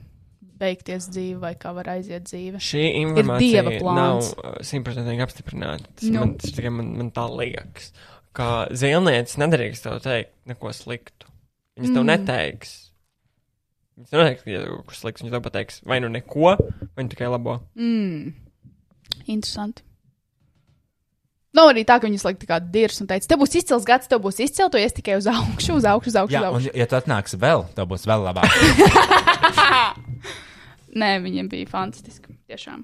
C: beigties dzīve vai kā var aiziet dzīve.
G: šī
C: dieva
G: informācija nav
C: plāns.
G: uh, simtprocentīgi apstiprināta. Tas
C: Nu.
G: nu. man, tas tikai man, man tā liekas. Kā zīmēnietis nedrīkst tev teikt neko sliktu. Viņas tev mm. neteiks. Viņas tev neteiks, ka ir kaut kas slikts. Viņas tev pateiks vai nu neko, vai nu tikai labo.
C: Mm. Interesanti. Nav arī tā, ka viņas laikā tādu dirzi un teica, te būs izcils gads, tev būs izcils, tu ies tikai uz augšu, uz augšu, uz augšu.
B: Jā,
C: uz augšu.
B: un ja tu atnāksi vēl, tev būs vēl labāk.
C: Nē, viņiem bija fantastiski. Tiešām.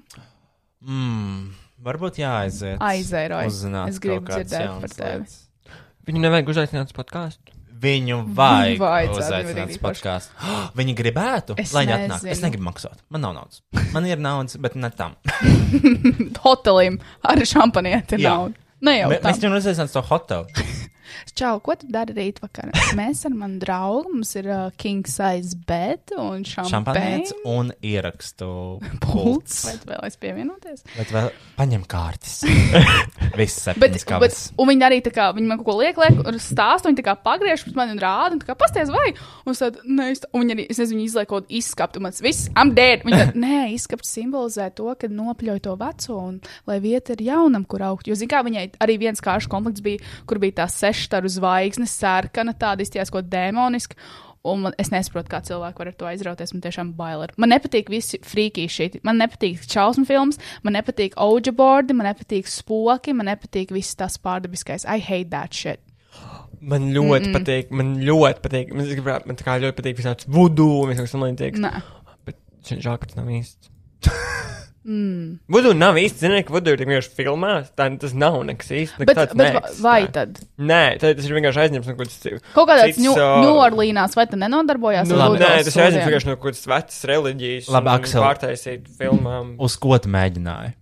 B: Mm, varbūt jāaiziet.
C: Aizēroju.
B: Uzzināt
C: Es gribu
B: kaut kādas
C: dzirdēt
B: jaunas
C: par tevi.
B: lietas.
G: Viņu nevajag uzaicināt uz podkāstu.
B: Viņu vajag
C: vajadzētu, viņu
B: uzaicināt
C: arī
B: uz podkāstu. *gasps* Viņi gribētu,
C: Es
B: lai viņi atnāk.
C: nezinu.
B: Es negribu maksāt. Man nav naudas. Man ir naudas, bet ne tam.
C: Hotelim ar šampanieti
B: Jā.
C: nav. Ne *laughs* jau
B: Mē-
C: tā.
B: Mēs viņam uzaicinām to hotelu.
C: Čau, ko tu dari rīt vakarā? Mēs ar manu draugu mums ir uh, king size bed un šampaniets.
B: Šampanēts un ierakstu
C: *laughs* Pults.
B: pults.
C: Vai tu vēlies pievienoties?
B: Bet vēl paņem kārtas.
C: *laughs*
B: Viss
C: Bet,
B: septiņas
C: bet,
B: kārtas.
C: un viņi arī tā kā, viņi man kaut ko liek, liek, un stāsta, viņi tā kā pagriež pret mani un rāda, un tā kā pasties vai, un es tādu, nē, es tā, un viņi arī, es nezinu, viņi izliek kaut kādu izskaptu, un mans viss, I'm dead. Viņi tādu, nē, izskapts simbolizē to, ka nopļauj to veco, un lai vieta ir jaunam, kur augt. Jo, zin kā, viņai arī viens kāršu komplekts bija, kur bija tā seštaru zvaigzne, sarkana, tāda izties kaut dēmoniska. Un man, es nesaprotu, kā cilvēki var ar to aizrauties. Man tiešām bail. ir. Man nepatīk visi frīķi šeit. Man nepatīk čausmu filmas, man nepatīk auga bordi, man nepatīk spoki, man nepatīk viss tas pārdabiskais. I hate that shit.
G: Man ļoti mm -mm. patīk, man ļoti patīk. Man, es gribētu, man tā kā ļoti patīk visāds vudu un visāds tam līdzīgs.
C: Nē.
G: Bet žēl, ka tas nav īsts. Vudu nav īsti zināms, ka Vudu ir vienkārši filmās. Tā, tas nav nekas īsti. nekas
C: Bet,
G: tāds
C: bet va-
G: neeksistē.
C: vai tad?
G: Nē, tad tas ir vienkārši aizņemts no kaut kādas civil.
C: Kaut kādā
B: uh,
G: ā,
C: Ņūorlīnās, vai te nenodarbojās
G: Nu,
C: ar
G: labi,
C: Ludo
G: nē, tas ir
C: sūdiem?
G: aizņemts vienkārši no kaut kādas vecas reliģijas.
B: Labi,
G: un
B: Aksel.
G: Pārtaisīt filmām.
B: Uz ko tu mēģināji?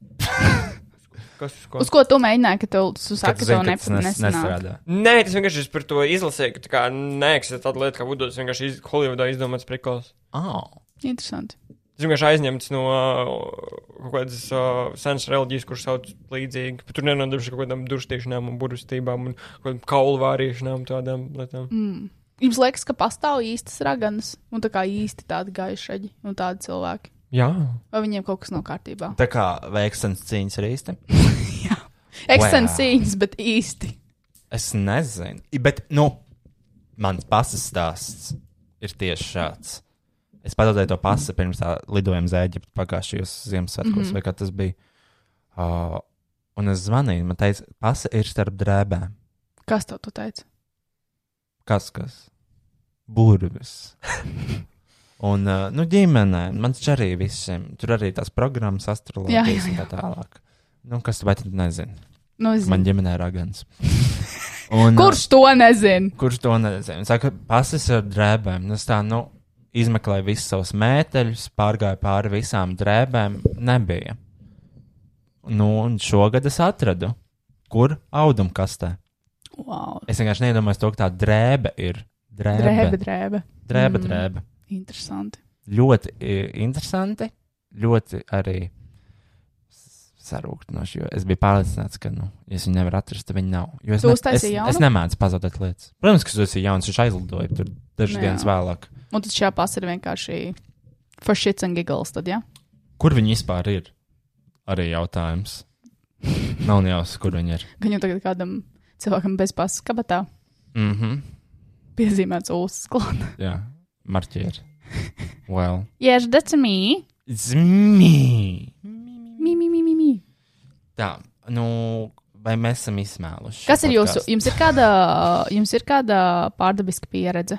G: Kas uz ko?
C: Uz ko tu mēģināji, ka tu tu
B: Kad tu
C: saki, ka tev
B: zini, ka tas
C: nepa-
B: nes-
C: nesanāk?
B: nestrādā.
G: Nē, tas vienkārši es par to izlasīju, ka tā kā neeksistē tāda lieta, kā Vudu. Tas vienkārši iz... Holivudā izdomāts prikals.
B: Oh.
C: Interesanti.
G: Tas vienkārši aizņemts no ā, kaut kādas uh, senas reliģijas, kuras sauc līdzīgi. Bet tur nenodarbojas kaut kādām duršķīšanām un burvestībām un kaut kādām kaulu vārīšanām tādām lietām. Mm.
C: Jums liekas, ka pastāv īstas raganas un tā kā īsti tādi gaišaģi un tādi cilvēki.
G: Jā.
C: Vai viņiem kaut kas nav kārtībā?
B: Tā kā veikšanas cīņas ir īsti.
C: Ekstensīns, bet īsti.
B: Es nezinu. I- Bet, nu, mans pasas stāsts ir tieši šāds. Es pazaudēju to pasu pirms tā lidojuma uz Eģiptu pagājušajos Ziemassvētkos, mm
C: Mhm.
B: -hmm. vai kā tas bija. Uh, un es zvanīju, man teica, pasa ir starp drēbēm.
C: Kas tev to teica?
B: Kas kas?
C: *laughs*
B: Burvis. un, uh, nu, ģimenē, man taču arī visiem. Tur arī tās programmas,
C: Jā,
B: astroloģijas
C: jā,
B: un tā tālāk. Nu, kas tu vai tu nezini?
C: Nu, es
B: Man
C: zinu.
B: ģimenē ir
C: *laughs*
B: agants. Un, uh,
C: Kurš to nezina?
B: Kurš to nezina? Saka, pasis ar drēbēm. Nu, es tā, nu, izmeklēju visus savus mēteļus, pārgāju pāri visām drēbēm. Nebija. Nu, un šogad es atradu, kur audumkastē.
C: Wow.
B: Es vienkārši neiedomājos to, ka tā drēbe ir. Drēbe,
C: Drēbe,
B: drēbe,
C: drēbe.
B: drēbe.
C: Mm.
B: drēbe.
C: Interesanti.
B: Ļoti i, interesanti, ļoti arī s- sarūktinoši. Jo es biju pārliecināts, ka, nu, ja es viņu nevaru atrast, tad viņa nav. Jo es,
C: Tu
B: es,
C: uztaisīji jaunu?
B: es nemācu pazaudēt lietas. Protams, ka tas ir jauns, viņš aizlidoja tur dažas
C: Nu, jā.
B: dienas vēlāk.
C: Un tad šajā pasā ir vienkārši for shits and giggles. Tad, ja?
B: Kur viņi vispār ir? Arī jautājums. Nav nejausmas, kur viņi ir.
C: Gan jau tagad kādam cilvēkam bez pasas kabatā
B: Mm -hmm.
C: piezīmēts ūsas *laughs* klāts.
B: Jā, marķieri. Well.
C: Yes, that's me.
B: Zmī!
C: Mi, mi, mi, mi, mi.
B: Tā, nu, vai mēs esam izsmēluši? šo
C: Kas ir jūsu?
B: podcastu?
C: Jums ir kāda, jums ir kāda pārdabiska pieredze?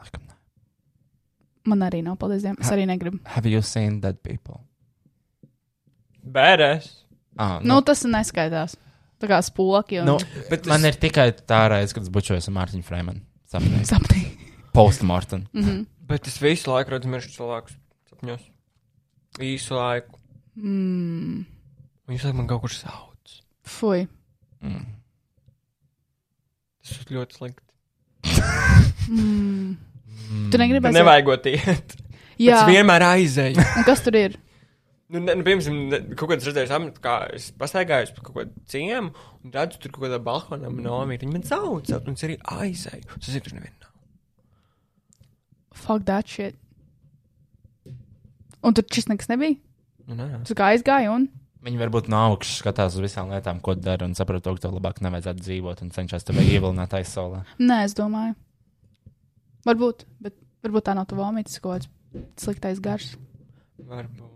B: Laikam nē.
C: Man arī nav, paldies Dievam. Es arī negribu.
B: Have you seen dead people?
G: Bērēs.
B: Ah,
C: Nu, tas neskaitās. Tā kā spoki un
B: Nu,
C: nu.
B: bet man ir tikai tā reize, kad es bučojos ar Mārtiņu Freemanu. Sapnēs.
C: sapni.
B: *laughs* Postmortem.
G: Bet es visu laiku redzu mirstu cilvēkus sapņos. Visu laiku.
C: Mm,
G: Un visu laiku man kaut kur sauc.
C: fui.
B: Mm.
G: Tas ir ļoti slikti.
C: Mm. Tu negribi
G: Tur nevajagot iet.
C: Jā,
G: Es vienmēr aizēju.
C: un kas tur ir?
G: Nu, ne, nu, piemēram, ne, kaut kāds redzējis, amat- kā es pastaigājos pa kaut kādu ciemu un redzu tur kaut kādā balkonā nomīt. Viņi man sauc, un es arī aizēju. Es zinu, tur nevienu nav.
C: Fuck that shit. Un tur šis nekas nebija.
G: Nu, nē.
C: Tu kā aizgāji un.
B: Viņi varbūt no augšas skatās uz visām lietām, ko dara, un saprot, to, ka tev labāk nevajadzētu dzīvot, un cenšas tevi ievilināt aizsolē.
C: Nē, es domāju. Varbūt, bet varbūt tā nav tava omītis, kaut kāds sliktais gars.
G: Varbūt.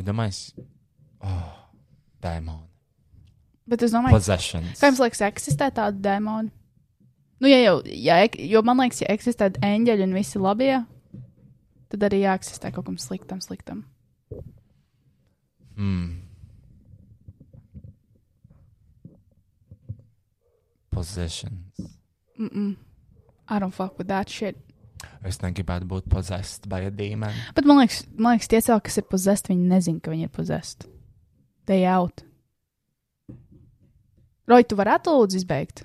B: Ja domājis, oh, demoni.
C: Bet es domāju,
B: Possessions.
C: Kā jums liekas, eksistē tādi demoni? Nu, ja jau, ja, ek- jo man liekas, ja eksistē eņģeļi un visi labie, tad arī jāeksistē kaut kam sliktam, sliktam.
B: Mm. Possessions.
C: I don't fuck with that shit.
B: Es negribētu būt possessed by a demon.
C: Bet man liekas, man liekas tie cilvēki, kas ir pozesti, viņi nezina, ka viņi ir pozesti. They out. Roj, tu varētu lūdzu izbeigt?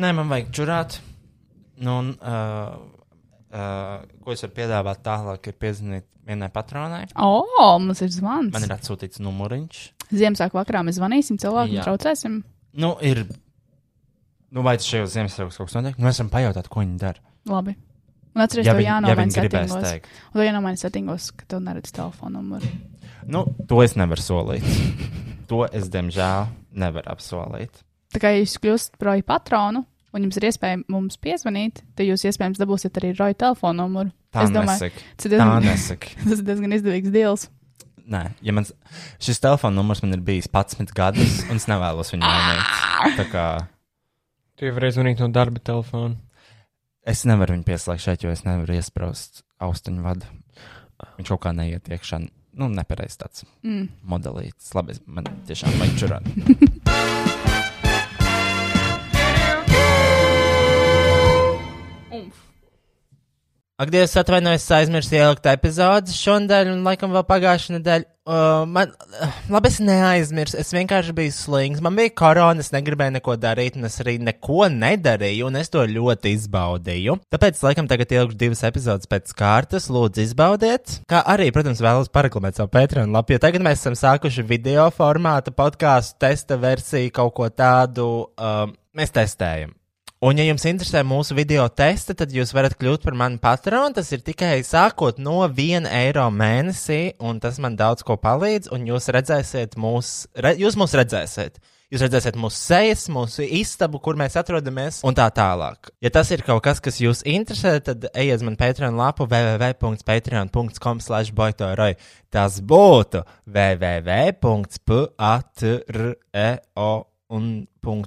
B: Nē, man vajag čurāt. Nu, un, uh, uh, ko es varu piedāvāt tālāk, ir piezvanīt vienai patronai.
C: O, mums ir zvans.
B: Man ir atsūtīts numuriņš.
C: Ziemassvētku vakarā mēs zvanīsim cilvēkiem
B: Jā.
C: un traucēsim.
B: Nu, ir. Nu, vai tas šajos Ziemassvētkos kaut kas notiek? Nu, mēs varam pajautāt, ko viņi dara.
C: Labi. Un atceries,
B: Ja
C: tev
B: viņi- ja
C: jānomaina
B: viņi gribēs
C: settingos.
B: teikt.
C: Un tev jānomaina settingos, ka tev neredz telefonu numuru.
B: Nu, to es nevaru solīt. to es, diemžēl, nevaru apsolīt.
C: Tā kā jūs kļūstat par roju patronu, un jums ir iespēja mums piezvanīt, tad jūs iespējams dabūsiet arī roju telefonu numuru.
B: Tā
C: es domāju,
B: nesaka.
C: tas ir
B: Tā
C: *laughs* diezgan,
B: nesaka.
C: tas ir diezgan izdevīgs deals.
B: Nē, ja mans, šis telefona numurs man ir bijis 11 gadus, un es nevēlos viņu mainīt. Tā kā
G: Tu jau varēji zvanīt no darba telefona.
B: Es nevaru viņu pieslēgt šeit, jo es nevaru iesprāst austiņu vadu. Viņš kaut kā neiet iekšā. Nu, nepareiz tāds
C: Mm.
B: modelīts. Labi, es- man tiešām vajag čurāt. *laughs* Ak, Dievs, atvainojos, es aizmirsu ielikt epizodi šonadēļ, un laikam vēl pagājušā nedēļa. Uh, man, uh, labi, es neaizmirsu, es vienkārši biju slings. Man bija korona, es negribēju neko darīt, un es arī neko nedarīju, un es to ļoti izbaudīju. Tāpēc, laikam, tagad ielikšu divas epizodes pēc kārtas, lūdzu, izbaudiet. Kā arī, protams, vēlos paraklamēt savu Patreon lapu, jo tagad mēs esam sākuši video formāta podkāstu testa versiju, kaut ko tādu. Uh, mēs testējam. Un, ja jums interesē mūsu video testa, tad jūs varat kļūt par mani patronu. Tas ir tikai sākot no 1 eiro mēnesī, un tas man daudz ko palīdz. Un jūs redzēsiet, mūs, re, jūs mūs redzēsiet. Jūs redzēsiet mūsu sejas, mūsu istabu, kur mēs atrodamies, un tā tālāk. Ja tas ir kaut kas, kas jūs interesē, tad ejiet uz manu Patreon lapu www.patreon.com. Tas būtu www.patreo un .com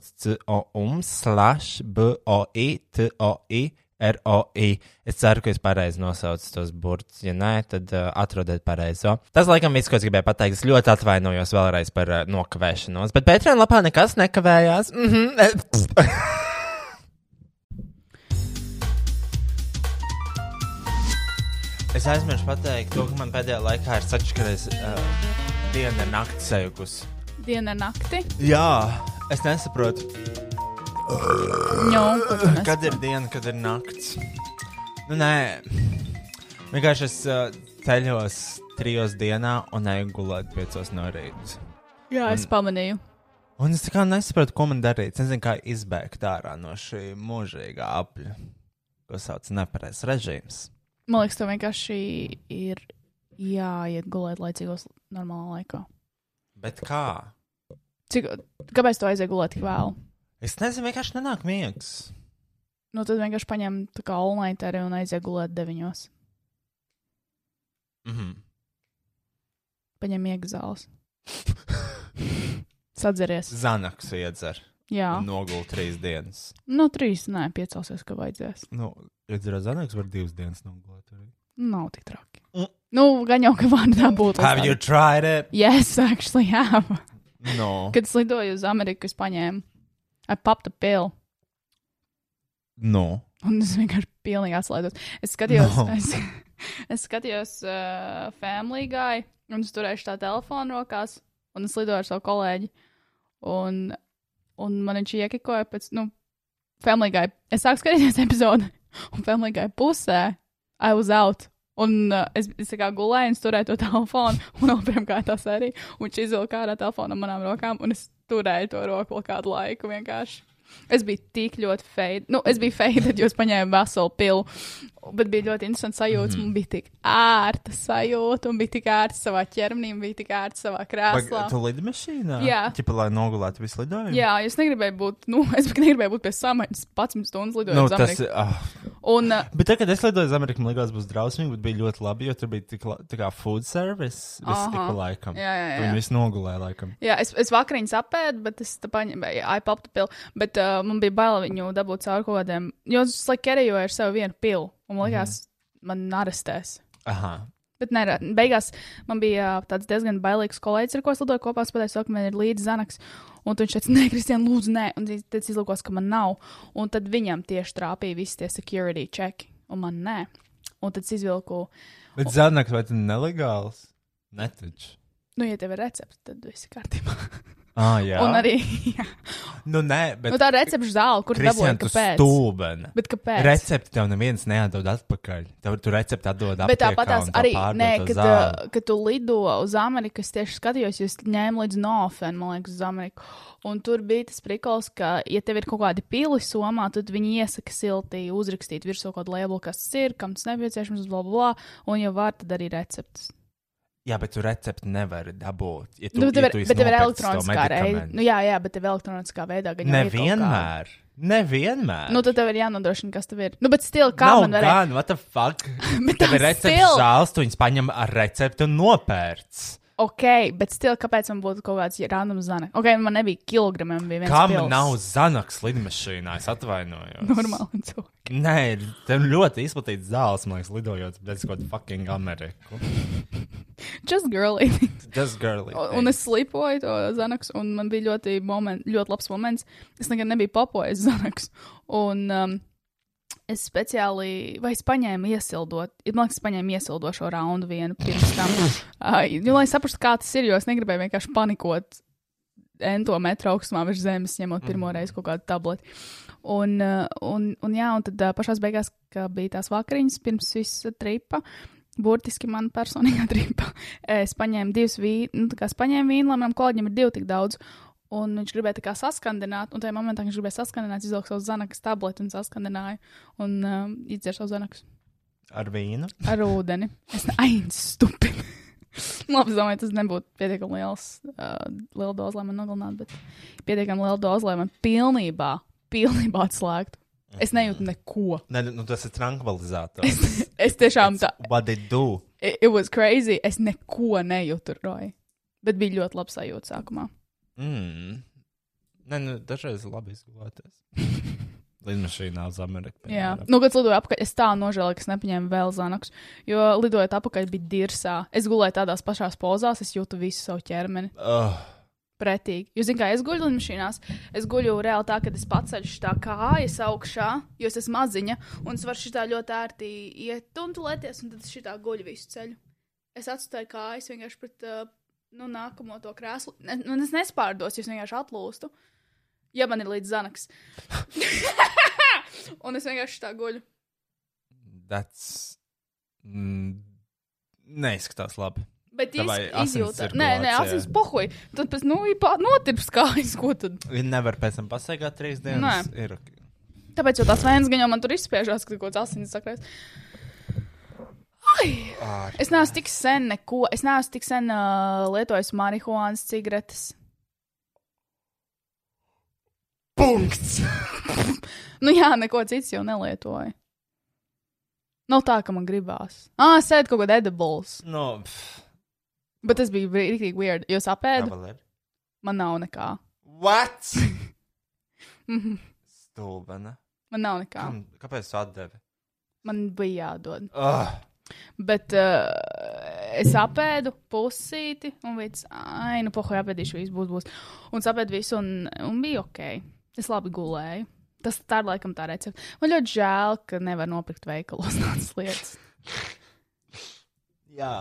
B: um slash E boi toi roi. E. Es ceru, ka es pareizi nosaucu tos burtus. Ja nē, tad uh, atrodiet pareizo. Tas, laikam, viss, ko es gribēju pateikt, es ļoti atvainojos vēlreiz par uh, nokavēšanos, bet Pētrēna lapā nekas nekavējās. Mm -hmm. *laughs* es aizmirsu pateikt to, ka man pēdējā laikā ir sačakarējis uh, diena ar nakts sejukus.
C: Diena nakti.
B: Jā, es nesaprotu.
C: Jā, ko tu nes?
B: Nu, Kad ir diena, kad ir naktis? Nu, nē, vienkārši es uh, ceļos trijos dienā un eju gulēt piecos no rīta.
C: Jā, es pamanīju.
B: Un es tā kā nesaprotu, ko man darīt. Es nezinu, kā izbēgt ārā no šī mūžīgā apļa, ko sauc par nepareizs režīms.
C: Man liekas, tev vienkārši ir jāiet gulēt laicīgos, normālā laikā.
B: Bet kā?
C: Cik, kāpēc tu aizjūti gulēt tik vēlu?
B: Es nezinu, vienkārši nenāk miegs.
C: Nu, tad vienkārši paņem tā kā online un aizjūti gulēt deviņos.
B: Mm -hmm.
C: Paņem iegzāles. Sadzeries.
B: *laughs* Zanaks iedzer
C: Jā,
B: un nogul trīs dienas.
C: no trīs, nē, piecelsies, ka vajadzēs.
B: Nu, redzēt, Zanaks var divas dienas nogulēt. arī.
C: Nav tik traki.
B: Mm.
C: Nu, gan jau, ka man tā būtu.
B: Have you tried it?
C: Yes, actually, have.
B: No.
C: Kad es lidoju uz Ameriku, es paņēmu. I popped a pill.
B: No.
C: Un es vienkārši pilnīgi atslēdzos. Es skatījos,
B: No.
C: no. es, *laughs* es skatījos uh, Family Guy, un es turēju tā telefonu rokās, un es lidoju ar savu kolēģi. Un, un man viņš iekikoja pēc, nu, Family Guy. Es sāku skatīties *laughs* epizodi, un Family Guy pusē I was out. Un uh, es, es tā kā gulēju, un es turēju to telefonu, *laughs* un otrām kārtās arī. Un viņš izvilka ārā telefonu no manām rokām, un es turēju to roku vēl kādu laiku vienkārši. Es biju tik ļoti feita. Nu, es biju feita, tad jūs paņēmāt veselu pilu. Bet bija ļoti interesanti sajūta. Mm. Man bija tik ērta sajūta, un bija tik ērta savā ķermenī, un bija tik ērta savā krēslā.
B: Pag- Tu lidmašīnā?
C: Jā.
B: Ķipa, lai nogulētu visu lidojumu?
C: Jā, es negribēju būt, nu, *laughs* es negribēju būt pie samaņas 11 stundas lidojumā.
B: Nu,
C: uz
B: tas,
C: Ameriku.
B: ah,
C: Un, uh,
B: *laughs* bet tagad, kad es lidoju uz Ameriku, man liekas, būs drausmīgi, bet bija ļoti labi, jo tur bija tik la- tā kā food service. Viss
C: Aha.
B: tika laikam.
C: Jā, jā, jā.
B: Viņi visi nogulēja laikam.
C: Jā, es, es vakariņu sapēdu, bet es tā paņēmu, iPadu pilu, bet uh, man bija bail viņu dabūt caur kaut kādiem. Jo es laikam kerējoju ar sevi vienu pilu, un man liekas,
B: Mhm.
C: mm. man arestēs.
B: Aha.
C: Bet nē, beigās man bija ā, tāds diezgan bailīgs kolēģis, ar ko es lidoju kopā. Es pateicu, ka man ir līdzi zanaks. Un viņš teica, nē, Kristian, lūdzu, nē. Un viņš teica, izlūkos, ka man nav. Un tad viņam tieši trāpīja visi tie security checki, un man nē. Un tad es izvilku,
B: Bet Zanaks, vai tu nelegāls? Netaču.
C: nu, ja tev ir recepte, tad viss ir kārtībā.
B: Ah, jā.
C: Un arī jā.
B: Nu, nē, bet.
C: nu, tā recepte zāle, kur
B: Kristian,
C: dabūjām,
B: tu
C: kāpēc.
B: stūbeni.
C: Bet kāpēc?
B: Recepti tev neviens neatdod atpakaļ. Tev tu recepti atdod atpakaļ.
C: Bet tāpatās arī, nē, kad, uh,
B: kad.
C: kad tu lido uz Ameriku, es tieši skatījos, jo es ņēmu līdzi nofēnu, man liekas, uz Ameriku. Un tur bija tas prikals, ka, ja tev ir kaut kādi pili somā, tad viņi iesaka silti uzrakstīt virsū kaut kādu labelu, kas tas ir, kam tas nepieciešams, bla, bla, bla, un ja var, tad arī recepts.
B: Jā, bet tu recepti nevari dabūt. Ja tu,
C: Nu, bet tev
B: ja
C: ir,
B: tu esi
C: bet tev ir
B: nopircis to
C: elektroniskā reize.
B: medikamentu.
C: Nu, jā, jā, bet tev elektroniskā veidā gan jau ir kaut kā.
B: Nevienmēr. Nevienmēr.
C: Nu, tad tev ir jānodrošina, kas tev ir. Nu, bet stila, kā
B: Nav
C: man varētu. *laughs*
B: gan, what the fuck?
C: Bet
B: Tev ir
C: tā
B: recepte
C: still-
B: zāles, tu viņus paņem ar recepti un nopērc.
C: Ok, bet stila, kāpēc man būtu kaut kāds random zana? Ok, man nebija kilogramiem, bija viens
B: Kā man
C: pils. *laughs*
B: nav zanaks lidmašīnā? Es atvainojos.
C: normāli cilvēki.
B: Nē, ir tam ļoti izplatīts zāles, man liekas, lidojot bez kaut kāda fucking Ameriku.
C: Just girly.
B: Just girly.
C: Un un es slipoju to zanaks, un man bija ļoti, moment, ļoti labs moments. Es nekad nebiju *laughs* papojis zanaks. Un um, es speciāli, vai es paņēmu iesildot, ir, man liekas, es paņēmu iesildošo raundu vienu pirms tam. uh, jo, lai saprastu, kā tas ir, jo es negribēju vienkārši panikot ento metru augstumā virs zemes, ņemot pirmo reizi kaut kādu tableti. Un, uh, un, un, jā, un tad uh, pašā beigās, kad bija tās vakariņas pirms visa tripa, burtiski man personīgā *laughs* tripa, es paņēmu divus vīnus, nu, tā kā es paņēmu vīnu, lai manam kolēģim ir divi tik daudz. Un viņš gribēja tā kā saskandināt, un tajā momentā, kad viņš gribēja saskandināt, izvilka savu zanakas tableti un saskandināja un uh, izdzēra savu zanakas
B: Ar vīnu.
C: ar ūdeni. Es aizsūtu stupi. *laughs* Labi, es domāju, tas nebūtu pietiekami liels, uh, liela doza, lai man nogalinātu, bet pietiekami liela doza, lai man pilnībā, pilnībā atslēgtu. Es nejūtu neko. *laughs*
B: Nē, nu tas ir trankvilizators.
C: Es tiešām tā,
B: What they do?
C: it, it was crazy. Es neko nejūtu, Roja. Bet bija ļoti labi sajūta sākumā.
B: Mm. Nē, nu dažreiz ir labi
C: *laughs*
B: izgulēties. Lidmašīnā uz Ameriku.
C: Jā,
B: piemēram.
C: nu, kad lidoju apakaļ, es tā nožēloju, ka es nepaņēmu vēl zanaks, jo lidojot apakaļ bija dirsā. Es gulēju tādās pašās pozās, es jūtu visu savu ķermeni.
B: Oh,
C: pretīgi. Jūs zināt, kā es guļu lidmašīnās, es guļu reāli tā, ka es paceļšu tā kājas augšā, jo es esmu maziņa, un es varu šitā ļoti ērti ietuntulēties, un tad es šitā guļu visu ceļu. Es atstāju kājas vienkārši pret uh, nu, nākamo to krēslu. Ne, nu, es nespārdos, jūs vienkārši atlūstu, ja man ir līdz zanaks. un es vienkārši tā guļu.
B: that's. Mm, neizskatās labi.
C: Bet
B: Tavai
C: iz-
B: asins
C: izjūta.
B: cirkulācijai.
C: Nē, nē, asins pohoja. Tad pēc nu, ir pā- notirps kājas, ko tad.
B: Viņi nevar pēc tam pasēgāt trīs dienas.
C: Nē.
B: Ir ok.
C: Tāpēc jau tās vējas gaņā man tur izspiežās, ka kaut kas asins sakrājas.
B: Ārprāts.
C: Es neesmu tik sen neko, es neesmu tik sen uh, lietojis marihuānas cigaretes.
B: Punkts!
C: *laughs* Nu jā, neko cits jau nelietoju. Nav tā, ka man gribās. Ah, sēdi kaut kāda edibles.
B: No, nu, pff,
C: Bet tas bija rīktīgi weird, jo sapēdu
B: Kavalēr.
C: man nav nekā.
B: What?
C: *laughs* Mhm. Ah.
B: Stulbana.
C: Man nav nekā.
B: Kam, kāpēc tu atdevi?
C: Man bija jādod.
B: Oh,
C: Bet uh, es apēdu pusīti, un viss, ah, nu, pohoja apēdīšu, viss būs, būs. Un apēdu visu, un, un bija ok. Es labi gulēju. Tas tā ir laikam tā recepte. Man ļoti žēl, ka nevar nopirkt veikalos *laughs* tādas lietas.
B: jā.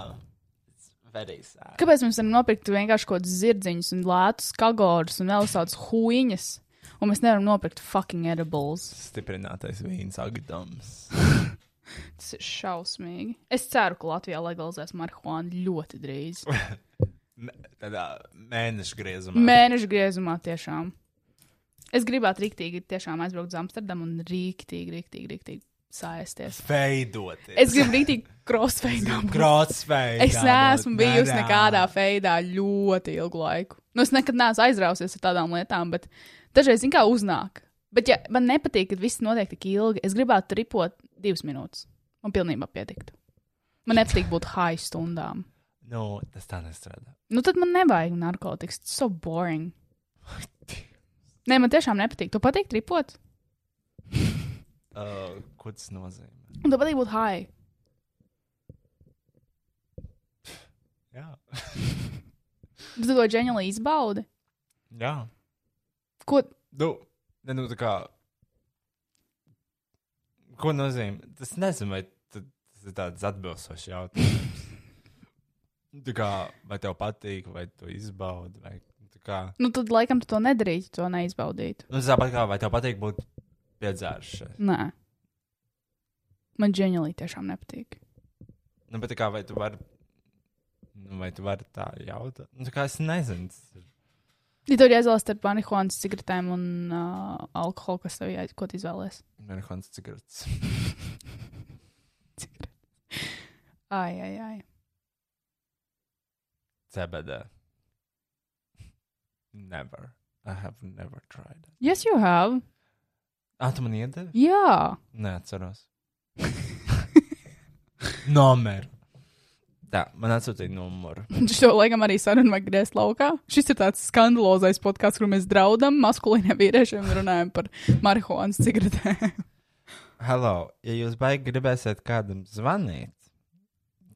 B: Very sad.
C: Kāpēc mums nevar nopirkt vienkārši kaut kādas zirdziņas, un lētas kagorus, un vēl tādas huīņas? Un mēs nevaram nopirkt fucking edibles.
B: Stiprinātais vīns agdams.
C: Tas ir šausmīgi. Es ceru, ka Latvijā legalizēs marihuānu ļoti drīz.
B: Tādā mēneša griezumā.
C: Mēneša griezumā tiešām. Es gribētu rīktīgi tiešām aizbraukt uz Amsterdamu un rīktīgi, rīktīgi, rīktīgi sāsties.
B: Veidoties.
C: Es gribu rīktīgi crossfade.
B: Krātsveidā.
C: Es neesmu bijusi nekādā veidā ļoti ilgu laiku. Nu, es nekad neesmu aizrausies ar tādām lietām, bet dažreiz, zin kā, uznāk. Bet, ja man nepatīk, kad viss notiek tik ilgi, es gribētu ripot divas minūtes. Man pilnībā pietiktu. Man nepatīk būt high stundām.
B: Nu, tas tā nestrādā.
C: Nu, tad man nevajag narkotikas. Tas so boring. Nē, man tiešām nepatīk. Tu patīk tripot.
B: Uh, ko tas nozīmē?
C: Un tu patīk būt high.
B: Jā.
C: Bet tu to ģeniāli izbaudi.
B: jā.
C: Ko?
B: Nu, ne, nu tā kā. Ko nozīmē? Tas nezinu, vai t- tas ir tāds atbilstošs *laughs* jautājums. tā kā, vai tev patīk, vai tu izbaudi, vai tā kā.
C: Nu, tad laikam tu to nedarītu, to neizbaudītu.
B: Nu, tas tāpat kā, vai tev patīk būt piedzēršai.
C: Nē. Man ģeniāli tiešām nepatīk.
B: Nu, bet tā kā, vai tu vari. Nu, vai tu vari tā jautāt? Nu, tā kā es nezinu. Tas ir.
C: Ja tev ir jāizvēlas starp marihuānas cigaretēm un uh, alkoholu, kas tev jāiz... ko tu izvēlēsies?
B: Marihuānas cigaretes. *laughs*
C: Ai, ai, ai.
B: CBD. Never. I have never tried it.
C: Yes, you have.
B: Ah, tu man iedevi?
C: Jā. *laughs*
B: Neatceros. Nomer. Tā, man atsūtīja numuru.
C: *laughs* Šo laikam arī sarunu vajag griezt laukā. Šis ir tāds skandalozais podkāsts, kur mēs draudam maskulīniem vīriešiem un runājam par marihuānas cigaretēm.
B: Hello, ja jūs baigi gribēsiet kādam zvanīt,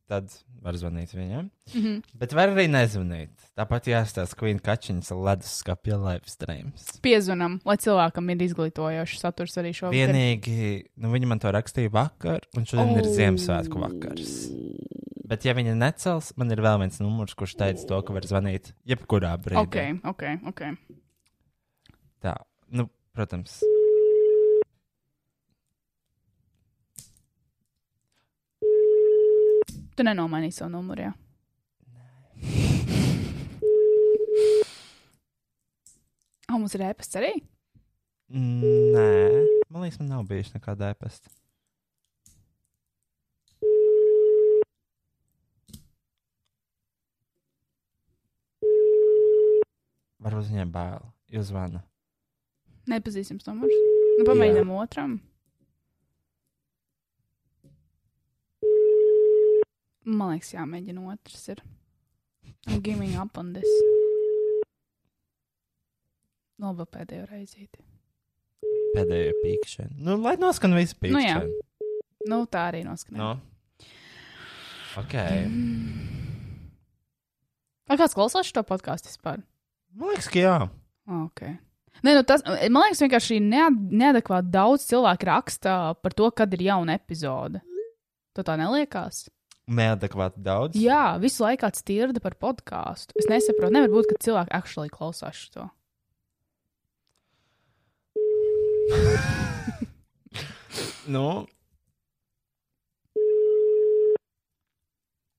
B: tad var zvanīt viņam. Mm
C: Mhm.
B: -hmm. Bet var arī nezvanīt. Tāpat jāstāsta Queen Kačiņas ledus skapja live streams.
C: *laughs* Piezvanam, lai cilvēkam ir izglītojošs saturs arī šovakar.
B: Vienīgi, nu viņi man to rakstīja vakar, un šodien oh. ir Ziemassvētku vakars. Bet, ja viņa necels, man ir vēl viens numurs, kurš teica to, ka var zvanīt jebkurā brīdī.
C: Ok, ok, ok.
B: Tā, nu, protams.
C: Tu nenomainīji savu numuru. Jā. *laughs* Oh, mums ir ēpasts arī.
B: Mm, Nē, man liekas, man nav bijusi nekāda ēpasta. Varbūt viņiem bail. Jūs zvana.
C: Nepazīstams numurs. Nu, pamēģinām otram. Man liekas, jāmēģina otrs. Ir. I'm giving up on this. Nu, vēl pēdējo reizīti.
B: Pēdējo pīkšana. Nu, lai noskan viss
C: Nu jā.
B: pīkšana.
C: Nu, tā arī noskanēja.
B: Nu. Ok.
C: Vai kāds klausās šo podkāstu vispār?
B: Man liekas, ka jā.
C: Okay. Nē, nu tas, man liekas, vienkārši nead- neadekvāti daudz cilvēku raksta par to, kad ir jauna epizode. Tu tā neliekās?
B: Neadekvāti daudz.
C: Jā, visu laiku atstirda par podkāstu. Es nesaprotu, nevar būt, ka cilvēki akšlī klausās šo.
B: Nu.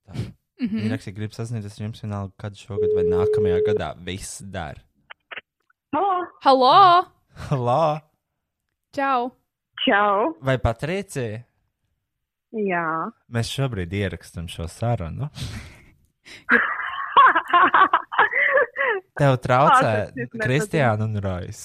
B: Tā. Mm
C: mhm.
B: -hmm. Viņa rakstīja, grib sazināties ar jums vienalga, kad šogad vai nākamajā gadā viss dar.
C: Halo!
B: *laughs* Lā,
C: Čau!
H: Čau!
B: vai Patricija?
H: Jā,
B: Mēs šobrīd ierakstām šo sarunu. Tev traucē
H: Ā, tas ir nepatīk.
B: Kristiāna un Rojas.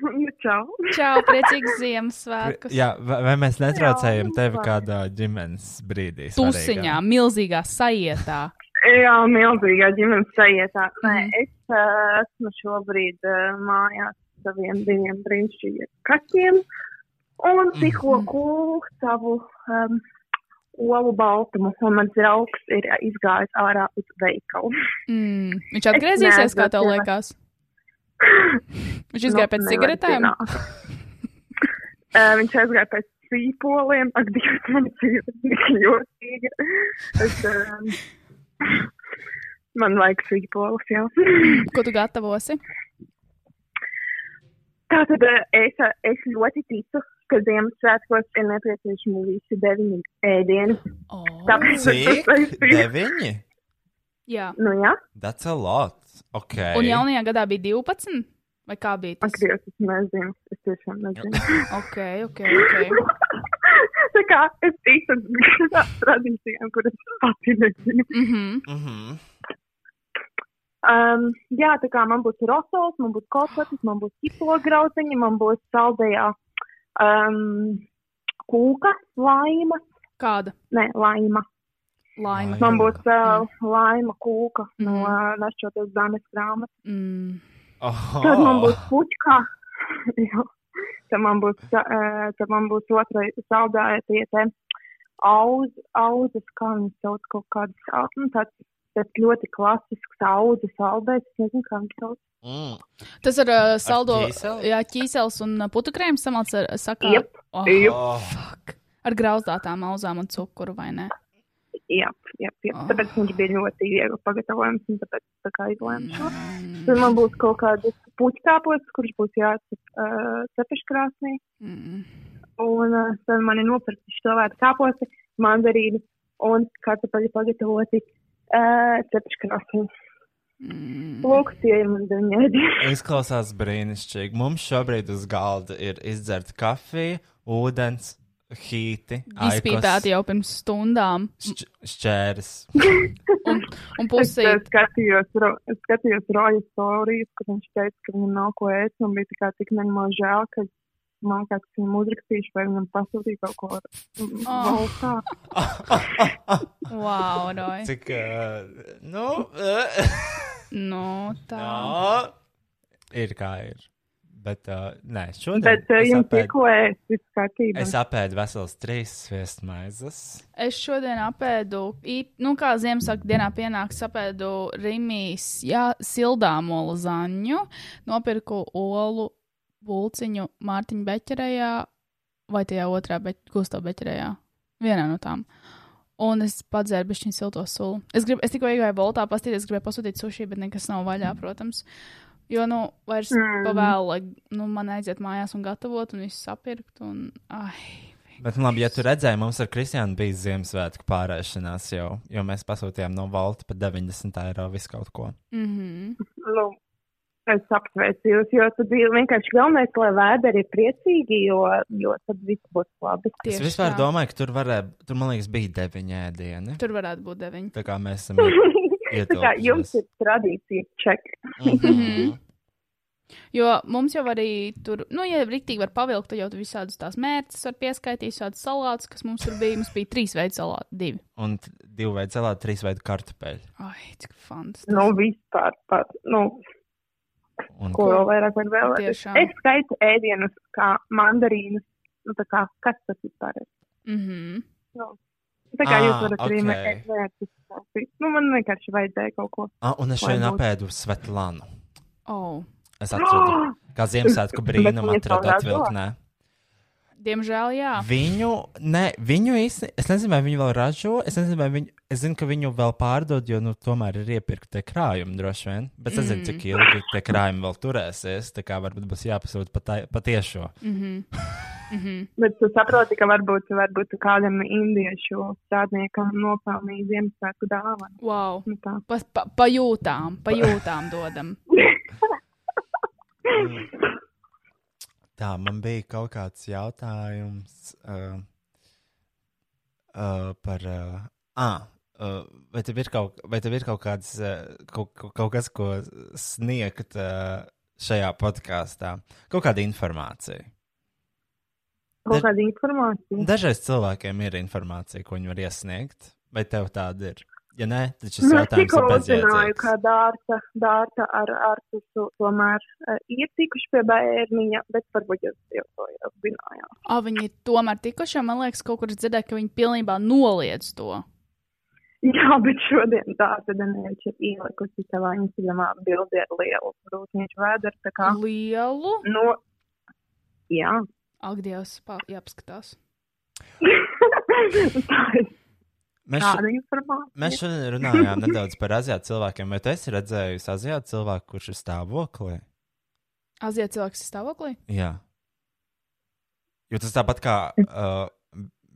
H: Nu, čau! *laughs*
C: Čau, priecīgs Ziemassvētku!
B: Jā, vai vai mēs netraucējam tevi kādā ģimenes brīdī?
C: Tusiņā, milzīgā sajietā.
H: Jā, milzīgā ģimenes sajietā. Nē,
C: Mhm.
H: es uh, esmu šobrīd uh, mājās ar saviem diviem brīnišķīgiem kaķiem un
C: Mhm.
H: tikko kūlu savu um, olu baltumu, un mans draugs ir izgājis ārā uz veikalu.
C: Mm. Viņš atgriezīsies, kā tev
H: neesmu
C: liekas? Viņš
H: Nu,
C: izgāja pēc cigaretēm?
H: *laughs* Uh, viņš aizgāja pēc sīpoliem, ak, Dievs, man dzīve ir tik jocīga. Es, um, *laughs* man vajag sīpolis, jā.
C: Ko tu gatavosi?
H: Tātad eh, es, eh, es ļoti ticu, ka Ziemassvētkos ir nepieciešami visi deviņi ēdieni.
C: Oh.
H: Tāpēc es
B: Cik?
H: uztaisīju.
B: Deviņi?
C: Jā.
H: Nu jā,
B: That's a lot. Okay.
C: Un jaunajā gadā bija 12? Vai kā bija?
H: ak, Dievs, es nezinu. Es tiešām nezinu.
C: Ok, ok, ok.
H: Tā kā es ticu tādām tradīcijām, kuras pati nezinu.
C: Mm -hmm.
B: mm -hmm.
H: Um, jā, tā kā man būs rosols, man būs kokotis, man būs hipograuziņi, man būs saldējā um, kūka, laima.
C: Kāda
H: Nē, laima.
C: laime?
H: Man būs uh, laima kūka no uh, našķoties Danes grāmatas.
C: Mm.
B: Oh.
H: Tad man būs puķka. *laughs* Jā. tad man būs, uh, tad man būs otra saldāja tie te auz, auzas, kā viņas sauc kaut kādas, au- nu, tāds, tas ļoti klasisks auzu saldējs, es nezinu, kā viņas sauc.
B: Mm.
C: Tas ir uh, saldo.
B: ķīseli?
C: Jā, ķīsels un uh, putukrējums samalts ar sakām.
H: Jep.
C: Oh,
H: Jep.
B: Oh.
C: fuck. Ar grauzdātām auzām un cukuru vai ne?
H: Jā, jā, jā.
C: Ah.
H: Tāpēc viņš bija ļoti viegli pagatavojams un tāpēc tā kā izlēma šo.
C: Mm.
H: Tad man būs kaut kādas puķkāpos, kurš būs jāatcep uh, cepeškrāsnī.
C: Mm.
H: un uh, tad man ir nopirkti šķilvēti kāposti, mandarīni un kartupeļi pagatavoti uh, cepškrāsni.
C: Mm.
H: Lūk, tie ir mani divi.
B: Izklausās brīnišķīgi. Mums šobrīd uz galda ir izdzerta kafija, ūdens, hīti,
C: Izpīpēti jau pirms stundām.
B: Šķ šķērs.
C: Un, un
H: Es
C: pusī.
H: eh, skatījos, Ro- es skatījos Roja storijas, kur viņš teica, ka viņam nav ko ēst, un bija tā kā tik nenormāli žēl, ka mājās, kas viņam uzrakstījuši, vai viņam pasūtīja kaut ko mm, vēl tādu.
C: Wow, Roy.
B: Cik, uh, nu, uh,
C: Nu, tā.
B: tā. ir kā ir. Bet, uh, nē, šodien.
H: Bet uh,
B: es
H: jums
B: apēdu-
H: tikko ēst, viss kārtībā.
B: Es apēdu vesels trīs sviestmaizes.
C: Es šodien apēdu, ī- nu, kā Ziemassvētku dienā pienāks, apēdu Rimijas, jā, sildāmo lazaņu, nopirku olu bulciņu Mārtiņa Beķerējā vai tajā otrā be gusto Beķerējā. Vienā no tām. Un es padzēru bišķiņu silto sulu. Es, grib, es tikko iegāju boltā pastīties, gribēju pasūtīt suši, bet nekas nav vaļā, protams. Jo, nu, vairs mm.
H: Mm.
C: pavēlu, nu, man aiziet mājās un gatavot un visu sapirkt un, ai,
B: Bet, nu, labi, ja tu redzēji, mums ar Kristiānu bija Ziemassvētku pārēšanās jau, jo mēs pasūtījām no Valta par 90 eiro visu kaut ko.
C: Mhm.
H: nu, es apsveicu jūs, jo tad ir vienkārši galvenais, lai vēderi ir priecīgi, jo, jo tad viss būs labi.
B: Es
C: Tieši
B: vispār
C: tā.
B: domāju, ka tur varēja, tur man liekas, bija deviņi ēdieni.
C: tur varētu būt deviņi.
B: Tā kā mēs esam.
H: *laughs* Tā kā jums ir tradīcija ček.
B: Mhm.
C: Jo mums jau arī tur, nu, ja rīktīgi var pavilkt, tad jau tur visādus tās mērķus var pieskaitīt, visādus salātus, kas mums tur bija. Mums bija trīs veidi salāti, divi.
B: *laughs* Un t- divi veidi salāti, trīs veidi kartupeļi.
C: Ai, cik fantastiski.
H: Nu, vispār, pat, nu,
B: Un
H: ko vēl vairāk var vēlēties.
C: Tiešām.
H: Es skaitu ēdienus kā mandarīnus, nu, tā kā, kas tas vispār ir?
C: Mhm.
H: Tā kā
B: Ā,
H: jūs varat arī
B: ok.
H: mē- mērķus izpildīt. Nu, man vienkārši vajadzēja kaut ko.
B: Ah, un es šodien
H: Lai būtu.
B: apēdu Svetlānu.
C: Oh.
B: Es atradu, kā Ziemassvētku brīnumu
H: *laughs* Bet viņas
B: atradu
H: vēl ražo?
B: atvilknē.
C: Diemžēl, jā.
B: Viņu, ne, viņu īsti, es nezinu, vai viņu vēl ražo. Es nezinu, vai viņu, es zinu, ka viņu vēl pārdod, jo, nu, tomēr ir iepirkti tie krājumi droši vien. Bet es nezinu, cik ilgi tie krājumi vēl turēsies. Tā kā varbūt būs jāpasūta patai- patiešo.
C: Mhm.
H: Bet tu saproti, ka varbūt, varbūt tu kādam indiešu strādniekam nopelnīja Ziemassvētku dāvanu.
C: Wow.
H: Nu, tā.
C: Pa, pa, pajūtām, pajūtām dodam.
B: *laughs* Tā, man bija kaut kāds jautājums uh, uh, par. Uh, ah, uh, vai tev ir kaut, vai tev ir kaut, kāds, uh, kaut, kaut- kaut kas, ko sniegt uh, šajā podkāstā? Kaut kāda informācija.
H: Kaut
B: Dar-
H: kāda informācija.
B: Dažreiz cilvēkiem ir informācija, ko viņi var iesniegt, vai tev tāda ir? Ja nē, tad šis
H: Nu, es
B: jautājums
H: tikko
B: ir
H: uzzināju, ka
B: bezjēdzīgs.
H: Dārta, Dārta ar Artusu tomēr uh, ir tikuši pie bērniņa, bet varbūt jūs jau to jau zinājāt. *laughs*
C: Ah, viņi ir tomēr tikuši, jo man liekas, kaut kur es dzirdēju, ka viņi pilnībā noliedz to.
H: Jā, bet šodien Dārta Danēča ir ielikusi savā Instagramā bildi ar lielu grūtniešu vēderu, tā kā,
C: Lielu.
H: nu, jā. *laughs*
C: Ak, Dievs, pa- jāpaskatās.
H: tā ir
B: Mēs šo-
H: tāda informācija.
B: Mēs šodien runājām nedaudz par azijātu cilvēkiem, bet es redzēju azijātu cilvēku, kurš ir stāvoklī.
C: Aziet cilvēks ir stāvoklī?
B: Jā. Jo tas tāpat kā. Uh,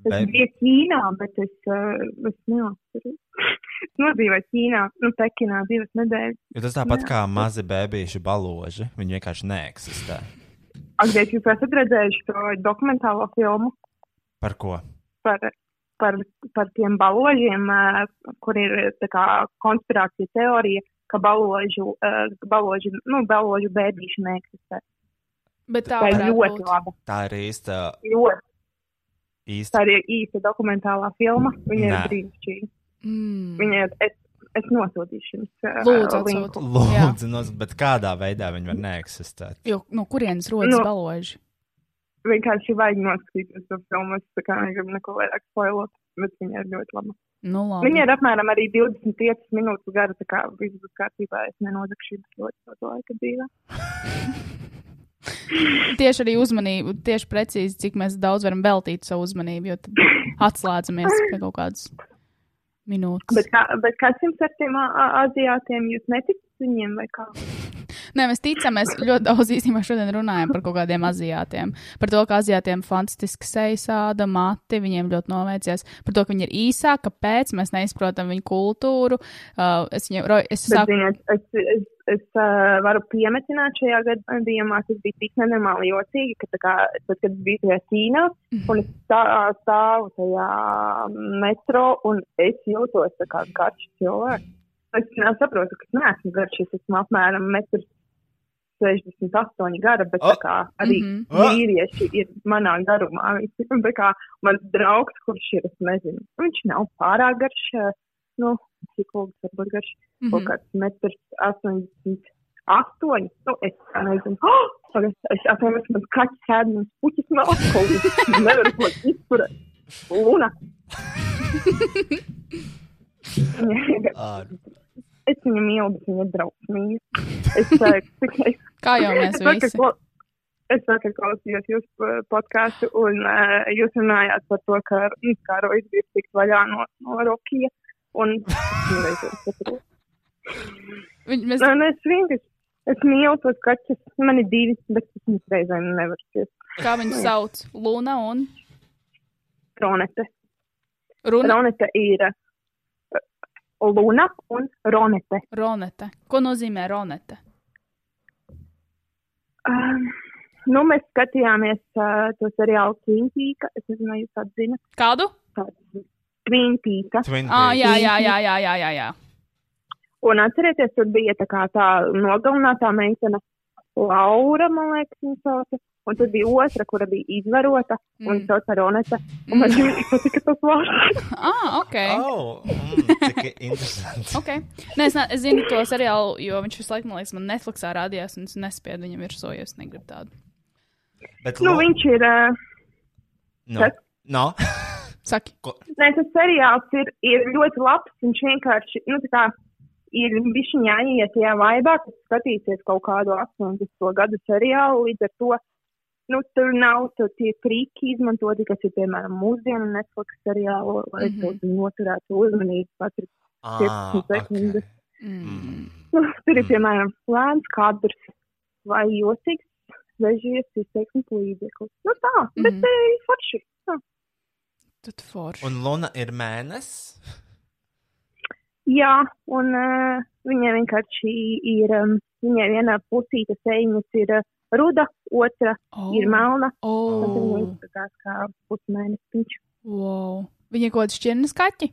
H: Es
B: be...
H: biju Ķīnā, bet es, uh, es neatceros. *laughs* Es nodzīvoju Ķīnā, nu, Pekinā divas nedēļas.
B: Jo tas tāpat kā mazi bērnu baloži. Viņi vienkārši neeksistē.
H: Agdēļ jūs esat redzējuši to dokumentālo filmu
B: Par ko?
H: par, par, par tiem baložiem, uh, kur ir tā kā konspirācija teorija, ka baložu, uh, baloži, nu, baložu bēdīši neeksistē.
C: Bet tā,
H: Tā ir
C: varētu
H: ļoti
C: būt.
H: laba.
B: Tā ir īsta.
H: Ļoti.
B: īsta...
H: Tā ir īsta dokumentālā filma. Viņa ir
B: Nē.
H: brīnišķīga.
C: Mm.
H: Viņa ir, es, es nosūtīšu jums. Uh,
C: Lūdzu,
H: linku.
C: atsūti. Jā.
B: Lūdzu, nos, bet kādā veidā viņi var neeksistēt?
C: Jo, no kurienes rodas
H: Nu.
C: no. baloži?
H: vienkārši vajag noskatīties to filmu. Es tā kā negribu neko vairāk spoilot, bet viņa ir ļoti laba.
C: Nu, labi.
H: Viņa ir apmēram arī 25 minūtes gara, tā kā viss būs kārtībā. Es nenodakšu jums ļoti daudz laika dzīvē.
C: *laughs* Tieši arī uzmanību, tieši precīzi, cik mēs daudz varam veltīt savu uzmanību, jo
H: *laughs*
C: tad atslēdzamies pie kaut kādas minūtes.
H: Bet, kā, bet kas jums ar tiem ā- ā- aziātiem? Jūs neticat viņiem vai kā?
C: Nē, mēs ticam, mēs ļoti daudz īstenībā šodien runājam par kaut kādiem aziātiem. Par to, ka aziātiem fantastiski sejasāda, mati, viņiem ļoti noveicies. Par to, ka viņi ir īsāki, kāpēc mēs neizprotam viņu kultūru. Uh, es viņu, Roj, es
H: Bet,
C: sāku,
H: ziniet, es, es, es uh, varu piemetināt šajā gadījumā, tas bija tik nenormāli jocīgi, ka, tā kā, tad, kad es biju tajā Ķīnā, un es stā, stāvu tajā mm, metro, un es jūtos tā kā garš cilvēks. Es nesaprotu, ka es neesmu garš, es esmu apmēram metrs 68 gara, bet oh. kā arī mm -hmm. vīrieši ir manā garumā. Visi. Un tā kā mans draugs, kurš ir, es nezinu, viņš nav pārāk garš, eh, nu, cik logs varbūt garš, mm -hmm. kaut kāds metrs 88, nu, es tā nezinu. *gasps* Oh! Pagad, es atvainojos, man kaķis ēd, man puķis nav alkoholis, nevaru to izturēt. Luna. *laughs* Es viņu mīlu, bet viņa ir drausmīga. Es domāju,
C: Kā jau
H: *laughs*
C: mēs visi.
H: Es vakar klausījos jūsu eh, podkāstu, un uh, jūs runājāt par to, ka nu, karojas bija tik vaļā no, no Rukija. Un *laughs* es saprotu.
C: Viņ, mēs,
H: Un es vienkārši, es mīlu tos kaķus, man ir divi, bet es viņus reizēm nevaru ciest.
C: kā viņu sauc? Luna un
H: Ronete.
C: Runa.
H: Ronete ir eh, Luna un Ronete.
C: Ronete. Ko nozīmē Ronete?
H: Um, nu, mēs skatījāmies uh, to seriālu Kīnpīka, es nezinu, vai jūs atzinat,
C: Kādu?
H: tāds Kīnpīka.
B: Twin
C: Ah,
B: Peaks.
C: jā, jā, jā, jā, jā, jā, jā.
H: Un atcerieties, tur bija tā kā tā nogalinātā meitene Laura, man liekas, viņa sauca. Un tad bija otra, kura bija izvarota un
C: Mm.
H: sauca Ronete. Un man ļoti patika tas vārds.
C: Ah, ok.
B: Oh, mm, cik interesanti.
C: Okay. Nē, es, ne, es zinu to seriālu, jo viņš visu laiku, man liekas, man Netflixā rādījās, un es nespēju viņam virsū, jo es negribu tādu.
B: Bet,
H: Nu,
B: lo-
H: viņš ir, ā,
B: no,
H: kas?
B: no.
C: Saki,
H: nē, tas seriāls ir, ir ļoti labs. Viņš vienkārši, nu, tā kā ir bišķi jāiet tajā vaibā, kad skatīsies kaut kādu 80. gadu seriālu. Līdz ar to, nu, tur nav tu- tie triki izmantoti, kas ir, piemēram, mūsdienu Netflix seriālo, lai mm
C: Mhm.
H: -hmm. noturētu uzmanību. Patrick
B: Ah, Mm. okay.
H: Nu, tur ir piemēram lēns kadrs vai jocīgs vežies izteiksmes līdzeklis. Nu tā, bet
C: Mhm.
H: mm. ir forši. Tā.
C: tad forši.
B: Un Luna ir mēnesis.
H: Jā, un uh, viņai vienkārši ir, um, viņai vienā pusīte sēņas ir uh, ruda, otra
C: Oh,
H: oh. ir melna. Un tad viņa
C: Oh,
H: izskatās kā pusmēnesis. Viņš
C: wow. Viņa ir kaut kāda šķirnes kaķi?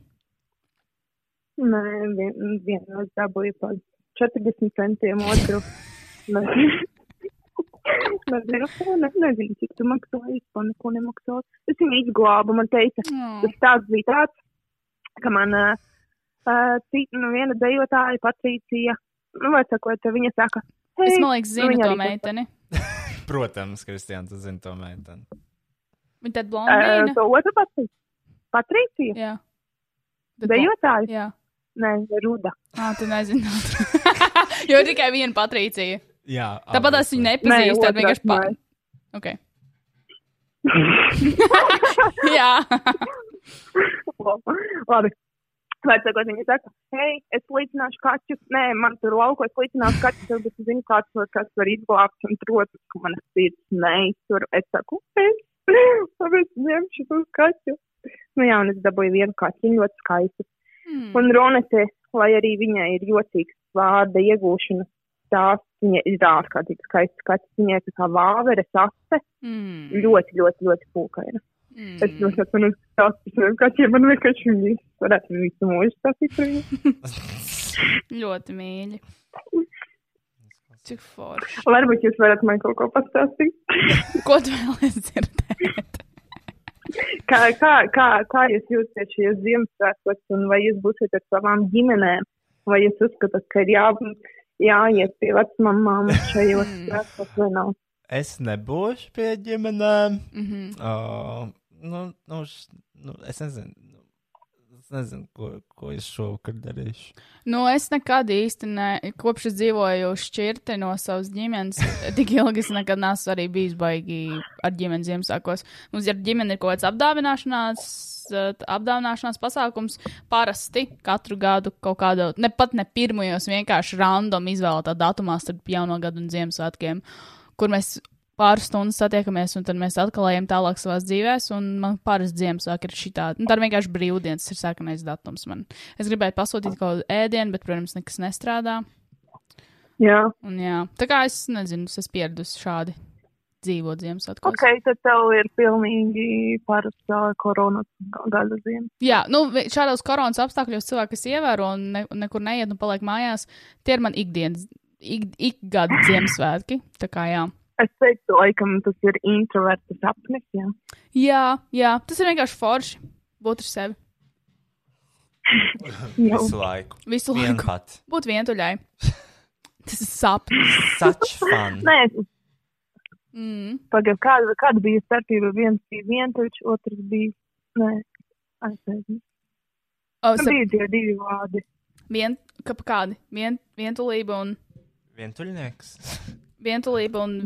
H: nē, vien- vienmēr dabūja pa 40 centiem otru.
C: *laughs*
H: Nezinu. Nezinu, ne- nezinu, cik tu maksāji, es pa neko nemaksāju. Es viņu izglābu, man teica,
C: Mm.
H: Tas tāds bija tāds, ka man uh, nu, viena dejotāja, Patricija, nu, vai sakot, viņa saka,
C: Es,
H: hei,
C: man liekas,
H: Nu,
C: zinu
H: viņa
C: to
H: arī tas-
C: meiteni.
B: Protams, Kristija, tu zini to meiteni.
C: Viņa tad
H: uh,
C: blondīna.
H: to otru Patricija. Patricija?
C: Jā. Tad blo-
H: Dejotāja?
C: Jā.
H: Nē, Ruda.
C: Ā, tu nezini. *laughs* jo ir tikai viena patrīcija.
B: Jā,
C: Tāpat es viņu nepazīstu, tad vienkārši pāri. Okay. Jā.
H: *laughs* Labi. Vai sakot, viņa saka, hei, es līdzināšu kaķus. Nē, man tur laukos līdzinās kaķus, varbūt tu zini, kāds var, kas var izglābt. Un, protams, ka manas sirds neiztur. Es saku, hei, *laughs* labi, es ņemšu tos kaķus. Nu jā, un es dabūju vienu kaķiņu, ļoti skaistu.
C: Hmm.
H: Un Ronete, lai arī viņai ir jocīgs vārda iegūšanas stāsts, viņa ir ārkārtīgi skaista kaķis. Viņai tā kā vāveres aste
C: Mm.
H: ļoti, ļoti, ļoti pūkaina. Es
C: Mm.
H: ļoti atvainojos, ka tas ir tas, kas man vienkārši ir. Varētu visu mūžu stāstīt par viņu.
C: Ļoti mīļi. Cik forši.
H: Varbūt jūs varat man kaut ko pastāstīt.
C: Ko tu vēlaties dzirdēt?
H: Kā, kā, kā, kā jūs jūtaties šajos Ziemassvētkos, un vai jūs būsiet ar savām ģimenēm, vai jūs uzskatāt, ka ir jā, jāiet pie vecmāmām šajos svētkos vai nav?
B: Es nebūšu pie ģimenēm.
C: Mm -hmm.
B: Uh, nu, nu, š- nu, es nezinu. nu, Es nezinu, ko, ko es šovakar darīšu.
C: Nu, es nekad īsti ne, kopš es dzīvoju šķirti no savas ģimenes, *laughs* tik ilgi es nekad neesmu arī bijis baigi ar ģimeni Ziemassvētkos. Mums ir ģimene ir kaut kāds apdāvināšanās, eh, apdāvināšanās pasākums. Parasti katru gadu kaut kādu, ne pat ne pirmajos, vienkārši random izvēlētā datumā starp jauno gadu un Ziemassvētkiem, kur mēs pāris stundas satiekamies, un tad mēs atkal ejam tālāk savās dzīvēs, un man pāris Ziemassvētki ir šitādi. Nu, tad vienkārši brīvdienas ir sākamais datums man. Es gribēju pasūtīt kaut kādu ēdienu, bet, protams, nekas nestrādā.
H: Jā,
C: Un, jā. Tā kā es nezinu, es esmu pieradusi šādi dzīvot Ziemassvētkos.
H: ok, tad tev ir pilnīgi parastā koronas gada ziņa.
C: Jā, nu, vi- šādos koronas apstākļos cilvēki, kas ievēro un ne, nekur neiet un paliek mājās, tie ir man ikdienas ik, ik gada Ziemassvētki. Tā kā jā.
H: Es teiktu, laikam tas ir introverta sapnis. Jā.
C: Jā, jā, tas ir vienkārši forši. Būt ar sevi.
H: Jau.
B: Visu laiku.
C: Visu laiku.
B: Vienpat.
C: Būt vientuļai. *laughs* Tas ir sapnis.
B: Such
H: *laughs*
B: fun.
H: Nē,
C: Mm.
H: pagaid, kāda, kāda bija starpība? Viens bija vientuļš, otrs bija. Nē, aizsēdzi.
C: O,
H: Tas
C: sap,
H: bija tie divi vārdi.
C: vien, kā, kādi? Vien, vientulība un.
B: Vientuļnieks.
C: Vientulība un.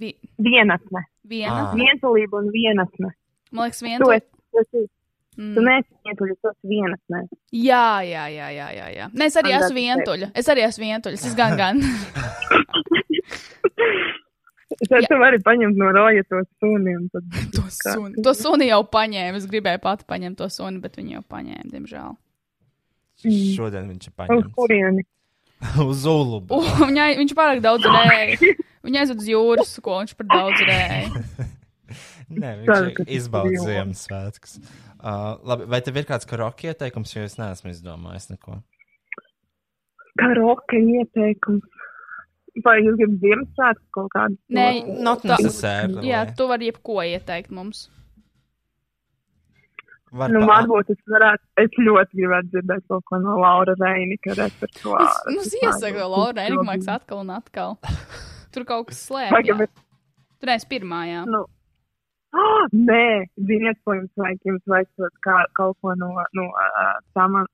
C: Vi,
H: Vienatne.
C: viena.
B: Ah.
H: Vientulība un vienatne.
C: Man liekas,
H: Tu
C: vientuļa.
H: esi, tu esi, tu
C: Mm.
H: neesi vientuļš, tu esi vienatne.
C: Jā, jā, jā, jā, jā, jā. Nē, es arī
H: Man
C: esmu
H: liekas,
C: vientuļa. Es arī esmu vientuļa. Es gan, gan.
H: *laughs* Tad tu vari paņemt no roja to suni un
C: *laughs*
H: tad.
C: to suni. To suni jau paņēmu. Es gribēju pati paņemt to suni, bet viņi jau paņēma, diemžēl.
B: Šodien viņš ir
H: Uz
B: paņemts.
H: kurieni?
B: *laughs* Uz ulubu.
C: U, viņa, ai- viņš pārāk daudz rēja. Viņa aizved uz jūras, ko viņš par daudz rēja.
B: Nē,
H: Ceru, ka
B: viņš
H: tas
B: izbauda
H: bija labi.
B: Ziemassvētkus. Uh, labi, vai tev ir kāds karaoke ieteikums, jo es neesmu izdomājis neko?
H: Karoka ieteikums. Vai jūs gribat Ziemassvētku kaut kādu?
C: Nē,
B: Not
C: Nu, tā-
B: necessarily.
C: Jā, tu vari jebko ieteikt mums.
B: Var
H: Nu,
B: pa-
H: varbūt es varētu, es ļoti gribētu dzirdēt kaut ko no Laura Reinika repertuāra.
C: Es- Nu, iesaka, Laura, Enigmāks atkal un atkal. Tur kaut kas
H: Pagaid,
C: slēpjas.
H: bet-
C: Tur es pirmā, jā.
H: Nu. Oh, *gasps* nē, ziniet, ko jums vajag. Jums vajag kaut kā, kaut ko no, no uh, saman,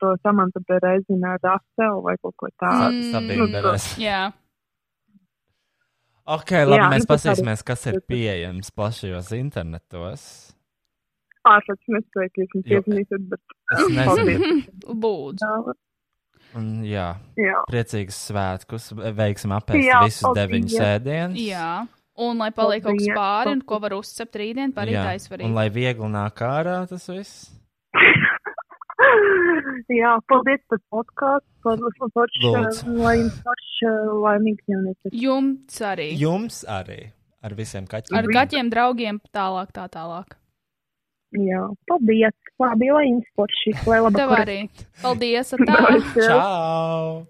H: to samanta Berezina Rafel vai kaut ko
B: Sa-
H: tādu.
B: Sabinderēs.
C: Jā,
B: Ok, labi,
H: Jā,
B: jā, mēs
H: nu, tas arī-
B: paskatīsimies, kas ir pieejams plašajos internetos.
H: Ārpats nespēju, ka jūs man
B: Jo-
H: piezīmīsiet, bet
B: Es
H: *laughs*
B: nezinu.
C: lūdzu.
H: tā.
B: Un, jā,
H: Jā. *laughs*
B: priecīgs svētkus, veiksim apēst
H: Jā,
B: visus
H: paldies.
B: deviņus sēdienus.
C: Jā. Un lai paliek kaut kas
H: Paldies.
C: pāri, un ko var uzcept rītdien, parīt
B: Jā, Un
C: aizvarīt.
B: lai viegli nāk ārā tas viss.
H: Jā, paldies par podkāstu. Paldies par
B: Lūdzu.
H: podkāstu. Lai jums forši laimīgi jaunieci.
C: Jums arī.
B: Jums arī. Ar visiem kaķiem.
C: Ar kaķiem, draugiem, tālāk, tā tālāk.
H: Jā, paldies. Labi, lai jums forši. Lai labi.
C: Tev arī. Paldies, ar tā.
H: *laughs*
B: Čau!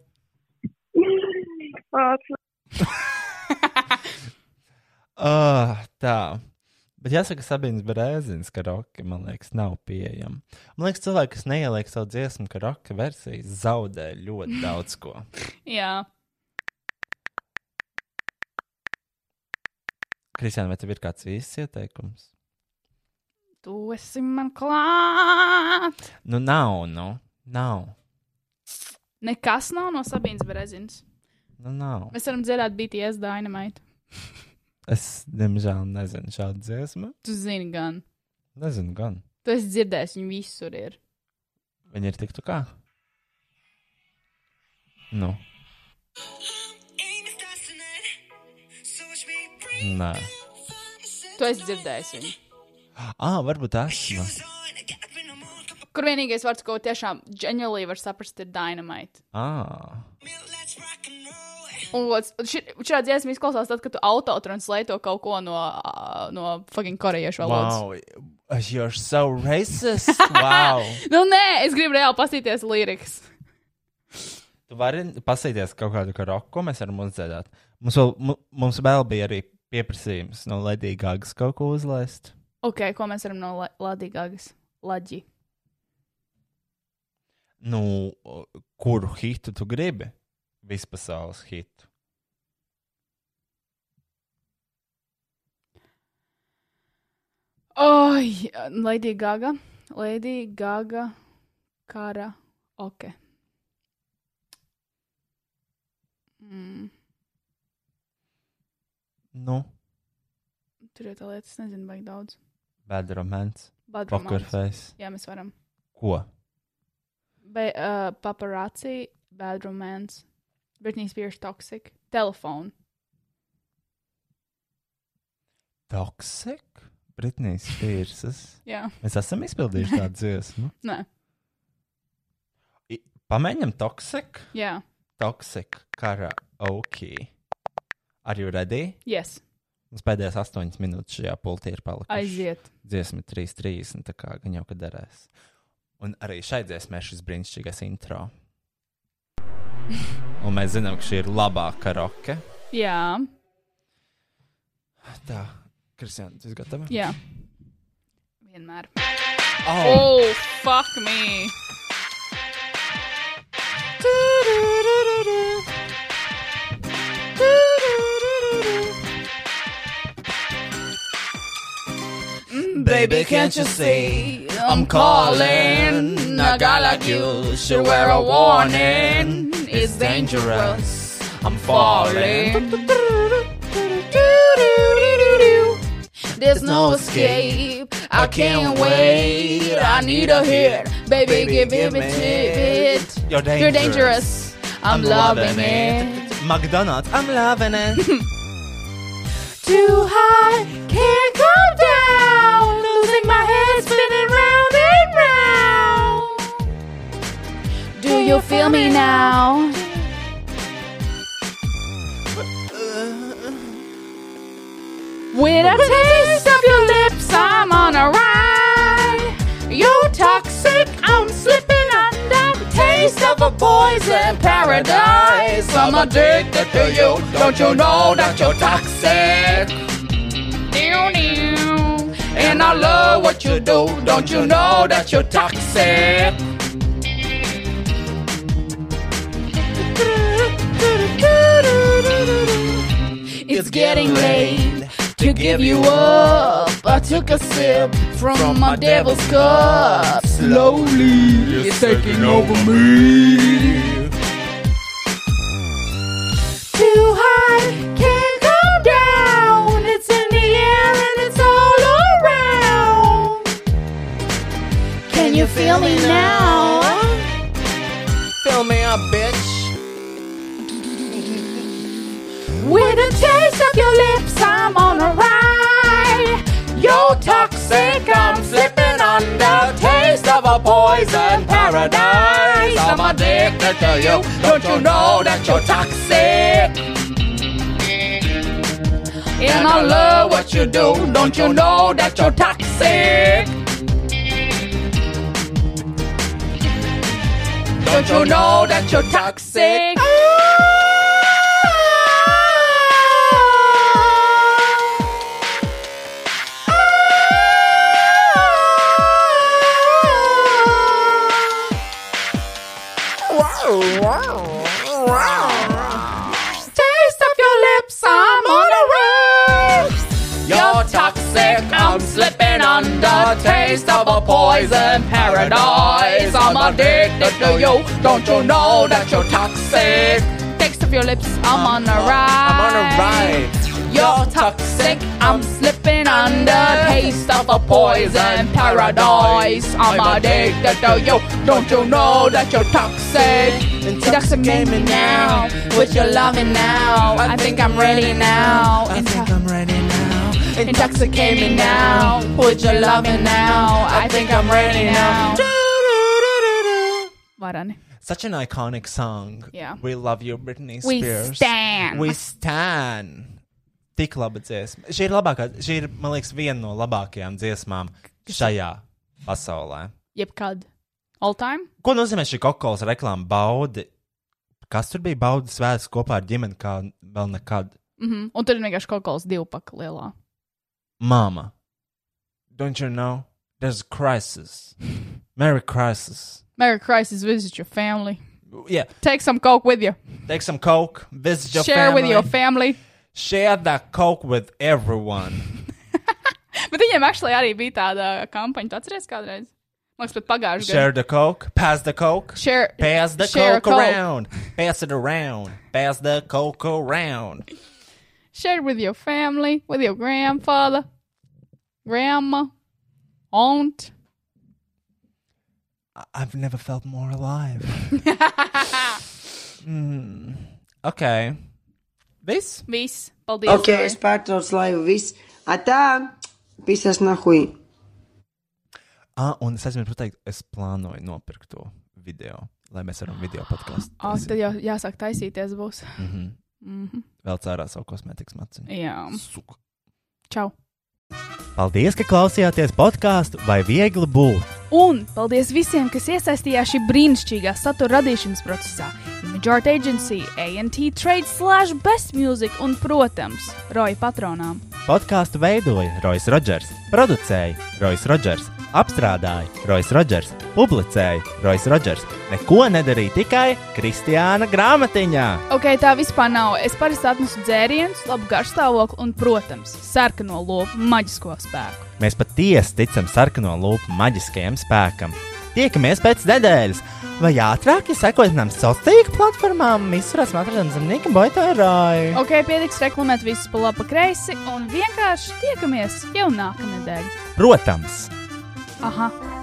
B: Uh, tā. Bet jāsaka, Sabīnas Brēzins karaoke, man liekas, nav pieejama. Man liekas, cilvēki, kas neieliek savu dziesmu karaoke versiju, zaudē ļoti daudz ko.
C: Jā.
B: Kristiāna, vai tev ir kāds īsts ieteikums?
C: Tu esi man klāt.
B: Nu, nav, nu, nav.
C: Nekas nav no Sabīnas Berezinas.
B: Nu, nav.
C: Mēs varam dzirdēt BTS Dynamite.
B: Es, diemžēl, nezinu šādu dziesmu.
C: Tu zini gan.
B: Nezinu, gan.
C: Tu esi dzirdējis, viņi visur ir.
B: Viņa ir tiktu kā? Nu, nē.
C: Tu esi dzirdējis viņu.
B: Ā, varbūt esmu.
C: Kur vienīgais vārds, ko tiešām ģeniāli var saprast, ir Dynamite.
B: Ā,
C: Un lots- šī- šī dziesma izklausās tad, kad tu autotranslēto kaut ko no, ā, no fucking korejiešu valodas. Wow.
B: wow. You're so racist. Wow.
C: Nu, nē, es gribu reāli pasīties lirikas.
B: Tu vari pasīties kaut kādu karoku, ko mēs varam uzdziedāt. Mums vēl, mu- mums vēl bija arī pieprasījums no Ledīgākas kaut ko uzlaist.
C: Ok, ko mēs varam no Ladīgāgas? Laģi.
B: Nu, o, kuru hitu tu gribi? Vispasaules hitu.
C: Oi, Ladīgāga. Ladīgāga. Kara. Ok. Mm,
B: Nu,
C: tur ir tā lieta, es nezinu, vajag daudz.
B: bad romance,
C: Bad
B: poker
C: romance.
B: face.
C: Jā, mēs varam.
B: Ko?
C: Be, uh, paparazzi, Bad Romance, Britney Spears Toxic, Telephone.
B: Toxic? Britnijas Spears.
C: Jā,
B: Mēs esam
C: *laughs*
B: izpildījuši tādu dziesmu.
C: nē,
B: I- Pamēģinam toxic.
C: jā,
B: Toxic karaoke. Are you ready?
C: yes,
B: Mums pēdējās astoņas minūtes šajā pultī ir palikušas.
C: aiziet.
B: dziesma 3.30. Tā kā gan jau, ka derēs. Un arī šai dziesmai šis brīnišķīgais intro. Un mēs zinām, ka šī ir labākā roka.
C: Jā,
B: Tā, Kristian, tu esi gatava?
C: jā. Vienmēr.
B: Oh,
C: Oh, fuck me!
B: Mm, baby, can't you see? I'm calling. A guy like you should wear a warning. It's dangerous. I'm falling.
C: There's no escape. I can't wait. I need a hit. Baby, give it to it.
B: You're dangerous.
C: You're dangerous. I'm loving it.
B: McDonald's, I'm loving it.
C: Too high, can't come down. Losing my head, spinning round and round. Do you feel me now? With a taste of your lips, I'm on a ride. You're toxic, I'm slipping under. Taste of a poison *laughs* paradise. I'm addicted to you. Don't you know that you're toxic? And I love what you do. Don't you know that you're toxic? It's getting late to give you up. I took a sip from, my devil's cup. Slowly, it's taking over me. Too high, can't come down. It's in the air and it's all around. Can you feel me now?
G: Fill me up, bitch.
C: With a taste of your lips, I'm on a ride. You're toxic, I'm slipping under. Taste of a poison paradise. I'm addicted to you. Don't you know that you're toxic? And I love what you do. Don't you know that you're toxic? Don't you know that you're toxic? Taste of your lips, I'm on a roll. You're toxic, I'm slipping under. Taste of a poison paradise. I'm addicted to you. Don't you know that you're toxic? Taste of your lips, I'm on a ride.
G: I'm on a ride.
C: You're toxic, I'm slipping under. Taste of a poison paradise. I'm addicted to you. Don't you know that you're toxic? Intoxicate me now with your loving now. I think I'm ready now.
B: I think I'm ready now.
C: Intoxicate me now with your loving now. I think I'm ready now. Varani.
B: Such an iconic song.
C: Yeah.
B: We love you, Britney
C: We
B: Spears.
C: stand.
B: We stand. Tik laba dziesma. Šī ir labākā, šī ir, man liekas, viena no labākajām dziesmām šajā pasaulē.
C: Jebkad. All time?
B: Ko nozīmē šī kokols reklāma baudi? Kas tur bija baudas svēts kopā ar ģimeni, kā vēl nekad?
C: Mhm. Un tur ir vienkārši kaut kāds divpaka lielā.
B: Mama, don't you know? There's a crisis. Merry crisis.
C: Merry Christmas, visit your family.
B: Yeah,
C: Take some coke with you.
B: take some coke, visit your
C: Share
B: family.
C: with your family.
B: Share that coke with everyone.
C: Bet viņiem actually arī bija tāda kampaņa. Tu atceries kādreiz? Man liekas, pat pagājušajā
B: Share the coke, pass the coke.
C: Share,
B: Pass the
C: share
B: coke, around. Pass it around. Pass the coke around.
C: Share with your family, with your grandfather, grandma, aunt.
B: I- I've never felt more alive. Mm, Okay. Viss?
C: Viss. Paldies.
I: Ok, es pārtraucu laivu, viss. Atā, pisas nahui.
B: Ah, un es aizmirsu pateikt, es plānoju nopirkt to video, lai mēs varam video podkāstu.
C: Oh, tad jau jāsāk taisīties būs.
B: vēl cērā savu kosmētikas maciņu.
C: Jā. Čau.
J: Paldies, ka klausījāties podkāstu vai viegli būt.
F: Un paldies visiem, kas iesaistījās šī brīnišķīgā satura radīšanas procesā. Ja jums
C: Big Art Agency, AT Trade slash Best Music un, protams, Roja patronām.
B: Podkāstu veidoja Rois Rodžers, producēja Rois Rodžers, apstrādāja Rois Rodžers, publicēja Rois Rodžers. Neko nedarīja tikai Kristiāna grāmatiņā.
C: Ok, tā vispār nav. Es parasti atnesu dzērienus, labu garšstāvokli un, protams, sarkano lopu maģisko spēku.
B: Mēs patiesi ticam sarkano lupu maģiskajam spēkam. Tiekamies pēc nedēļas, vai ātrāk, ja sekojat mums sociālajām tīkla platformām, visurās matradienas zemnieka boitārāju.
C: Ok, pietiks reklamēt visus pa labi, pa kreisi un vienkārši tiekamies jau nākamnedēļ.
B: Protams!
C: Aha!